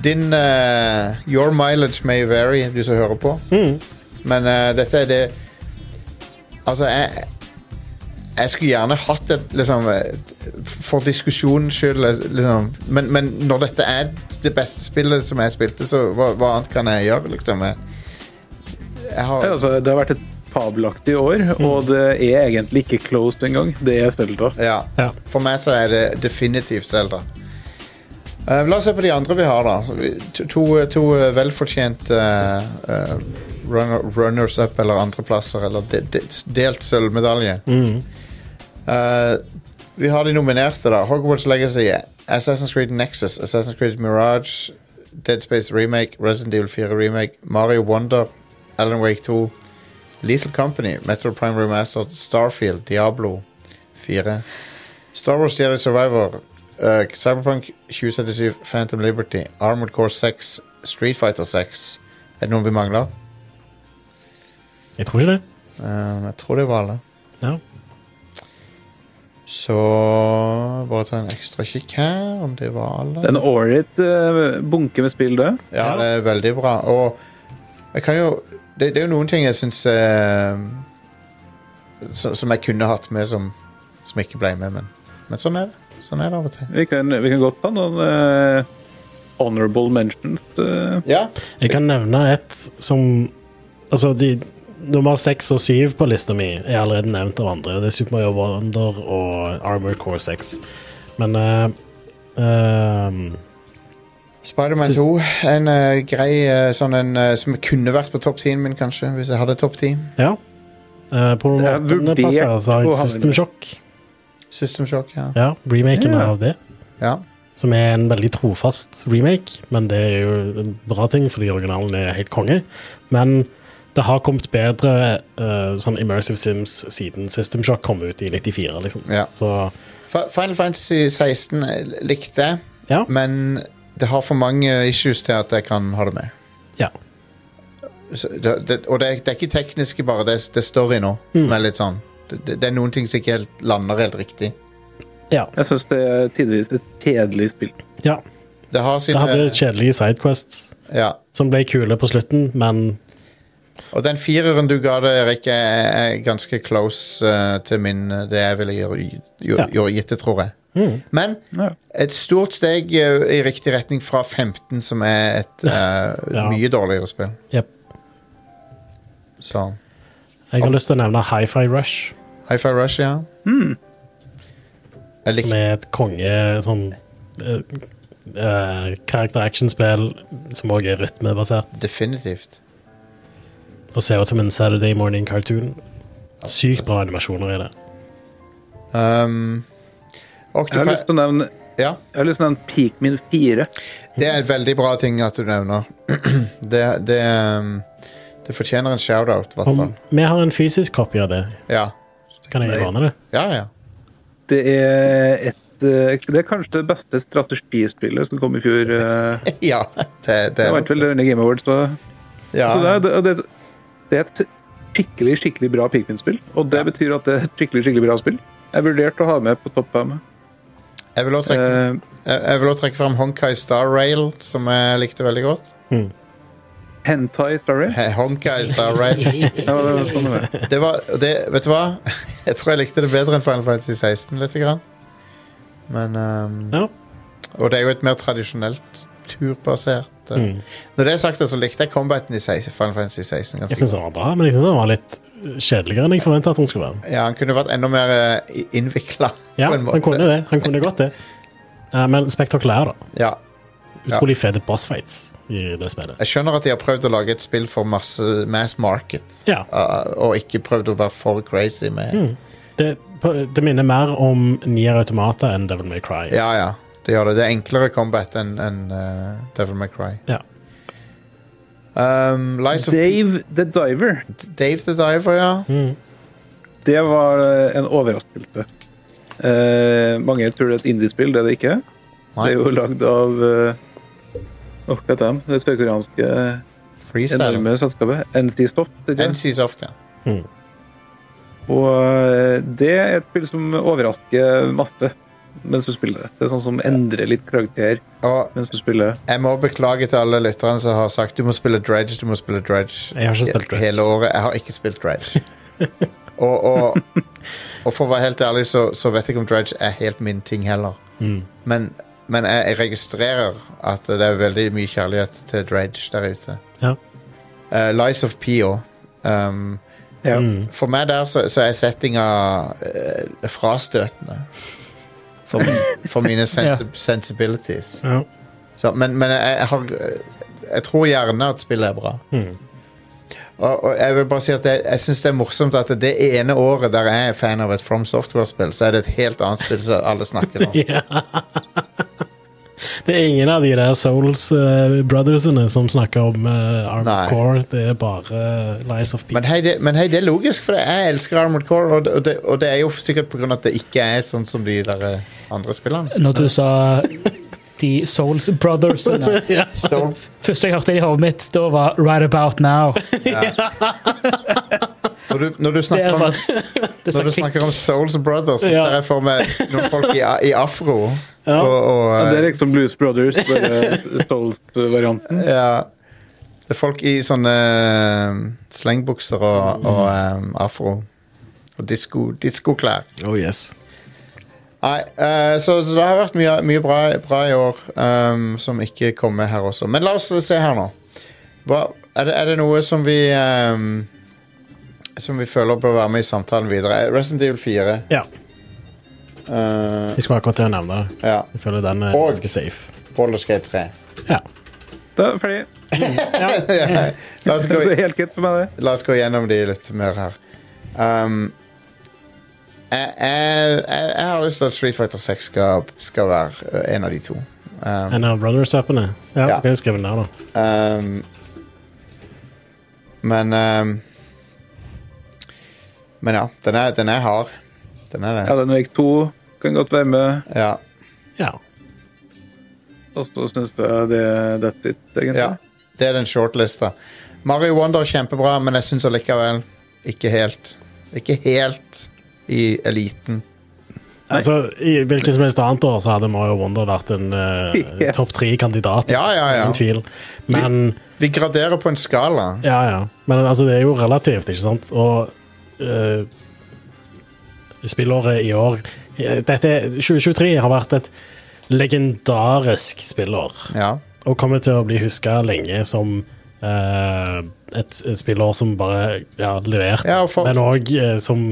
S1: din eh, Your mileage may vary, du som hører på. Men eh, dette er det Altså, jeg jeg skulle gjerne hatt et liksom, et- For diskusjonens skyld, liksom. Men, men når dette er det beste spillet som jeg spilte, så hva, hva annet kan jeg gjøre, liksom? Jeg, jeg
S4: Ja,
S1: har
S4: Altså, det har vært et fabelaktig år, og det er egentlig ikke closed engang. Det er Selda.
S1: Ja.
S3: Ja.
S1: For meg så er det definitivt Zelda. Eh, la oss se på de andre vi har, da. Så vi- To, to, to eh, velfortjente eh, eh, runner, runners up eller andreplasser, eller de, de, delt sølvmedalje. Eh, vi har de nominerte, da. Hogwarts Legacy, Assassin's Creed Nexus, Assassin's Creed Mirage, Dead Space Remake, Resident Evil 4 Remake, Mario Wonder, Alan Wake 2, Lethal Company, Metro Prime Remastered, Starfield, Diablo 4. Star Wars Jedi Survivor, eh, Cyberpunk 2077, Phantom Liberty, Armored Core 6, Street Fighter 6. Er det noen vi mangler?
S3: Jeg tror ikke det.
S1: Eh, jeg tror det var alle.
S3: Ja.
S1: Så bare ta en ekstra kikk her, om det var alle.
S4: Det er en ålreit eh, bunke med spill, det.
S1: Ja, det er veldig bra. Og jeg kan jo Det, det er jo noen ting jeg syns eh, som, som jeg kunne hatt med, som, som ikke ble med, men, men sånn er det. Sånn er det av og til.
S4: Vi kan, vi kan godt ta noen eh, honorable mentions. eh.
S1: Ja.
S3: Jeg kan nevne et som Altså, de, nummer seks og syv på lista mi er allerede nevnt av andre. og Det er Super Mario Wonder og Armored Core 6. Men eh, ehm,
S1: Spiderman
S3: Syns-
S1: 2. En eh, grei eh, sånn en eh, som kunne vært på topp 10 min, kanskje, hvis jeg hadde topp 10.
S3: Ja. Eh, på
S4: Det er
S3: åttende
S4: vurdert
S3: plass her så har
S4: å
S3: jeg
S4: havne
S3: System
S4: der.
S3: Shock.
S1: System Shock, ja.
S3: Ja, remaken
S4: Ja.
S3: av det.
S1: ja.
S3: Som er en veldig trofast remake, men det er jo en bra ting, fordi originalen er helt konge. Men det har kommet bedre eh, sånn Immersive Sims siden System Shock kom ut i 94, liksom.
S1: Ja.
S3: Så
S1: Fi- Final Fantasy 16 likte jeg,
S3: ja.
S1: men det har for mange issues til at jeg kan ha det med.
S3: ja.
S1: Så det, det, og det, er- det er ikke tekniske bare, det, er- det er story nå
S3: Mm.
S1: som er litt sånn. Det, det- det er noen ting som ikke helt lander helt riktig.
S3: Ja.
S4: Jeg syns det er tidvis et kjedelig spill.
S3: ja.
S1: Det har
S3: Det
S1: sine
S3: hadde kjedelige sidequests
S1: ja.
S3: som ble kule på slutten, men
S1: Og den fireren du ga det, Erik, er, er ganske close eh, til min, det jeg ville gjøre, gjøre,
S3: Ja.
S1: gjøre gitt det, tror jeg. Men
S4: Ja.
S1: et stort steg eh, i riktig retning fra 15, som er et eh,
S3: Ja.
S1: mye dårligere spill.
S3: Jep.
S1: Så
S3: Jeg har lyst til å nevne Hi-Fi Rush,
S1: Hi-Fi Rush, ja.
S4: Hmm.
S1: Jeg
S3: som
S1: likte
S3: er et konge sånn eh, eh, Character action-spill som òg er rytmebasert.
S1: definitivt.
S3: Og ser ut som en Saturday morning cartoon. Sykt bra animasjoner i det.
S1: Um,
S4: Jeg har
S1: Octopi
S4: lyst til å nevne
S1: ja,
S4: jeg har lyst til å nevne Pikmin 4.
S1: det er en veldig bra ting at du nevner. det, det, um, det fortjener en shout-out, i hvert
S3: Om
S1: fall.
S3: vi har en fysisk kopi av det,
S1: Ja.
S3: kan jeg låne det?
S1: ja, ja.
S4: Det er et eh, Det er kanskje det beste strategispillet som kom i fjor. eh.
S1: ja det, det,
S4: Det vant vel denne Game Awards. Så,
S1: ja.
S4: så det, er- det, og det, det er et skikkelig skikkelig bra Pikmin-spill. Og det
S1: Ja.
S4: betyr at det er et skikkelig skikkelig bra spill. Jeg vurderte å ha med på topp fem.
S1: Jeg vil også trekke,
S4: Eh,
S1: jeg, jeg vil også trekke fram Honkai Star Rail, som jeg likte veldig godt.
S4: Hentai Starry.
S1: He- Honkai Star Rail.
S4: Ja, det var sånn det var.
S1: Det var, det, vet du hva? Jeg tror jeg likte det bedre enn Final Fantasy 16, litt. Grann. Men, ehm,
S3: Ja.
S1: Og det er jo et mer tradisjonelt turbasert eh.
S3: Mm.
S1: Når det er sagt, så likte jeg combaten i 16, Final Fantasy 16.
S3: Jeg
S1: Ganske.
S3: syns den var bra, men jeg syns den var litt kjedeligere enn jeg forventa at den skulle være.
S1: Ja, Han kunne vært enda mer uh, innvikla.
S3: Ja, han kunne det. Han kunne godt det. Eh, Men spektakulær, da.
S1: Ja.
S3: Utrolig fete bossfights i det spillet.
S1: Jeg skjønner at de har prøvd å lage et spill for masse, mass market,
S3: Ja,
S1: eh, og ikke prøvd å være for crazy med
S3: Hmm. Mm. det, på- det minner mer om Nier Automata enn Devil May Cry.
S1: Ja, ja. Det gjør det. Det er enklere combat enn enn, eh, Devil May Cry.
S3: Ja.
S1: Um, Lies of
S4: Dave the Diver.
S1: Dave the Diver, ja.
S3: Mm.
S4: Det var eh, en overraskelse. Eh, mange tror det er et indiespill, det er det ikke. Det er jo lagd av eh, åh, hva heter de? det sørkoreanske
S1: Freestyle.
S4: enorme selskapet NC Stoff. ikke det?
S1: NC Soft, ja.
S4: Og eh, det er et spill som overrasker masse mens du spiller det. Det er sånn som endrer litt karakter
S1: Og
S4: mens du spiller.
S1: jeg må beklage til alle lytterne som har sagt du må spille Dredge, du må spille Dredge.
S3: Jeg har ikke spilt Dredge.
S1: Hele året. Jeg har ikke spilt Dredge. og, og, og for å være helt ærlig, så, så vet jeg ikke om Dredge er helt min ting heller.
S3: Mm.
S1: Men, men jeg, jeg registrerer at det er veldig mye kjærlighet til Dredge der ute.
S3: Ja.
S1: Eh, Lies of Pio. Um,
S4: Ja.
S1: For meg der så, så er settinga eh, frastøtende. For, for mine sensi sensibilities.
S3: Ja.
S1: Så, men men jeg, jeg, har, jeg tror gjerne at spillet er bra. Og, og jeg vil bare si at jeg, jeg syns det er morsomt at det ene året der jeg er fan av et From Software-spill, så er det et helt annet spill som alle snakker om.
S3: Ja. Det er ingen av de der Souls eh, brothersene som snakker om eh, Armored
S1: Nei.
S3: Core. Det er bare eh, Lies of Peace.
S1: Men hei, det, men hei, det er logisk, for jeg elsker Armored Core, og, det- og, det, og det er jo sikkert pga. at det ikke er sånn som de der eh, andre spillene.
S2: Når du sa de Souls Brothers
S1: Så,
S2: Første jeg hørte det i hodet mitt, da var Right About Now.
S1: når, du, når du
S2: Det
S1: snakker om
S2: var, det sa
S1: Når du
S2: klikk.
S1: snakker om Souls Brothers, så
S3: Ja.
S1: ser jeg for meg noen folk i, i afro. Og, og,
S4: Ja, det er
S1: eh,
S4: liksom Blues Brothers, bare Stolst-varianten.
S1: ja, det er folk i sånne eh, slengbukser og, og eh, afro. Og disko- diskoklær.
S3: Oh yes.
S1: Nei, eh, så, så det har vært mye, mye bra, bra i år ehm, som ikke kom med her også. Men la oss se her nå. Hva, er, det, er det noe som vi ehm, Som vi føler bør være med i samtalen videre? Resident Evil 4.
S3: Ja,
S1: eh,
S3: jeg skulle akkurat til å nevne det.
S1: ja.
S3: Jeg føler den er
S1: Og-
S3: ganske safe.
S1: Baldur's Gate 3.
S3: Ja.
S4: Da er jeg ferdig.
S1: Ja, la, oss
S4: Det
S1: gå,
S4: er helt greit for meg, det.
S1: la oss gå gjennom de litt mer her. Um, jeg, jeg, jeg, jeg har lyst til at Street Fighter 6 skal, skal være uh, en av de to. Um,
S3: En av runners-upene. Ja,
S1: Ja.
S3: Du kan jo skrive den der, da.
S1: um, men um, Men ja, den er, den er hard. Den er
S4: Ja,
S1: det.
S4: den gikk to. Kan godt være med.
S1: Ja.
S3: Ja.
S4: Og så syns jeg det er that's it, egentlig.
S1: ja. Det er den shortlista. Mario Wonder er kjempebra, men jeg syns allikevel ikke helt. Ikke helt i eliten.
S3: Altså, I hvilket som helst annet år så hadde Mario Wonder vært en eh,
S4: Ja.
S3: topp tre-kandidat.
S1: Ja, ja, ja.
S3: Ingen tvil. Men
S1: Vi graderer på en skala.
S3: Ja, ja. Men altså, det er jo relativt, ikke sant? Og eh, spillåret i år Dette, 2023 har vært et legendarisk spillår,
S1: Ja.
S3: og kommer til å bli huska lenge som eh, et et spillår som bare ja, leverte,
S1: Ja, for-
S3: men òg som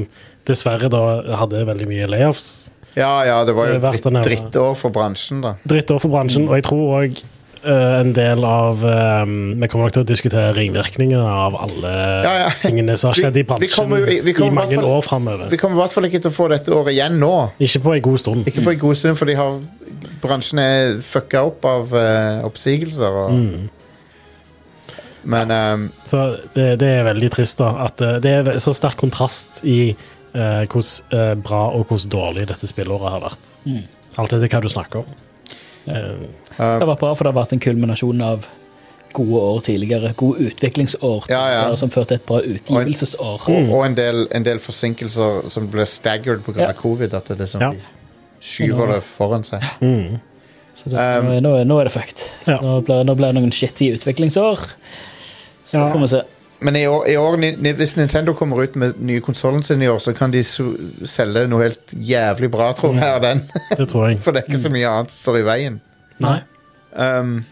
S3: dessverre da hadde veldig mye layoffs.
S1: ja, ja, det var jo
S3: Det er verdt å
S1: dritt,
S3: nevne.
S1: drittår for bransjen, da.
S3: drittår for bransjen,
S1: Mm.
S3: og jeg tror òg en del av eh, Vi kommer nok til å diskutere ringvirkningene av alle
S1: Ja, ja.
S3: tingene som har skjedd
S1: Vi-
S3: i bransjen
S1: vi kommer jo i- vi kommer
S3: i mange
S1: i hvert fall-
S3: år framover.
S1: Vi kommer i hvert fall ikke til å få dette året igjen nå.
S3: Ikke på en god stund.
S1: Ikke på en god stund, for de har, bransjen er fucka opp av eh, oppsigelser. Og, Men ehm,
S3: Så det, det er veldig trist da, at eh, det er så sterk kontrast i eh, hvordan eh, bra og hvordan dårlig dette spillåret har vært. Alt etter hva du snakker om. Eh,
S2: Det har vært bra, for det har vært en kulminasjon av gode år tidligere. Gode utviklingsår
S1: Ja, ja.
S2: tidligere, som førte til et bra utgivelsesår.
S1: og, og en, del, en del forsinkelser som ble staggered pga.
S2: Ja.
S1: av covid. At det liksom
S3: Ja.
S1: de skyver det foran seg.
S2: Så det, nå, er- nå, er- nå er det fucked. Så
S3: Ja.
S2: Nå, blir, nå blir det noen shitty utviklingsår. Så
S3: Ja.
S2: får vi se.
S1: Men i år, i år, ni- ni- hvis Nintendo kommer ut med nye konsollen sin i år, så kan de su selge noe helt jævlig bra, tror jeg, av den.
S3: det tror jeg.
S1: For det er ikke så mye annet som står i veien.
S3: Nei.
S1: Ehm,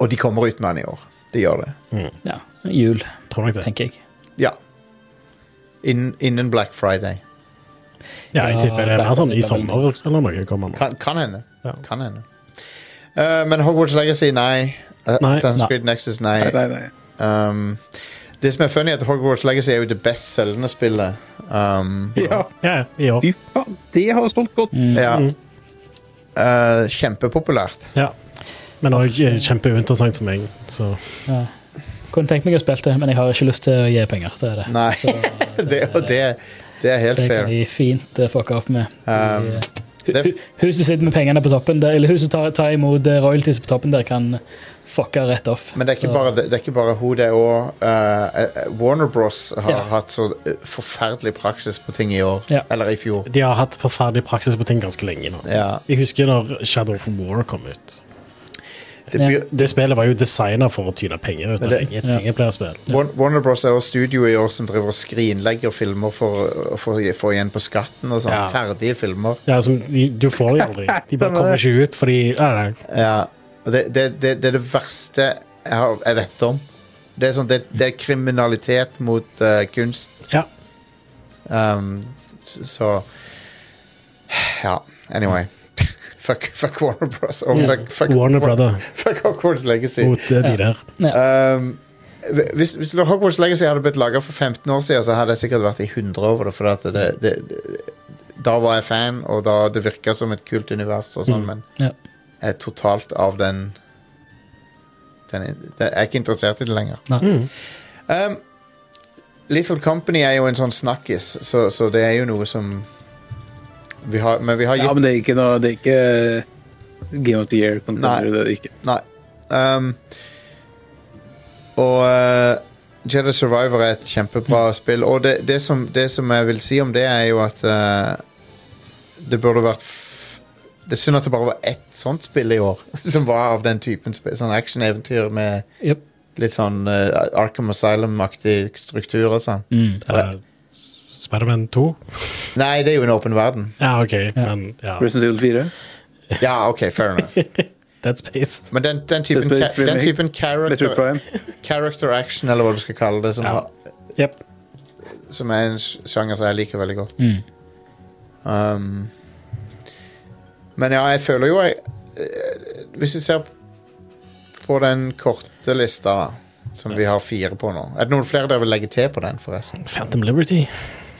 S1: og de kommer ut med den i år. De gjør det.
S2: Ja, jul,
S3: Tror nok det.
S2: tenker jeg.
S1: Ja. Innen, innen Black Friday.
S3: Ja, jeg
S2: Ja,
S3: tipper det er mer sånn i sommer eller noe. kommer nå.
S1: Kan, kan hende.
S3: Ja.
S1: Kan hende. Eh, men Hogwarts Legacy, nei. Uh,
S3: Nei,
S1: Assassin's
S3: nei.
S1: Creed Nexus, nei.
S4: Nei, nei, nei.
S1: Um, det som er funny, er at Hogwarts Legacy er jo det best selgende spillet. Um,
S4: Ja,
S3: Ja, i år.
S4: fy faen. Det har stolt godt.
S1: ja.
S2: Mm.
S1: Eh, kjempepopulært.
S3: Ja. Men òg kjempeinteressant for meg. Så
S2: Ja. Kunne tenkt meg å spille det, men jeg har ikke lyst til å gi penger til det.
S1: Nei, det, og det, det er helt
S2: Det kan
S1: Mm, fair.
S2: de fint eh, fucke opp med. De,
S1: Um,
S2: eh,
S1: det-
S2: hu- Huset sitter med pengene på toppen, der, eller huset tar, tar imot eh, royalties på toppen der, kan fucke rett off.
S1: Men det er
S2: Så-
S1: ikke bare, det er ikke bare hun, det er òg Warner Bros har
S2: Ja.
S1: hatt så eh, forferdelig praksis på ting i år.
S2: Ja.
S1: Eller i fjor.
S3: de har hatt forferdelig praksis på ting ganske lenge nå.
S1: Ja.
S3: Jeg husker når Shadow of War kom ut.
S1: Det,
S2: Ja.
S1: byr-
S3: Det spillet var jo designa for å tyne penger ut av
S1: Det-
S3: lenge. Et
S2: ja.
S3: singleplayerspill.
S1: Warn- Warner Bros er også studioet i år som driver og skrinlegger filmer for å få få igjen på skatten og sånn.
S3: Ja.
S1: Ferdige filmer.
S3: Ja, som, de, du får de aldri. De bare kommer ikke ut fordi Nei, nei.
S1: Ja. Og det, det, det, det er det verste jeg, har, jeg vet om. Det er, sånn, det, det er kriminalitet mot eh, kunst.
S3: Ja.
S1: Um, s- så Ja, anyway. fuck, fuck Warner Bros. Og fuck, fuck,
S3: Warner Brother
S1: fuck Hogwarts Legacy.
S3: mot eh, de der.
S1: Um, hvis, hvis Hogwarts Legacy hadde blitt laga for 15 år siden, så hadde jeg sikkert vært i 100 over det. For at det, det, det, da var jeg fan, og da det virka som et kult univers, og sånn, men
S2: Ja.
S1: jeg er totalt av den, den, den Jeg er ikke interessert i det lenger.
S2: Nei.
S1: Um, Little Company er jo en sånn snakkis, så, så det er jo noe som vi har, Men vi har gitt
S4: Ja, men det er ikke noe Det er ikke Game of the Year.
S1: Nei.
S4: Contender, det er det ikke.
S1: Nei. Um, og eh, Jedi Survivor er et kjempebra spill. Og det, det, som, det som jeg vil si om det, er jo at eh, det burde vært f Det er synd at det bare var ett sånt spill i år, som var av den typen spill. Sånn actioneventyr med
S2: Jep.
S1: litt sånn eh, Arkham Asylum-aktig struktur og sånn.
S2: Mm.
S3: Eh, Spiderman 2?
S1: Nei, det er jo en åpen verden.
S3: Ja, OK, men ja.
S4: Resident Evil 4.
S1: Ja, OK, fair enough.
S3: Dead Space.
S1: Men den, den typen,
S4: Det er
S1: ka- den typen
S4: Metroid
S1: character,
S4: Prime.
S1: character action, eller hva du skal kalle det, som
S3: Ja.
S1: har
S3: Yep.
S1: som er en sj- sjanger som jeg liker veldig godt.
S2: Mm.
S1: Um, men ja, jeg føler jo jeg, eh, Hvis vi ser på den korte lista, da, som vi har fire på nå Er det noen flere dere vil legge til på den, forresten?
S3: Phantom Liberty.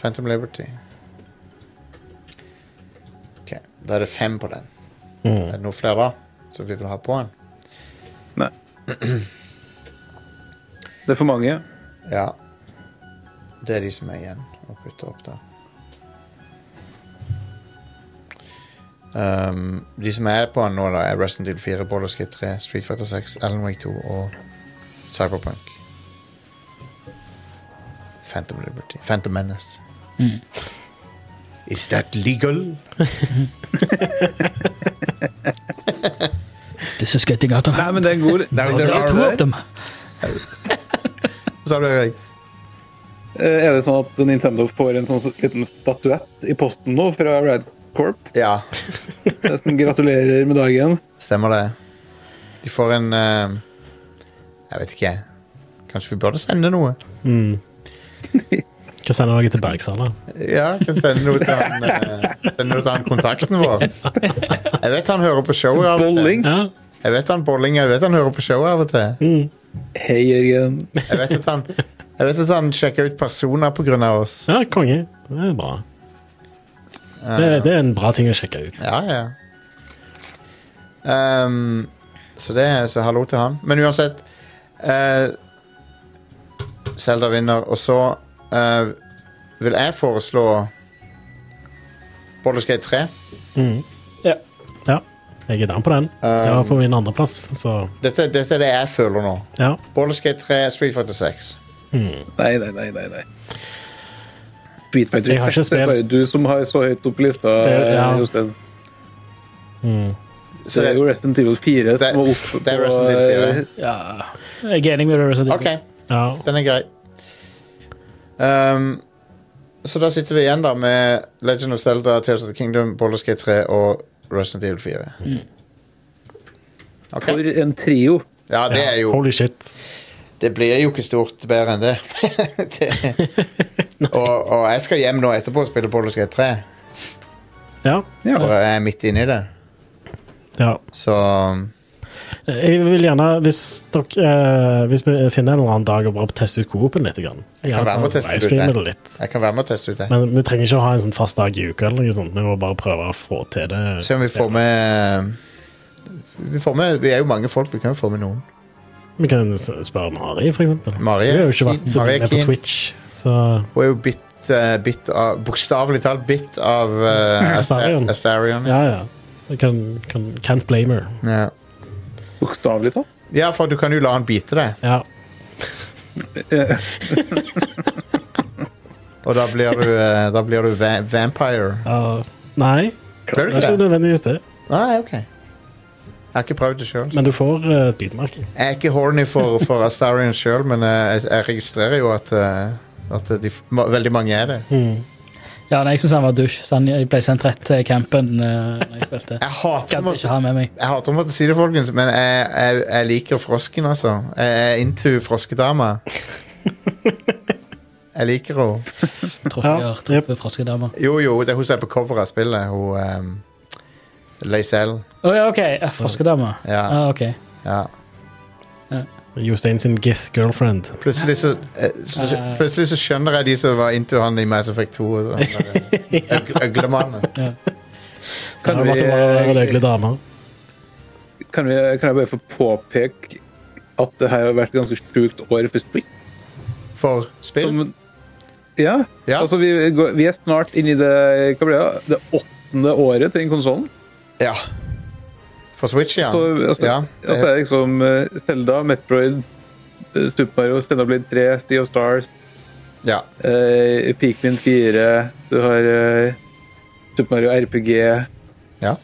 S1: Phantom Liberty. Ok, Da er det fem på den. Er det noen flere da som vi vil ha på den?
S4: Nei. Det er for mange.
S1: Ja. Det er de som er igjen å putte opp der. Um, de som er på den nå, da, er Resident Evil 4, Baldur's Gate 3, Street Fighter 6, Alan Wake 2 og Cyberpunk. Phantom Liberty. Phantom Menace. Is that legal?
S2: This is getting out of
S4: Nei, men det er en god
S1: There,
S2: Det
S1: there
S2: er to
S1: are,
S2: av dem.
S1: sa du, Erik.
S4: Eh, Er det sånn at Nintendo får en sånn liten statuett i posten nå fra Rad Corp.
S1: Ja,
S4: Nesten gratulerer med dagen.
S1: stemmer det. De får en eh, Jeg vet ikke. Kanskje vi burde sende noe?
S3: Mm. Kan sende noe til Bergsala.
S1: Ja, kan sende noe til han, eh, sende noe til han kontakten vår. Jeg vet han hører på showet av og til.
S4: Bolling.
S3: Ja.
S1: Jeg vet han Bolling, jeg vet han hører på showet av og til.
S3: Mm.
S4: Hei, Jørgen.
S1: Jeg vet at han, jeg vet at han sjekker ut personer på grunn av oss.
S3: ja, konge. Det er bra. Det,
S1: Eh,
S3: det er en bra ting å sjekke ut.
S1: Ja, ja. Ehm, så det Så hallo til han. Men uansett eh, Zelda vinner, og så eh, vil jeg foreslå Bolleskate 3.
S2: Ja.
S3: Ja, jeg er down på den. Jeg var på min andreplass, så
S1: Dette, dette er det jeg føler nå.
S3: ja.
S1: Bolleskate 3, Street Fighter 6.
S4: Nei, nei, nei, nei. nei. Street Fighter
S3: Jeg har ikke
S4: 6, Det er
S3: spilt-
S4: bare du som har så høyt opp på lista, eh,
S3: Det- ja.
S4: Jostein.
S3: Mm.
S1: Så
S4: det er jo Rest in Evil 4
S1: det-
S4: som var oppe
S1: det er Resident Evil 4.
S2: ja. Jeg er enig med deg. Resident
S1: OK,
S2: Evil.
S3: ja.
S1: den er grei. Ehm, så da sitter vi igjen da med Legend of Zelda, Tears of the Kingdom, Bolleskate 3 og Resident Evil 4. Ok.
S4: eh, For en trio.
S1: Ja, det er jo
S3: Holy shit.
S1: Det blir jo ikke stort bedre enn det. det og, og jeg skal hjem nå etterpå og spille Baldur's Gate 3,
S3: Ja.
S4: Ja.
S1: for jeg er midt inne i det.
S3: ja.
S1: Så um,
S3: Jeg vil gjerne, hvis dere eh, Hvis vi finner en eller annen dag og bare teste ut Coop-en litt grann. Gjerne
S1: være med og
S3: bare
S1: teste det ut,
S3: livestreame
S1: jeg.
S3: det litt.
S1: jeg kan være med og teste ut det.
S3: Men vi trenger ikke å ha en sånn fast dag i uka. eller noe sånt. Vi må bare prøve å få til det.
S1: Se om vi får med Vi, får med, vi er jo mange folk, vi kan jo få med noen.
S3: Vi kan s- spørre Mari, for eksempel.
S1: Mari-
S3: Hun har jo ikke vært så
S1: Mari er
S3: mye på
S1: keen.
S3: Twitch. Så
S1: Hun er jo bitt, eh, bitt av Bokstavelig talt bitt av eh,
S3: Astarion.
S1: Ast- Astarion.
S3: ja, ja. Jeg Kan, kan, can't blame her.
S1: Ja.
S4: Bokstavelig talt.
S1: ja, for du kan jo la han bite deg,
S3: Ja.
S4: Eh,
S1: og da blir du, eh, da blir du va vampire.
S3: ja. nei,
S1: Blir
S3: det
S1: du
S3: er
S1: ikke
S3: ikke
S1: det?
S3: nødvendigvis det.
S1: Nei, OK. Jeg har ikke prøvd det sjøl.
S3: Men du får eh, et bitmerke.
S1: Jeg er ikke horny for, for Astarion sjøl, men eh, jeg, jeg registrerer jo at, eh, at de, f- ma- veldig mange er det.
S2: Ja, nei, jeg syns han var dusj, så han jeg ble sendt rett til campen. eh, når jeg spilte.
S1: Jeg hater å
S2: Gadd
S1: måtte-
S2: ikke ha med meg.
S1: jeg hater å måtte si det, folkens, men jeg, jeg, jeg liker frosken, altså. Jeg er into froskedama. Jeg liker henne.
S2: Jeg Tror ikke jeg
S3: Ja,
S2: har truffet froskedama.
S1: Jo, jo, det er hun som er på coveret av spillet. Hun um, Lacelle.
S2: Å ja, OK. eh, Froskedama.
S1: Ja,
S2: Ah, ok.
S1: ja.
S3: Jostein sin gith girlfriend.
S1: Plutselig så, eh, så, plutselig så skjønner jeg de som var into han i Mass Effect 2. og sånn, eh, øg- Øglemannen.
S4: Kan
S3: Kan
S4: vi-
S3: vi
S1: eh,
S3: Røgle damer.
S4: Kan, vi, kan jeg bare få påpeke at det her har vært et ganske sjukt år for Spring?
S1: For spill?
S4: Som, ja.
S1: Ja.
S4: Altså, vi, går, vi er snart inne i det, hva blir det, det åttende året til den konsollen.
S1: Ja. For Switch, ja.
S4: Så, altså,
S1: ja
S4: altså, det er liksom eh, Stelda, Metroid, eh, Super Mario, Stelda Blade 3, Sea of Stars,
S1: ja.
S4: eh, Pikmin 4, du har eh, Super Mario RPG
S1: Ja.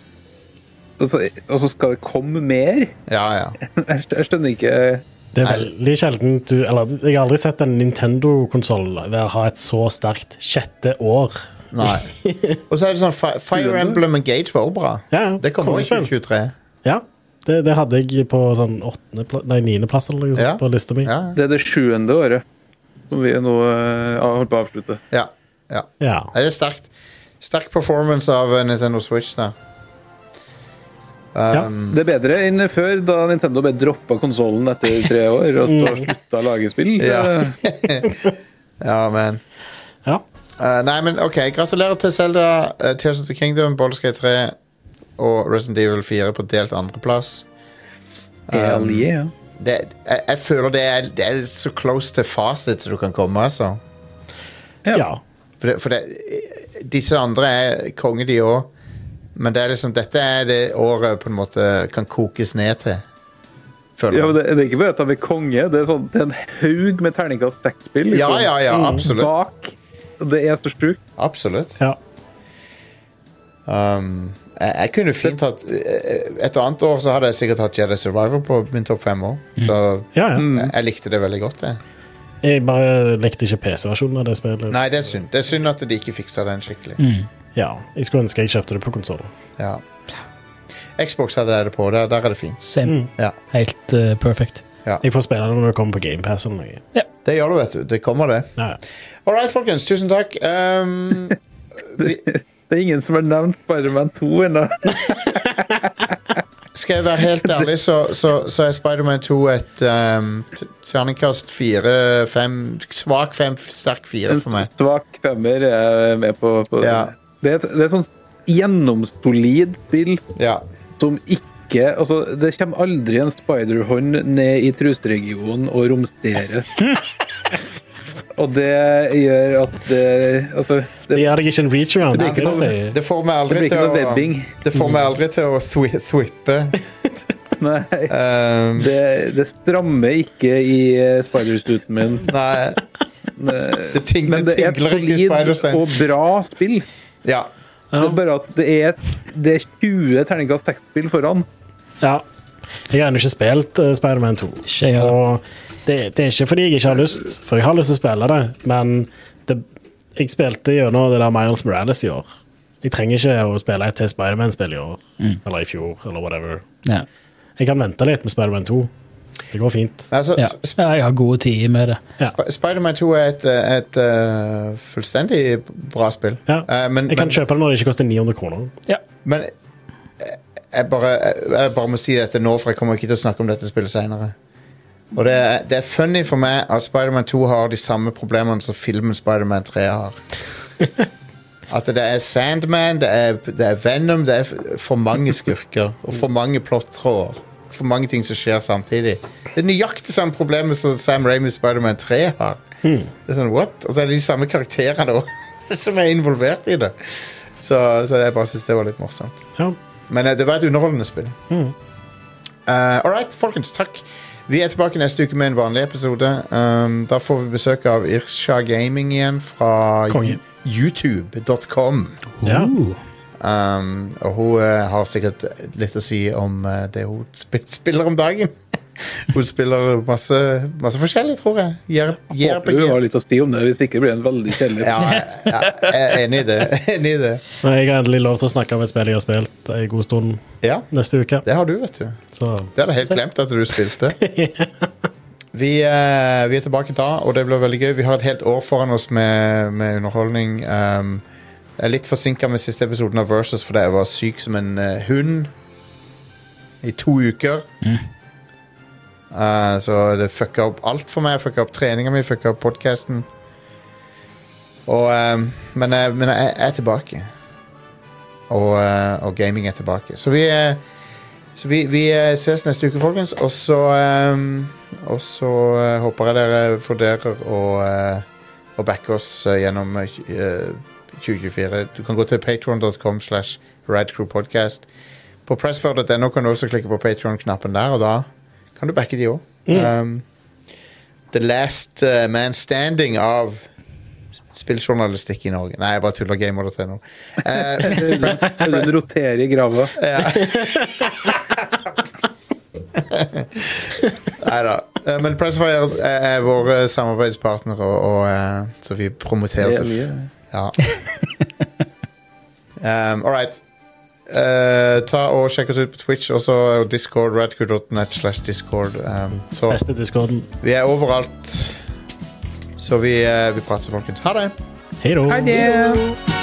S4: Og så og så Altså, eh, skal det komme mer?
S1: ja, ja.
S4: Jeg, jeg skjønner ikke
S3: Det er
S1: Nei.
S3: veldig sjelden du Eller jeg har aldri sett en Nintendo-konsoll ha et så sterkt sjette år.
S1: Nei. Og så er det sånn Fi- Fire Emblem Engage var også bra.
S3: Ja,
S1: Det kommer også i
S3: kongespill.
S1: 2023.
S3: Ja, det, det hadde jeg på sånn åttende pla- Nei, niendeplass eller noe sånt
S1: Ja.
S3: på lista mi.
S1: Ja.
S4: Det er det sjuende året som vi nå eh, har holdt på å avslutte.
S1: ja. ja.
S3: Ja.
S1: Nei, Det er sterkt. Sterk performance av eh, Nintendo Switch der. Um,
S4: Det er bedre enn før, da Nintendo bare droppa konsollen etter tre år og så slutta å lage spill. Eh,
S1: Ja. ja, men
S3: ja.
S1: Eh, Nei, men OK. Gratulerer til Zelda, eh, Tears of the Kingdom, Baldur's Gate 3 og Resident Evil 4 på delt andreplass.
S4: Hell yeah.
S1: Det- Jeg, jeg føler det er, det er så close til fasit som du kan komme, altså.
S4: Ja.
S3: ja.
S1: For, det, for det, eh, disse andre er konge, de òg. Men det er liksom, dette er det året på en måte kan kokes ned til. Føler
S4: Ja,
S1: jeg.
S4: men det, det er ikke bare at de er konge, det er, sånn, det er en haug med terningkast seks-spill liksom. Mm.
S1: Ja, ja, ja, absolutt.
S4: bak. Det er så sjukt.
S1: absolutt.
S3: ja.
S1: Um, jeg, jeg kunne fint hatt eh, Et annet år så hadde jeg sikkert hatt Jedi Survivor på min topp fem år. Så
S3: Ja, ja.
S1: jeg, jeg likte det veldig godt, jeg.
S3: Jeg bare likte ikke PC-versjonen av det spillet.
S1: Nei, det er synd. Det er synd at de ikke fiksa den skikkelig.
S2: Mm.
S3: Ja, jeg skulle ønske jeg kjøpte det på konsoller.
S1: Ja. Xbox hadde det på. Der, der er det fint.
S2: Same.
S1: Ja.
S2: Helt eh, perfect.
S3: Jeg får spille det når det kommer på GamePass eller noe.
S1: Det gjør du, vet du. Det kommer, det.
S3: Ja, ja.
S1: All right, folkens. Tusen takk. Um, vi,
S4: Det er ingen som har nevnt Spiderman 2 ennå.
S1: skal jeg være helt ærlig, så, så, så er Spiderman 2 et um, t- terningkast fire, fem Svak fem, sterk fire
S4: En
S1: for meg.
S4: svak femmer er med på, på
S1: Ja.
S4: det. er et- Det er et sånt gjennomsolid spill
S1: Ja.
S4: som ikke Altså, det kommer aldri en spiderhånd ned i trusregionen og romsterer. og det gjør at det Altså,
S3: Det
S4: det,
S3: gjør deg ikke en reach around.
S4: Det blir
S3: Det
S4: ikke
S3: kan
S4: noe-
S3: jeg si.
S1: Det får meg
S4: det blir
S1: aldri
S4: ikke
S1: til
S4: noe
S1: å
S4: webbing.
S1: Det får meg aldri til å thwi thwippe.
S4: Nei.
S1: Um,
S4: Det, det strammer ikke i eh, spiderstuten min.
S1: nei.
S4: Det-
S1: Det ting-
S4: Men
S1: det
S4: det er et
S1: tingler ikke i
S4: solid
S1: Spider-Sense.
S4: og bra spill.
S1: Ja.
S4: Det er bare at det er, det er 20 terningkast tekstspill foran.
S3: Ja. Jeg har ennå ikke spilt eh, Spider-Man 2.
S2: Ikke jeg heller.
S3: Og det, det er ikke fordi jeg ikke har lyst, for jeg har lyst til å spille det, men det, jeg spilte gjennom det der Miles Morales i år. Jeg trenger ikke å spille et til Spider-Man-spill i år,
S2: Mm.
S3: eller i fjor, eller whatever.
S2: Ja.
S3: Jeg kan vente litt med Spider-Man 2. Det går fint.
S1: Altså,
S2: Ja.
S1: s-
S2: ja, jeg har gode tider med det.
S1: Sp- Spider-Man 2 er et, eh, et eh, fullstendig bra spill.
S3: Ja.
S1: Eh, men,
S3: Jeg kan
S1: men,
S3: kjøpe det når det ikke koster 900 kroner.
S2: Ja.
S1: men eh, jeg, bare, jeg, jeg bare må si dette nå, for jeg kommer ikke til å snakke om dette spillet seinere. Og det er, det er funny for meg at Spider-Man 2 har de samme problemene som filmen Spider-Man 3 har. At det er Sandman, det er, det er Venom, det er f- for mange skurker. Og for mange plottråder. For mange ting som skjer samtidig. Det er nøyaktig samme problemet som Sam Raimi i Spider-Man 3 har. Det er sånn, what? Og så er det de samme karakterene også, som er involvert i det. Så, så jeg bare syns det var litt morsomt.
S3: Ja.
S1: Men eh, det var et underholdende spill. Eh, all right, folkens. Takk. Vi er tilbake neste uke med en vanlig episode. Um, da får vi besøk av Irsha Gaming igjen fra
S3: Konge.
S1: youtube.com.
S3: Ja.
S2: Uh,
S1: Um, og hun eh, har sikkert litt å si om eh, det hun sp spiller om dagen. hun spiller masse, masse forskjellig, tror jeg. J-
S4: Håper du har litt å si om det, hvis ikke blir det en veldig kjedelig
S1: Ja, jeg- jeg er enig i det. Enig i det.
S3: Men jeg har endelig lov til å snakke om et spill jeg har spilt en god stund
S1: Ja,
S3: neste uke.
S1: det har du, vet du.
S3: Så
S1: Det hadde jeg helt glemt at du spilte. Vi, eh, vi er tilbake da, og det blir veldig gøy. Vi har et helt år foran oss med, med underholdning. Um, jeg er litt forsinka med siste episoden av Versus fordi jeg var syk som en eh, hund i to uker. Eh, så det fucka opp alt for meg. Fucka opp treninga mi, fucka opp podkasten. men eh, men jeg, jeg er tilbake. Og, eh, og gaming er tilbake. Så vi eh, er så vi, vi eh, ses neste uke, folkens. Og så ehm, Og så eh, håper jeg dere vurderer å, eh, å backe oss eh, gjennom eh, tj- eh, 2024. Du kan gå til patron.com slash radcrewpodcast. På pressfør.no kan du også klikke på Patron-knappen der, og da kan du backe de òg. the Last eh, Man Standing av spilljournalistikk i Norge. Nei, jeg bare tuller. Gamer.no. Eh,
S4: Den roterer i grava.
S1: Nei da. Eh, Men Pressfire er er vår eh, samarbeidspartner, og, og eh, så vi promoterer
S4: Det er
S1: så-
S4: mye.
S1: Ja. um, All right. Eh, ta og Sjekk oss ut på Twitch og så Discord. Radcrew.net slash Discord. Um, så
S3: beste discorden.
S1: vi er overalt. Så vi, eh, vi prater, folkens. Ha det.
S3: Hei da.
S4: Hei, det!